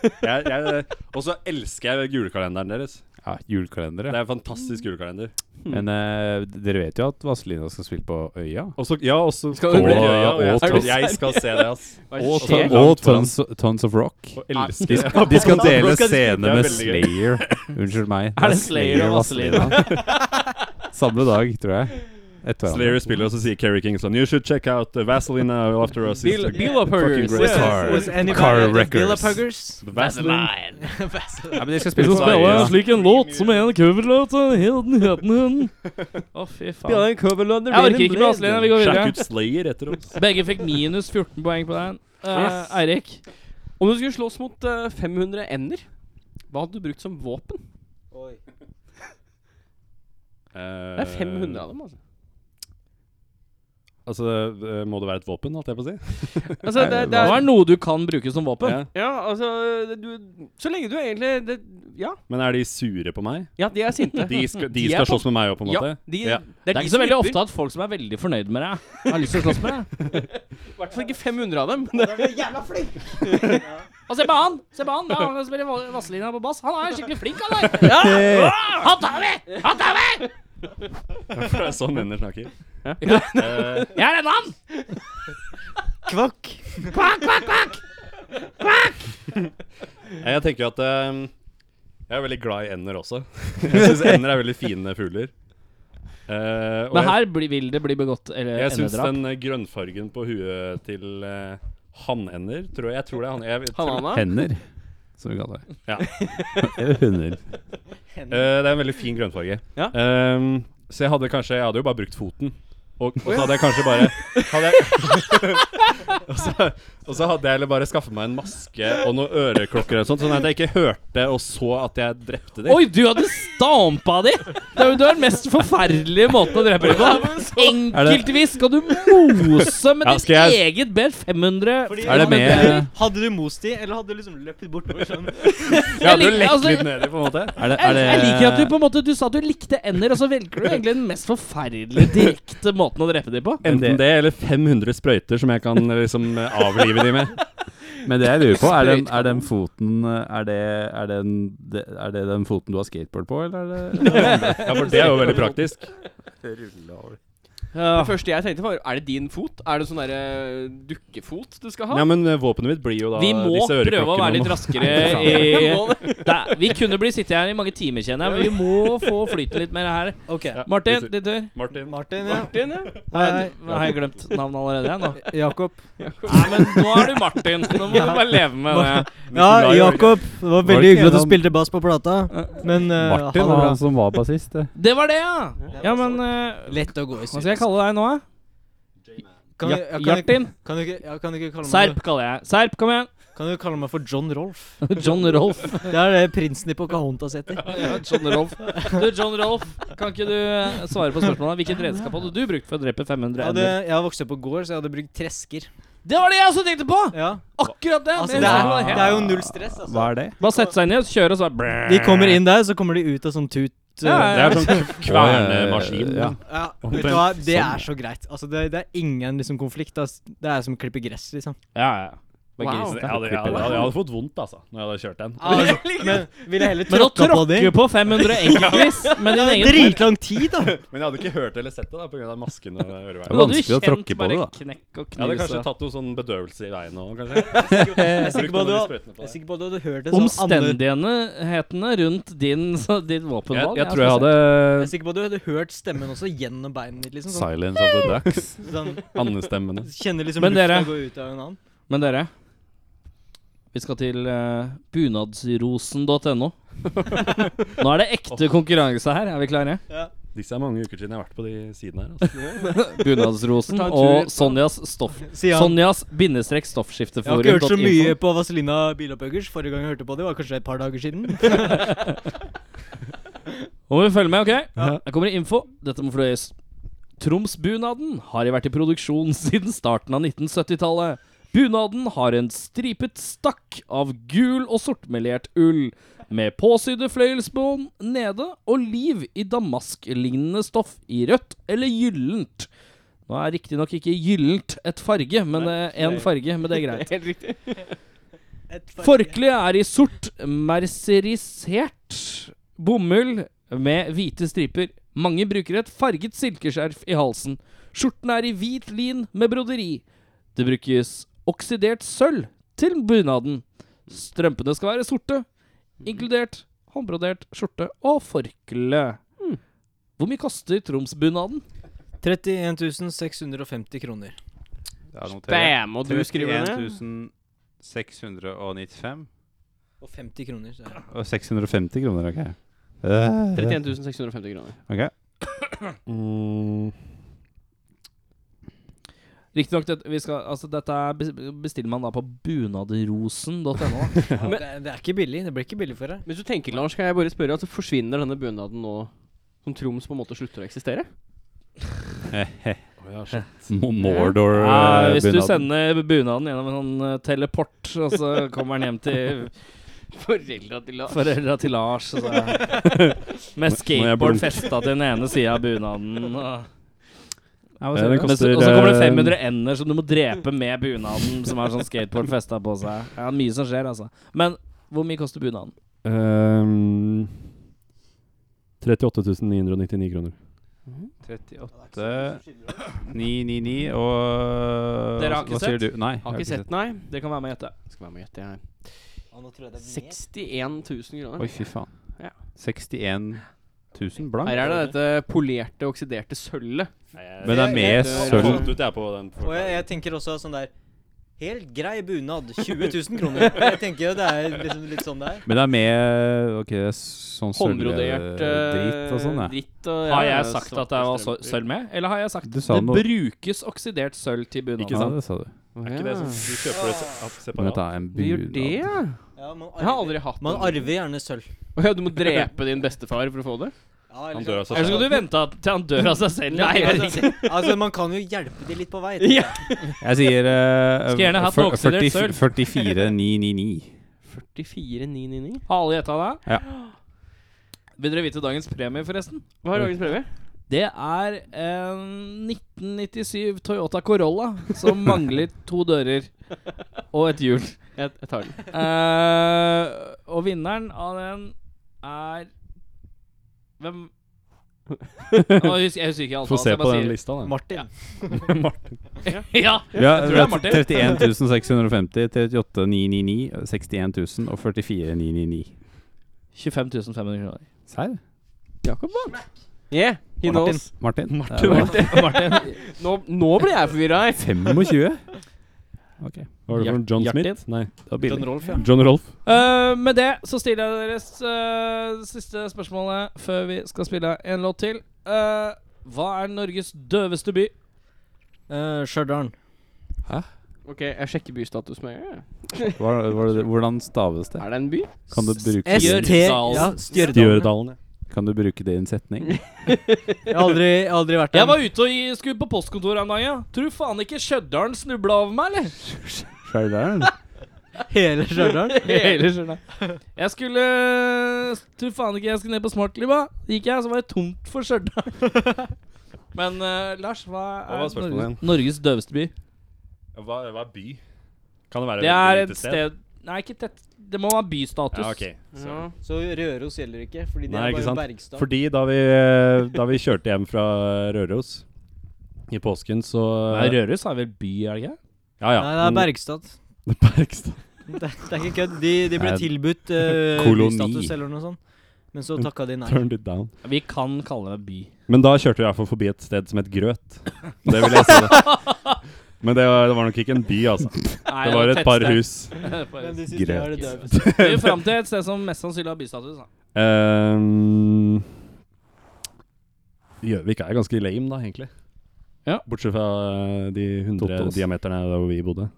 Speaker 6: Jeg, jeg, og så elsker jeg julekalenderen deres.
Speaker 3: Ja, julekalendere.
Speaker 6: Det er en fantastisk julekalender.
Speaker 3: Men eh, dere vet jo at Vazelina skal spille på Øya.
Speaker 6: Og så, ja, og så
Speaker 4: Skal du
Speaker 6: Å,
Speaker 4: bli-
Speaker 6: ja, og
Speaker 3: Er du
Speaker 6: Tons- Jeg skal se det, ass.
Speaker 4: Hva
Speaker 6: Og
Speaker 4: skjer?
Speaker 6: ta-
Speaker 3: Og tons, tons of Rock.
Speaker 6: Og elsker
Speaker 3: De
Speaker 6: det.
Speaker 3: skal, de skal dele
Speaker 6: Skal de-
Speaker 3: scene
Speaker 6: Det er
Speaker 3: med
Speaker 6: veldig gøy.
Speaker 3: Slayer. Unnskyld meg.
Speaker 2: Er det Slayer og Vazelina?
Speaker 3: Samme dag, tror jeg. Etter hverandre.
Speaker 6: Slayer spiller, og så sier Kerry King sånn You should check out uh, Vaseline now after us. is
Speaker 4: Bill,
Speaker 6: the
Speaker 4: Bill of Huggers.
Speaker 6: fucking
Speaker 5: Was-
Speaker 6: great
Speaker 3: Car-
Speaker 5: was anybody
Speaker 3: Car
Speaker 5: at the
Speaker 3: Wreckers.
Speaker 5: Villa Puggers?
Speaker 6: Vaseline.
Speaker 3: Nei, men de skal
Speaker 2: Vi
Speaker 3: spille
Speaker 2: skal spille
Speaker 3: Slayer.
Speaker 2: slik en låt som er en coverlåt av Heden Hedenhunden. Å, fy faen. Jeg orker ikke med Vazelina. Vi går
Speaker 6: Sjekk
Speaker 2: videre.
Speaker 6: ut Slayer etter oss.
Speaker 2: Begge fikk minus 14 poeng på den. Eh,
Speaker 4: Yes.
Speaker 2: Eirik.
Speaker 4: Om du skulle slåss mot eh, 500 ender, hva hadde du brukt som
Speaker 6: Eh,
Speaker 4: våpen? Det er 500 av dem, altså.
Speaker 6: Altså, eh, må det være et våpen, holdt jeg på å si?
Speaker 4: altså det, det
Speaker 2: Hva
Speaker 4: er,
Speaker 2: er noe du kan bruke som våpen?
Speaker 6: Ja.
Speaker 4: ja, altså det, du, Så lenge du egentlig det, ja.
Speaker 6: Men er de sure på meg?
Speaker 4: ja, de er sinte.
Speaker 6: De skal, de
Speaker 4: De er
Speaker 6: skal
Speaker 4: på-
Speaker 6: slåss med meg òg, på en
Speaker 4: ja,
Speaker 6: måte?
Speaker 4: de,
Speaker 6: Ja.
Speaker 2: Det er
Speaker 4: de
Speaker 2: ikke så
Speaker 4: som
Speaker 2: veldig
Speaker 4: jobber.
Speaker 2: ofte at folk som er veldig fornøyd med deg, har lyst til å slåss med deg.
Speaker 4: I hvert fall ikke 500 av dem. men det-
Speaker 2: Og se på han! Se på han! Det er han som spiller Va- Vazelina på bass. Han er skikkelig flink, han der. Ja! Ah, Han tar vi! Han tar vi!
Speaker 6: For det er sånn venner snakker.
Speaker 2: Jeg er en mann!
Speaker 5: Kvakk.
Speaker 6: Eh, Jeg tenker at eh, Jeg er veldig glad i ender også. Jeg syns ender er veldig fine fugler. Eh, og
Speaker 2: Men
Speaker 6: jeg,
Speaker 2: her blir- vil det bli begått eller
Speaker 6: jeg syns
Speaker 2: endedrap.
Speaker 6: den eh, grønnfargen på huet til eh, hannender tror jeg, jeg tror det er han, jeg, tror-
Speaker 4: Hanana.
Speaker 3: Hender, som vi kaller det.
Speaker 6: Ja.
Speaker 3: Eller hunder.
Speaker 6: Eh, det er en veldig fin grønnfarge.
Speaker 4: Ja.
Speaker 6: Ehm, så jeg hadde kanskje Jeg hadde jo bare brukt foten. Og, og så hadde jeg kanskje bare hadde jeg, og, så, og så hadde jeg heller bare skaffet meg en maske og noen øreklokker og sånt, sånn at jeg ikke hørte og så at jeg drepte dem.
Speaker 2: Oi, du hadde stampa de! Det er jo det er den mest forferdelige måten å drepe de på. Enkeltvis skal du mose med
Speaker 6: Ja,
Speaker 2: ditt
Speaker 6: skal
Speaker 2: eget bed 500
Speaker 5: Fordi-
Speaker 3: Er det med
Speaker 5: Hadde du most de, eller hadde du liksom løpt bortover sånn?
Speaker 6: Jeg hadde jo
Speaker 2: jeg liker-
Speaker 6: lekt
Speaker 2: altså-
Speaker 6: litt nedi, på en måte.
Speaker 3: er det,
Speaker 2: Jeg,
Speaker 3: er det,
Speaker 2: jeg liker at du på en måte Du sa at du likte ender, og så velger du egentlig den mest forferdelige direkte måten å drepe de på.
Speaker 6: Enten det eller 500 sprøyter som jeg kan eh, liksom eh, avlive dem med.
Speaker 3: Men det jeg lurer på, er den, er den foten eh, er det, er, den, det, er det den foten du har skateboard på, eller er det
Speaker 6: Ja, for det er jo veldig praktisk.
Speaker 4: Det første jeg tenkte, var er det din fot? Er det sånn derre dukkefot du skal ha?
Speaker 6: Ja, men eh, våpenet mitt blir jo da
Speaker 2: Vi må
Speaker 6: disse
Speaker 2: prøve å være
Speaker 6: øreklokkene.
Speaker 2: litt
Speaker 6: nå.
Speaker 2: raskere i Nei, Vi kunne bli sittet her i mange timer, kjenner jeg, men vi må få flyten litt mer her.
Speaker 5: Ok.
Speaker 6: Ja,
Speaker 2: Martin,
Speaker 6: litt-
Speaker 2: din tur.
Speaker 6: Martin.
Speaker 5: Martin, ja.
Speaker 4: Martin, ja.
Speaker 5: Hei,
Speaker 2: Nå har jeg glemt navnet allerede, jeg nå.
Speaker 5: hei. Jakob.
Speaker 2: Nei, men nå er du Martin. Nå må du bare leve med det.
Speaker 5: Ja, Jakob. Det var veldig
Speaker 3: Martin,
Speaker 5: hyggelig at du
Speaker 3: han-
Speaker 5: spilte bass på plata, men eh, ha
Speaker 3: Martin
Speaker 5: det
Speaker 3: var
Speaker 5: bra.
Speaker 3: han som var bassist, eh. det.
Speaker 2: Det var det, ja. Ja, men eh,
Speaker 5: Lett å gå i
Speaker 2: Hva skal jeg kalle deg nå, da?
Speaker 5: Kan, jeg- jeg- kan,
Speaker 2: Hjartin?
Speaker 5: jeg- kan du ikke, ja, kan du ikke kalle meg
Speaker 2: Serp kaller jeg. Serp, kom igjen.
Speaker 5: Kan du kalle meg for John Rolf?
Speaker 2: John Rolf.
Speaker 5: Det er det prinsen i Pocahontas heter.
Speaker 2: Ja, John Rolf. Du, John Rolf, kan ikke du eh, svare på spørsmålet? Hvilket redskap hadde du brukt for å drepe 500
Speaker 5: Jeg, hadde,
Speaker 2: ender?
Speaker 5: jeg vokste opp på gård, så jeg hadde brukt tresker.
Speaker 2: Det var det jeg også tenkte på!
Speaker 5: Ja,
Speaker 2: Akkurat det.
Speaker 5: altså
Speaker 2: Men
Speaker 5: det
Speaker 2: jeg tenkte på det
Speaker 5: er, det
Speaker 2: helt.
Speaker 5: er jo null stress, altså.
Speaker 3: Hva er det?
Speaker 2: Bare sette seg ned, kjøre, og så bare
Speaker 5: De kommer inn der, så kommer de ut av sånn tut.
Speaker 2: Ja,
Speaker 6: Det
Speaker 2: ja,
Speaker 6: er sånn k- kvernemaskin.
Speaker 3: Ja.
Speaker 5: Ja, vet du hva,
Speaker 2: sånn.
Speaker 5: det er så greit. Altså, det, det er ingen liksom, konflikt. ass. Det er som å klippe gress, liksom.
Speaker 2: ja, ja. Bare
Speaker 4: Wow.
Speaker 2: gris.
Speaker 6: Jeg hadde, jeg, hadde, jeg hadde fått vondt, altså, når jeg hadde kjørt den.
Speaker 5: Men ville heller
Speaker 2: Men å
Speaker 5: tråkka på de.
Speaker 2: tråkke på 500 enkeltvis med din egen
Speaker 5: Dritlang tid, da!
Speaker 6: Men jeg hadde ikke hørt eller sett det da, pga. masken og øreveien.
Speaker 3: Det var vanskelig å tråkke på det, da.
Speaker 2: Knekk og
Speaker 6: Jeg hadde
Speaker 2: knuse.
Speaker 6: kanskje tatt noe sånn bedøvelse i veien òg, kanskje.
Speaker 5: Jeg er Eh, sikker på at du
Speaker 6: Brukte noen
Speaker 5: hadde-
Speaker 6: sprøytene på
Speaker 5: jeg er
Speaker 6: deg.
Speaker 5: sikker på at du hadde hørt det sånn annerledes.
Speaker 2: Omstendighetene rundt din, så, ditt
Speaker 6: Jeg,
Speaker 2: våpenvalg.
Speaker 6: jeg tror jeg hadde
Speaker 5: Jeg er sikker på at du hadde hørt stemmen også gjennom beinet ditt, liksom. Sånn,
Speaker 6: Silence of the Ducks.
Speaker 5: sånn
Speaker 6: Andestemmene.
Speaker 5: Kjenner liksom
Speaker 2: Men dere-
Speaker 5: lufta gå ut av en annen.
Speaker 2: Men dere, vi skal til eh, bunadsrosen.no. Nå er det ekte konkurranse her. Er vi klare?
Speaker 6: Disse er mange uker siden jeg har vært på de sidene her. Altså.
Speaker 2: Bunadsrosen
Speaker 5: Ta en tur
Speaker 2: og
Speaker 5: på-
Speaker 2: Sonjas stoff...
Speaker 5: Sier han.
Speaker 2: Sonjas bindestrek
Speaker 5: Jeg har ikke hørt så mye
Speaker 2: stoffskifteforum.info.
Speaker 5: på Vazelina Bilopphøggers. Forrige gang jeg hørte på det, var kanskje et par dager siden.
Speaker 2: Må vi følge med, OK? Her kommer det info. Dette må fløyes. Tromsbunaden har vært i produksjon siden starten av 1970-tallet. Bunaden har en stripet stakk av gul og sortmelert ull, med påsydde fløyelsbånd nede og liv i damasklignende stoff i rødt eller gyllent. Nå er riktignok ikke gyllent et farge, men én farge, men det er greit.
Speaker 4: Helt riktig.
Speaker 5: Et par-
Speaker 2: Forkleet er i sort, merserisert bomull med hvite striper. Mange bruker et farget silkeskjerf i halsen. Skjorten er i hvit lin med broderi. Det brukes oksidert sølv til bunaden. Strømpene skal være sorte, inkludert håndbrodert skjorte og forkle. Hvor mye koster Troms-bunaden?
Speaker 5: 31 650 kroner.
Speaker 3: Jeg noterer.
Speaker 4: Bam! Og du skriver ned.
Speaker 3: 695.
Speaker 5: Og 50 kroner. Så. er det.
Speaker 3: Og 650 kroner, OK. Eh,
Speaker 4: 31 650 kroner.
Speaker 3: ok.
Speaker 2: Riktignok, det, vi skal- altså, dette er bes- bestiller man da på bunadrosen.no.
Speaker 5: Ja, det, er- det er ikke billig. Det blir ikke billig for deg.
Speaker 4: Hvis du tenker, Lars, kan jeg bare spørre, altså forsvinner denne bunaden nå som Troms på en måte slutter å eksistere?
Speaker 6: altså.
Speaker 3: Mordor
Speaker 2: Nei,
Speaker 3: eh,
Speaker 2: hvis du
Speaker 3: bunaden.
Speaker 2: sender bunaden gjennom en sånn eh, teleport, og så kommer den hjem til
Speaker 4: Foreldra til Lars.
Speaker 2: foreldra til Lars og så, Med
Speaker 6: jeg
Speaker 2: skateboard
Speaker 6: blunke?
Speaker 2: festa til den ene sida av bunaden. Og,
Speaker 3: Ja, hva
Speaker 6: Ja,
Speaker 3: sier
Speaker 6: den
Speaker 3: du?
Speaker 2: Men så,
Speaker 6: koster,
Speaker 2: og så kommer det
Speaker 6: eh,
Speaker 2: 500 ender som du må drepe med bunaden, som har sånn skateboard festa på seg. Ja, mye som skjer, altså. Men hvor mye koster bunaden?
Speaker 6: Ehm, 38 999 kroner.
Speaker 3: 38 999 og
Speaker 2: Dere har ikke
Speaker 3: hva sier
Speaker 2: sett?
Speaker 3: du? Nei, jeg
Speaker 4: Har ikke sett, nei.
Speaker 2: Det kan være med å gjette.
Speaker 4: Skal være med å gjette, jeg. 61 000 kroner.
Speaker 3: Oi, fy faen.
Speaker 4: Ja.
Speaker 3: 61 000
Speaker 4: Her
Speaker 3: blank.
Speaker 4: er det dette polerte, oksiderte sølvet.
Speaker 3: Men det er med sølv.
Speaker 6: ut jeg på den.
Speaker 5: Og jeg, jeg tenker også sånn der Helt grei bunad. 20 000 kroner. Jeg tenker jo det er liksom litt sånn det er.
Speaker 3: Men det er med ok, det er sånn
Speaker 4: Håndbrodert eh,
Speaker 3: sølvdritt og sånn, ja.
Speaker 4: Dritt og,
Speaker 2: Har jeg sagt at det var sø- sølv med, eller har jeg sagt
Speaker 3: Du sa
Speaker 2: det
Speaker 3: noe-
Speaker 2: brukes oksidert sølv til
Speaker 6: Ikke
Speaker 3: Ja,
Speaker 2: bunaden?
Speaker 6: sant?
Speaker 3: det sa du.
Speaker 6: Er ikke det sånn du kjøper det se- opp
Speaker 3: Men dette
Speaker 6: separat?
Speaker 3: er en
Speaker 4: Du gjør
Speaker 3: bunad.
Speaker 4: det, ja?
Speaker 5: Ja, man,
Speaker 4: Jeg har
Speaker 5: arver,
Speaker 4: aldri hatt
Speaker 5: man
Speaker 4: det.
Speaker 5: arver gjerne sølv.
Speaker 4: Å ja, du må drepe din bestefar for å få det?
Speaker 5: Ja,
Speaker 6: Han
Speaker 5: eller
Speaker 6: dør av seg
Speaker 2: Eller
Speaker 6: selv.
Speaker 2: skal du vente at- til han dør av seg selv?
Speaker 5: Nei,
Speaker 2: Nei, jeg
Speaker 5: altså, altså, man kan jo hjelpe de litt på vei.
Speaker 4: Ja.
Speaker 3: Jeg sier eh,
Speaker 2: Skulle gjerne hatt noe
Speaker 3: fyr-
Speaker 2: oksidert
Speaker 3: 40 44999.
Speaker 4: 44,999.
Speaker 2: Har alle gjetta det?
Speaker 3: Ja.
Speaker 2: Vil dere vite dagens premie, forresten?
Speaker 4: Hva er dagens premie?
Speaker 2: Det er en 1997 Toyota Corolla som mangler to dører og et hjul.
Speaker 4: Jeg, jeg tar den.
Speaker 2: Eh, og vinneren av den er Hvem Nå husker, Jeg husker ikke alt.
Speaker 6: Få
Speaker 2: altså,
Speaker 6: se
Speaker 2: jeg
Speaker 6: på
Speaker 2: bare
Speaker 6: den
Speaker 2: sier-
Speaker 6: lista, da.
Speaker 5: Martin.
Speaker 2: ja,
Speaker 3: Vi har
Speaker 2: tror
Speaker 3: vi
Speaker 2: det er
Speaker 3: har
Speaker 2: Martin.
Speaker 3: 31 650, 38 999, 61 000 og 44 999.
Speaker 2: 25 500 kroner.
Speaker 3: Serr?
Speaker 4: Jakob, da? Yeah, he knows.
Speaker 3: Martin?
Speaker 2: Det var- Martin.
Speaker 4: Nå, nå blir jeg forvirra her.
Speaker 3: 25? Ok.
Speaker 6: Hva var det for noe? John
Speaker 2: Hjertin?
Speaker 6: Smith? Nei.
Speaker 3: Det var billig.
Speaker 5: Rolf, ja.
Speaker 6: John Rolf.
Speaker 2: Eh, med det så stiller jeg deres eh, siste spørsmålet før vi skal spille en låt til. Eh, hva er Norges døveste by?
Speaker 5: Uh, Stjørdal.
Speaker 4: Ok, jeg sjekker bystatus med en gang. jeg.
Speaker 3: Var, var det, hvordan staves det?
Speaker 4: Er det en by?
Speaker 3: Kan du bruke,
Speaker 5: ST ja, Stjørdal.
Speaker 6: Stjørdalen.
Speaker 3: kan du bruke det i en setning?
Speaker 5: Jeg har aldri, jeg har aldri vært der.
Speaker 2: Jeg var ute og i- skulle på postkontoret en dag. Ja. Tror faen ikke Stjørdal snubla over meg, eller?
Speaker 3: Stjørdalen?
Speaker 5: Hele Stjørdal.
Speaker 2: Hele skjønner jeg. Jeg skulle eh, Tror faen ikke jeg skulle ned på Smartliva. Gikk jeg, så var det tomt for Stjørdal. Men eh, Lars, hva er
Speaker 6: Hva var spørsmålet
Speaker 2: Norges, Norges døveste by?
Speaker 6: Hva, hva er by? Kan det være
Speaker 2: Det er et
Speaker 6: lite
Speaker 2: sted Nei, ikke tett. Det må være bystatus.
Speaker 6: Ja, ok.
Speaker 4: Ja.
Speaker 5: Så Røros gjelder ikke, fordi det
Speaker 6: Nei,
Speaker 5: er
Speaker 6: ikke
Speaker 5: bare
Speaker 6: sant.
Speaker 5: Bergstad.
Speaker 6: Fordi da vi, da vi kjørte hjem fra Røros i påsken, så
Speaker 2: Nei, Røros er vel by, er det ikke?
Speaker 6: Ja, ja.
Speaker 5: Nei, det er
Speaker 6: men-
Speaker 5: Bergstad.
Speaker 6: Bergstad.
Speaker 5: Det, er- det er ikke kødd. De, de ble
Speaker 3: Nei,
Speaker 5: tilbudt eh,
Speaker 3: koloni.
Speaker 5: bystatus eller noe sånt, men så takka de nei.
Speaker 6: Turned it down.
Speaker 2: Vi kan kalle det by.
Speaker 6: Men da kjørte vi i hvert fall forbi et sted som het Grøt. Det vil jeg si det. Men det var, det var nok ikke en by, altså.
Speaker 2: Nei,
Speaker 6: Det var et par
Speaker 2: tettsted.
Speaker 6: hus.
Speaker 5: Men de
Speaker 3: synes det var
Speaker 5: det
Speaker 2: Vi er fram til et sted som mest sannsynlig har bystatus. Da.
Speaker 6: Ehm, Gjøvik er ganske lame, da, egentlig.
Speaker 2: Ja.
Speaker 6: Bortsett fra eh, de 100
Speaker 3: Totos.
Speaker 6: diameterne der hvor vi bodde.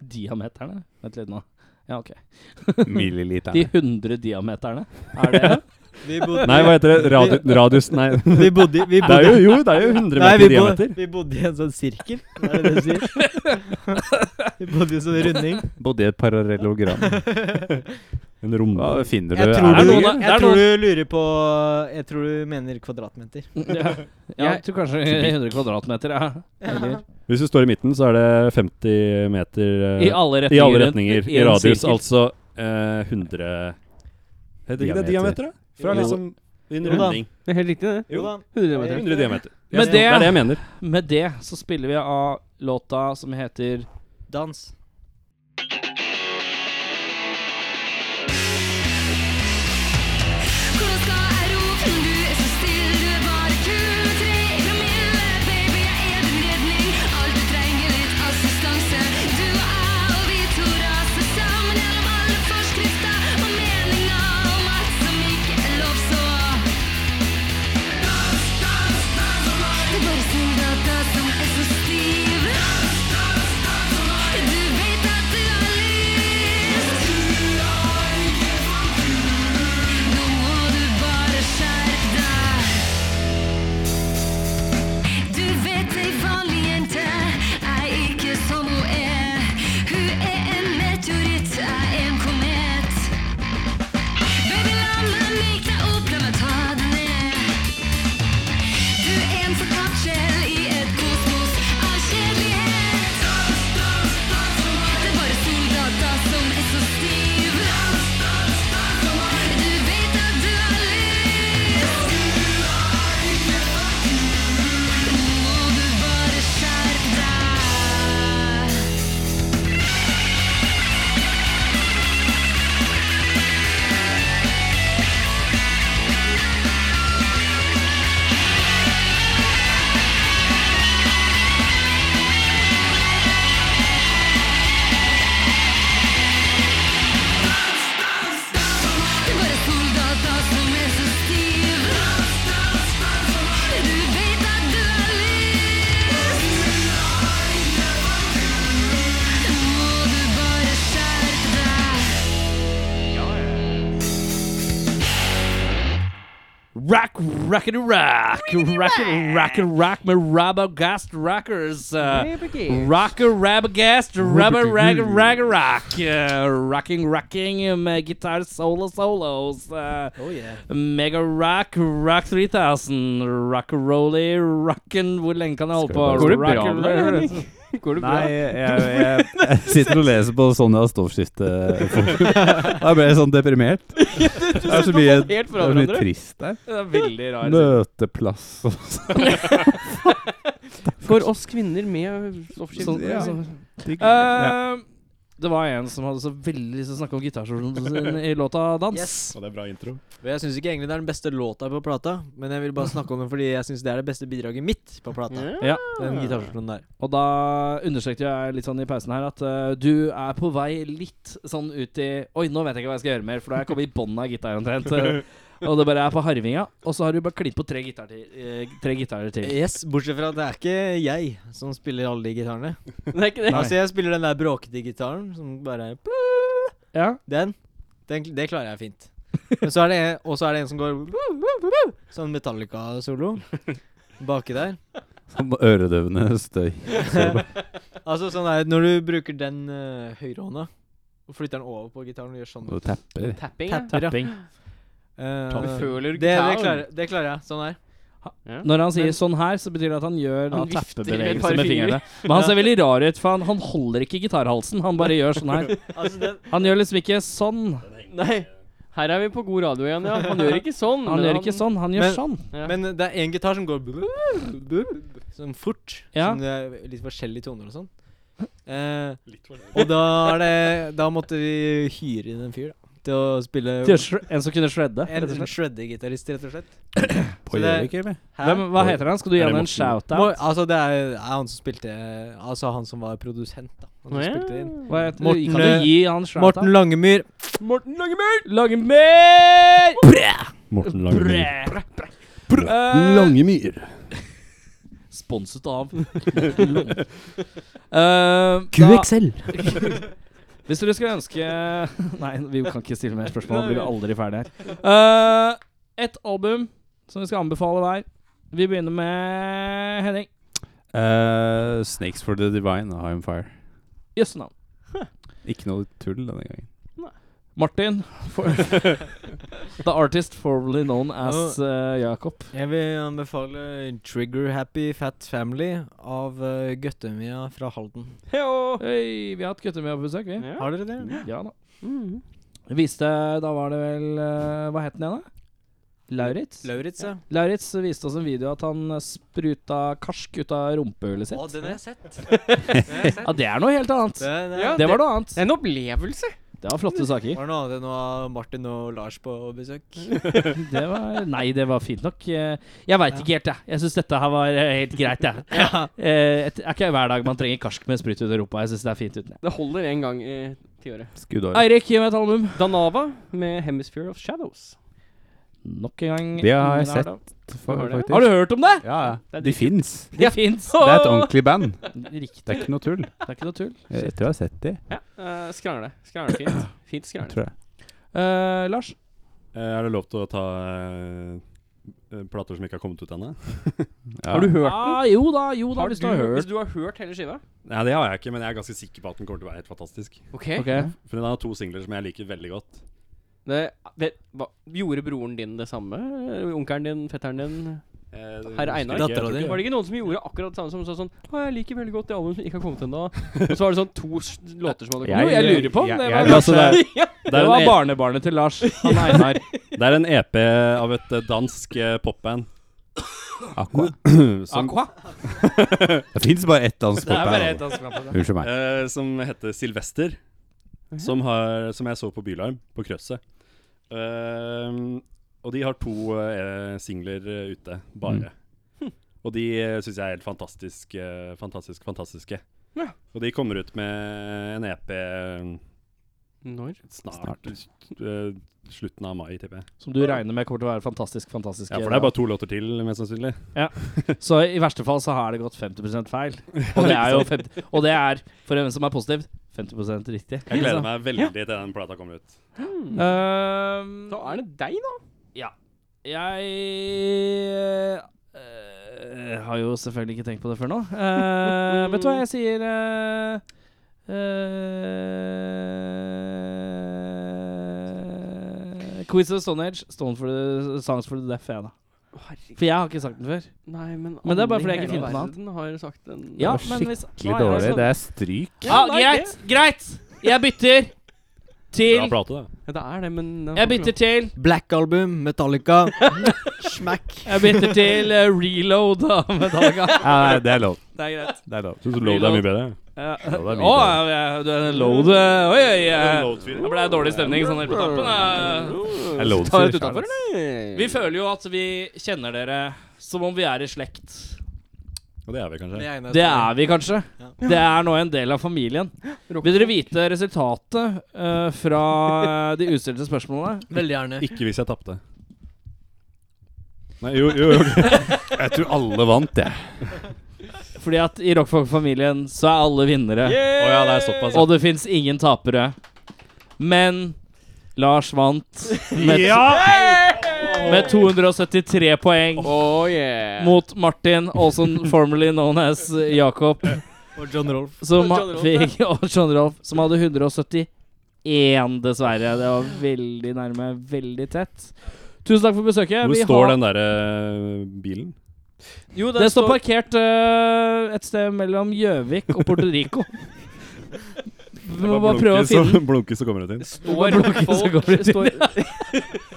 Speaker 2: Diameterne? Vent litt nå. Ja, ok.
Speaker 3: Milliliterne.
Speaker 2: De 100 diameterne, er det
Speaker 5: Vi bodde,
Speaker 6: Nei, hva heter det? Radi radius Nei.
Speaker 5: Vi bodde, vi
Speaker 6: Det
Speaker 5: bodde,
Speaker 6: er jo, jo, det er jo 100
Speaker 5: nei,
Speaker 6: meter
Speaker 5: vi, bodde,
Speaker 6: diameter.
Speaker 5: vi bodde i en sånn sirkel, er det det du sier? vi bodde i en sånn runding.
Speaker 3: Bodde i et parallellogram.
Speaker 6: En rom.
Speaker 3: Hva finner du?
Speaker 5: Jeg tror
Speaker 2: er
Speaker 5: du,
Speaker 2: noen-
Speaker 5: lurer-
Speaker 2: det er
Speaker 5: jeg tror du lurer på Jeg tror du mener kvadratmeter.
Speaker 2: Ja, jeg tror kanskje 100 kvadratmeter. Ja. Eller,
Speaker 6: Hvis du står i midten, så er det 50 meter eh,
Speaker 2: I alle retninger.
Speaker 6: i alle
Speaker 2: rundt-
Speaker 6: retninger. I
Speaker 2: en
Speaker 6: radius,
Speaker 2: sirkel.
Speaker 6: altså eh, 100 Heter ikke det diameter, da? Fra
Speaker 5: Jo.
Speaker 6: liksom en
Speaker 5: Jo da.
Speaker 6: runding.
Speaker 4: Det er helt riktig, det.
Speaker 5: Jo da.
Speaker 4: 100
Speaker 5: Eh,
Speaker 6: Det er
Speaker 4: diameter.
Speaker 6: 100 diameter.
Speaker 2: Men
Speaker 6: Yes,
Speaker 2: det-
Speaker 6: det er det jeg mener.
Speaker 2: Med det så spiller vi av låta som heter
Speaker 5: Dans.
Speaker 8: Hvordan skal jeg rope når du er så stille? Du er bare kul og treg.
Speaker 2: Rack, rackety rack. Rack, rack, rack med Rabagast Rackers. eh, Rocker, Rabagast, Rabba, Rag, Rag, Rock. eh, Rocking, rocking med gitar solo solos. eh,
Speaker 5: Oh yeah.
Speaker 2: Mega Rock, Rock 3000, Rock Rolly, Rocken Hvor lenge kan jeg holde på?
Speaker 3: bare-
Speaker 4: Går det altså? bra
Speaker 2: Rock-
Speaker 4: med deg, Henning? Går det bra?
Speaker 3: Nei, jeg, jeg, jeg sitter og leser på Sonja Stoffskifte. Da ble jeg sånn deprimert. Det er så mye,
Speaker 4: helt
Speaker 3: det er
Speaker 4: fra
Speaker 3: så mye
Speaker 4: hverandre.
Speaker 3: trist der.
Speaker 4: Det er veldig rar
Speaker 3: Møteplass og sånn.
Speaker 4: For oss kvinner med altså- stoffskifte.
Speaker 2: Sånn,
Speaker 3: Ja.
Speaker 2: sånn.
Speaker 3: Ja.
Speaker 2: Eh, Det var en som hadde så veldig lyst til å snakke om gitarsoloen sin i låta Dans.
Speaker 5: Yes.
Speaker 6: Og det er bra intro.
Speaker 5: Og jeg syns ikke egentlig det er den beste låta på plata, men jeg vil bare snakke om den fordi jeg syns det er det beste bidraget mitt på plata.
Speaker 4: Ja.
Speaker 2: Ja.
Speaker 4: Ah.
Speaker 5: Den gitarsoloen der.
Speaker 2: Og da understrekte jeg litt sånn i pausen her at eh, du er på vei litt sånn ut i Oi, nå vet jeg ikke hva jeg skal gjøre mer, for da er jeg kommet i bånn av gitaren omtrent. eh, Og det bare er på harvinga, og så har du bare klint på tre gitarer til. eh, Tre gitarer til.
Speaker 5: Yes, Bortsett fra at det er ikke jeg som spiller alle de gitarene.
Speaker 4: Det er ikke det.
Speaker 5: Altså Jeg spiller den der bråkete gitaren som bare er
Speaker 2: Ja.
Speaker 5: Den, den det klarer jeg fint. Men så er det en, og så er det en som går Sånn Metallica-solo baki der.
Speaker 3: Sånn øredøvende støy.
Speaker 5: Altså sånn er det Når du bruker den uh, høyrehånda og flytter den over på gitaren og gjør sånn
Speaker 3: Og tapper.
Speaker 4: Tapping. ja.
Speaker 5: Tapper, ja.
Speaker 2: Tapping.
Speaker 5: Eh,
Speaker 4: Du føler
Speaker 5: det, det,
Speaker 4: gitaren.
Speaker 5: klarer, det klarer jeg. Sånn her.
Speaker 4: Ja.
Speaker 2: Når han sier 'sånn her', så betyr det at han gjør
Speaker 4: Han
Speaker 2: han
Speaker 4: vifter med et par
Speaker 2: tappebevegelse med fingrene. Men han ser veldig rar ut, for han, han holder ikke gitarhalsen. Han bare gjør sånn her.
Speaker 5: Altså den,
Speaker 2: Han gjør liksom ikke sånn.
Speaker 4: Nei, her er vi på god radio igjen, ja. Han gjør ikke sånn.
Speaker 2: Han
Speaker 4: men
Speaker 2: gjør ikke sånn, han gjør
Speaker 5: Men-
Speaker 2: sånn.
Speaker 4: Ja.
Speaker 5: Men det er én gitar som går Sånn fort.
Speaker 2: Ja.
Speaker 5: Sånn, det er litt forskjellige toner og sånn. Eh, og da er det Da måtte vi hyre inn en fyr da, til å spille
Speaker 2: Til å shre- En som kunne shredde.
Speaker 5: En
Speaker 2: rett og slett.
Speaker 5: shredder-gitarist, rett og slett.
Speaker 3: På
Speaker 5: Så det-
Speaker 3: Gjøvik, eller?
Speaker 5: Hæ?
Speaker 2: Hvem, hva heter han? Skal du gi
Speaker 6: Er det
Speaker 2: ham en
Speaker 5: Mor-
Speaker 6: Morten?
Speaker 2: shout-out?
Speaker 5: altså, det er, er han som spilte Altså han som var produsent, da. Han som
Speaker 4: Å, ja.
Speaker 5: spilte det inn.
Speaker 2: Hva heter
Speaker 5: Morten,
Speaker 2: Morten, kan
Speaker 5: eh,
Speaker 2: du gi han shout-out?
Speaker 5: Morten Langemyr.
Speaker 4: Morten Langemyr!
Speaker 2: Lage mer!
Speaker 6: Morten Langemyr.
Speaker 2: Eh,
Speaker 6: Langemyr.
Speaker 2: Sponset av Eh, da- Hvis dere skulle ønske Nei, vi kan ikke stille mer spørsmål. Vi blir aldri ferdig her. Eh, et album som vi skal anbefale hver. Vi begynner med Henning.
Speaker 3: Eh, Snakes for the Divine og High on Fire.
Speaker 2: Jøsse navn.
Speaker 3: Ikke noe tull denne gangen.
Speaker 2: Martin. For the artist formerly known as eh, Jakob.
Speaker 5: Jeg vil anbefale Trigger Happy Fat Family av uh, Guttemia fra Halden.
Speaker 4: Heå!
Speaker 2: Hei, vi har hatt gutter med på besøk, vi.
Speaker 4: Ja.
Speaker 5: Har dere det?
Speaker 2: Ja da.
Speaker 4: Mhm.
Speaker 2: Viste Da var det vel eh, Hva het den igjen, da? Lauritz?
Speaker 5: Lauritz, ja.
Speaker 2: Lauritz viste oss en video at han eh, spruta karsk ut av rumpehullet sitt.
Speaker 5: Å, den har jeg sett.
Speaker 2: Ja, det er noe helt annet.
Speaker 5: Det, det,
Speaker 4: Ja,
Speaker 2: Det var
Speaker 4: det-
Speaker 2: noe annet.
Speaker 4: Det er en opplevelse.
Speaker 2: Det var flotte saker.
Speaker 5: Var det noe annet enn å ha Martin og Lars på besøk?
Speaker 2: Det var, nei, det var fint nok. Eh, Jeg veit ikke helt, jeg. Jeg syns dette her var eh, helt greit, jeg. Eh, et- Det er ikke hver dag man trenger karsk med sprut ut av rumpa. Jeg syns det er fint uten det.
Speaker 4: Det holder en gang i tiåret.
Speaker 3: Skuddår.
Speaker 2: Eirik, gi meg et album.
Speaker 4: Danava med 'Hemisphere of Shadows'.
Speaker 2: Nok en gang.
Speaker 3: Det har jeg
Speaker 2: Ingen
Speaker 3: sett,
Speaker 2: da.
Speaker 3: fa-
Speaker 4: Har du-
Speaker 3: faktisk.
Speaker 2: Har du hørt om det?
Speaker 3: Ja,
Speaker 4: Det
Speaker 3: ja.
Speaker 4: er dritkult.
Speaker 3: De fins.
Speaker 2: Det fins.
Speaker 3: Det er et ordentlig band.
Speaker 2: Riktig.
Speaker 3: Det er ikke noe tull.
Speaker 2: Det er ikke noe tull.
Speaker 3: Jeg, jeg tror jeg har sett de,
Speaker 4: Ja, eh, skrangle. Skrangle fint. Fint skrangle.
Speaker 3: tror jeg.
Speaker 2: Eh, Lars?
Speaker 6: Er det lov til å ta eh, plater som ikke har kommet ut ennå?
Speaker 3: Ja.
Speaker 4: Har du hørt den?
Speaker 2: Ah, jo da, jo da, hvis du har
Speaker 4: hvis
Speaker 2: hørt.
Speaker 4: du har hørt hele skiva?
Speaker 6: Nei, det har jeg ikke, men jeg er ganske sikker på at den kommer til å være helt fantastisk.
Speaker 4: Ok.
Speaker 2: Ok.
Speaker 6: For den har to singler som jeg liker veldig godt.
Speaker 4: Det, det, hva, gjorde broren din det samme? Eller Onkelen din? Fetteren din?
Speaker 6: Eh, det
Speaker 4: Herr
Speaker 6: husker jeg
Speaker 4: Einar.
Speaker 6: ikke, jeg
Speaker 5: Dattera
Speaker 6: tror
Speaker 5: di.
Speaker 6: ikke-
Speaker 4: Var det ikke noen som gjorde akkurat det samme som sa sånn Å, jeg liker veldig godt det albumet som ikke har kommet ennå. Og så var det sånn to s- låter som hadde
Speaker 3: Jeg-
Speaker 2: Jo,
Speaker 4: kommet.
Speaker 2: jeg lurer på om
Speaker 3: jeg-
Speaker 2: det
Speaker 3: jeg-
Speaker 2: var,
Speaker 6: altså, det
Speaker 4: ja.
Speaker 6: Det
Speaker 2: det
Speaker 6: er
Speaker 2: var
Speaker 6: en e-
Speaker 2: barnebarnet til Lars. Han Einar.
Speaker 6: det er en EP av et eh, dansk eh, popband.
Speaker 3: Aqua.
Speaker 6: Som,
Speaker 3: Det fins bare ett dansk popband. altså. Unnskyld meg.
Speaker 6: eh, som heter Silvester. Som, har, som jeg så på Bylarm, på Krøsset. Ehm, og de har to eh, singler eh, ute, bare. Og de uh, syns jeg er helt fantastisk, eh, fantastisk fantastiske.
Speaker 4: Ja.
Speaker 6: Og de kommer ut med en EP
Speaker 4: Når?
Speaker 6: snart. eh, slutten av mai, tipper jeg.
Speaker 2: Som du regner med kommer til å være fantastisk, fantastisk.
Speaker 6: Ja, for det er bare to låter til, mest sannsynlig.
Speaker 2: Så i verste fall så har det gått 50 feil. Og det er jo 50, Og det er, for en som er positiv, 50 riktig.
Speaker 6: Jeg gleder
Speaker 2: Mm.
Speaker 6: meg veldig til den plata kommer ut.
Speaker 2: Ehm,
Speaker 4: Da er det deg, da.
Speaker 2: ja. Jeg eh, har jo selvfølgelig ikke tenkt på det før nå. Eh, vet du hva jeg sier? eh, eh, Quiz of Stone Age, Stone for the, Songs for the Deaf, jeg, da. For jeg har ikke sagt den før.
Speaker 4: Nei, men,
Speaker 2: Men det er bare
Speaker 4: alle i
Speaker 2: fordi jeg ikke
Speaker 4: hele
Speaker 2: finner på noe annet.
Speaker 4: verden Har sagt den
Speaker 2: Ja,
Speaker 9: det var
Speaker 2: men hvis-
Speaker 9: skikkelig
Speaker 2: Nei,
Speaker 9: dårlig.
Speaker 2: altså-
Speaker 9: Det er stryk.
Speaker 2: Ja, greit, greit! Jeg bytter til
Speaker 6: Bra plate, det.
Speaker 4: Ja, det er det, men den
Speaker 2: Jeg
Speaker 4: får
Speaker 2: bytter til
Speaker 5: Black Album, Metallica. Smack.
Speaker 2: Jeg bytter til eh, Reload av Metallica.
Speaker 3: Ja, nei, det er lov.
Speaker 2: Det er greit.
Speaker 3: Det er lov.
Speaker 6: Syns Load er mye bedre.
Speaker 2: Ja.
Speaker 3: det er mye
Speaker 2: Å, ja, du er en load eh, Oi, oi, oi.
Speaker 6: Load-fyr.
Speaker 2: Da ble det dårlig stemning sånn helt på tampen. eh.
Speaker 3: Det er load
Speaker 4: ikke- Tar det utenfor, eller?
Speaker 2: Vi føler jo at vi kjenner dere som om vi er i slekt.
Speaker 6: Og det er vi kanskje.
Speaker 2: Det er vi kanskje.
Speaker 5: Ja.
Speaker 2: Det er nå en del av familien. Vil dere vite resultatet eh, fra eh, de utstilte spørsmålene?
Speaker 5: Veldig gjerne.
Speaker 6: Ikke hvis jeg tapte. Nei, jo, jo, jo.
Speaker 3: Jeg tror alle vant, jeg.
Speaker 2: Fordi at i Rockfolk-familien så er alle vinnere.
Speaker 3: Å ja, det er såpass. ja.
Speaker 2: Og det fins ingen tapere. Men Lars vant med, med 273 poeng
Speaker 4: Oh, yeah.
Speaker 2: mot Martin, also formerly known as Jakob,
Speaker 5: Og John Rolf.
Speaker 2: som
Speaker 4: Og John Rolf, ja.
Speaker 2: fikk og John Rolf, som hadde 171, dessverre. Det var veldig nærme, veldig tett. Tusen takk for besøket.
Speaker 6: Hvor
Speaker 2: Vi
Speaker 6: står
Speaker 2: har-
Speaker 6: den derre bilen?
Speaker 4: Jo,
Speaker 2: Det står parkert øh, et sted mellom Gjøvik og Puerto Rico. Vi må bare prøve å
Speaker 6: Blunke, så-
Speaker 2: finne den.
Speaker 6: Blunke, så kommer det inn.
Speaker 4: står
Speaker 2: Blunker, så
Speaker 4: folk-
Speaker 2: går det inn.
Speaker 4: står-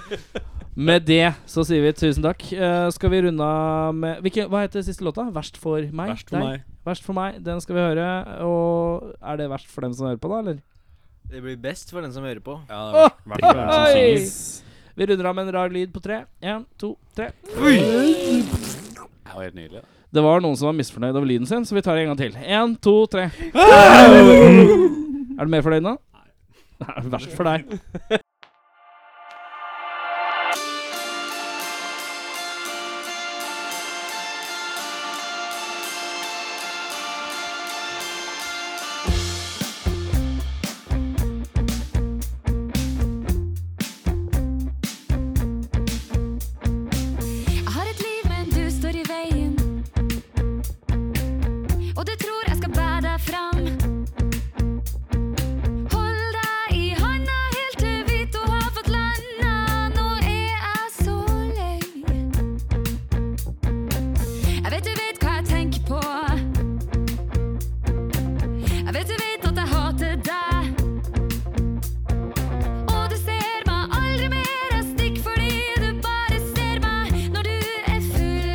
Speaker 2: Med det så sier vi tusen takk. Eh, skal vi runde av med hvilke, Hva heter siste låta? 'Verst for meg'?
Speaker 6: Verst for
Speaker 2: Deg?
Speaker 6: meg.
Speaker 2: Verst for meg. Den skal vi høre. Og er det verst for dem som hører på, da, eller?
Speaker 5: Det blir best for den som hører på.
Speaker 6: Ja, det er verst for meg som
Speaker 2: Oi!
Speaker 6: synger.
Speaker 2: Vi runder av med en rar lyd på tre. Én, to, tre.
Speaker 3: Det var helt nydelig. da.
Speaker 2: Det var noen som var misfornøyd over lyden sin, så vi tar det en gang til. Én, to, tre. Er du mer fornøyd nå? Nei. Det er verst for deg.
Speaker 8: Jeg har et liv, men du står i veien. Og du tror jeg skal bære deg fram. Hold deg i handa helt til vi to har fått landa. Nå er jeg så lei. Jeg vet du vet hva jeg tenker på. Jeg vet du vet at jeg hater deg. Og du ser meg aldri mer jeg stikk fordi du bare ser meg når du er full.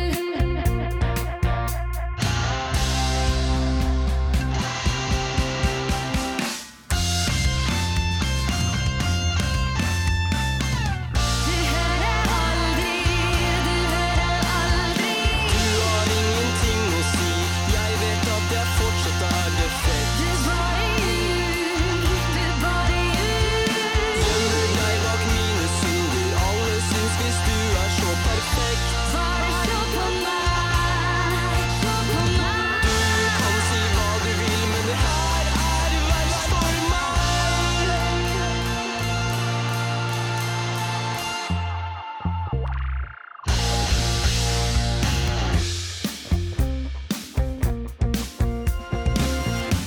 Speaker 8: Du hører aldri, du hører aldri. Du har ingenting å si, jeg vet at jeg fortsatt er defekt. Du bare ljug, du bare ljug. Bare se på meg, se på meg.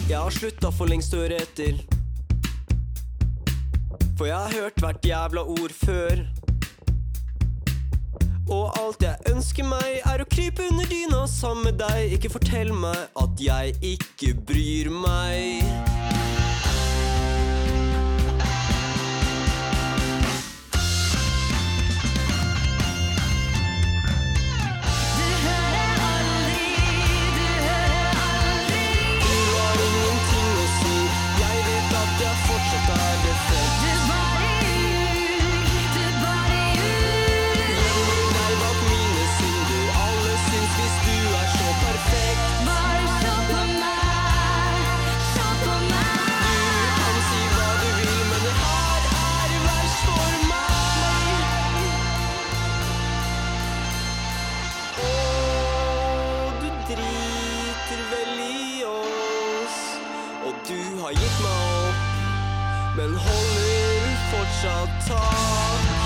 Speaker 10: Jeg har slutta for lengst å høre etter. For jeg har hørt hvert jævla ord før. Og alt jeg ønsker meg, er å krype under dyna sammen med deg. Ikke fortell meg at jeg ikke bryr meg.
Speaker 8: Du hører aldri, du hører aldri.
Speaker 10: Du har ingenting å si, jeg vet at jeg fortsatt er defekt.
Speaker 8: Du bare ljug, du bare ljug.
Speaker 10: Gjemmer deg bak mine synder, alle syns hvis du er så perfekt.
Speaker 8: Bare se på meg, se på meg.
Speaker 10: Kan si hva du vil, men det her er verst for meg. Og du driter vel i oss, og du har gitt meg opp, men holder fortsatt tak.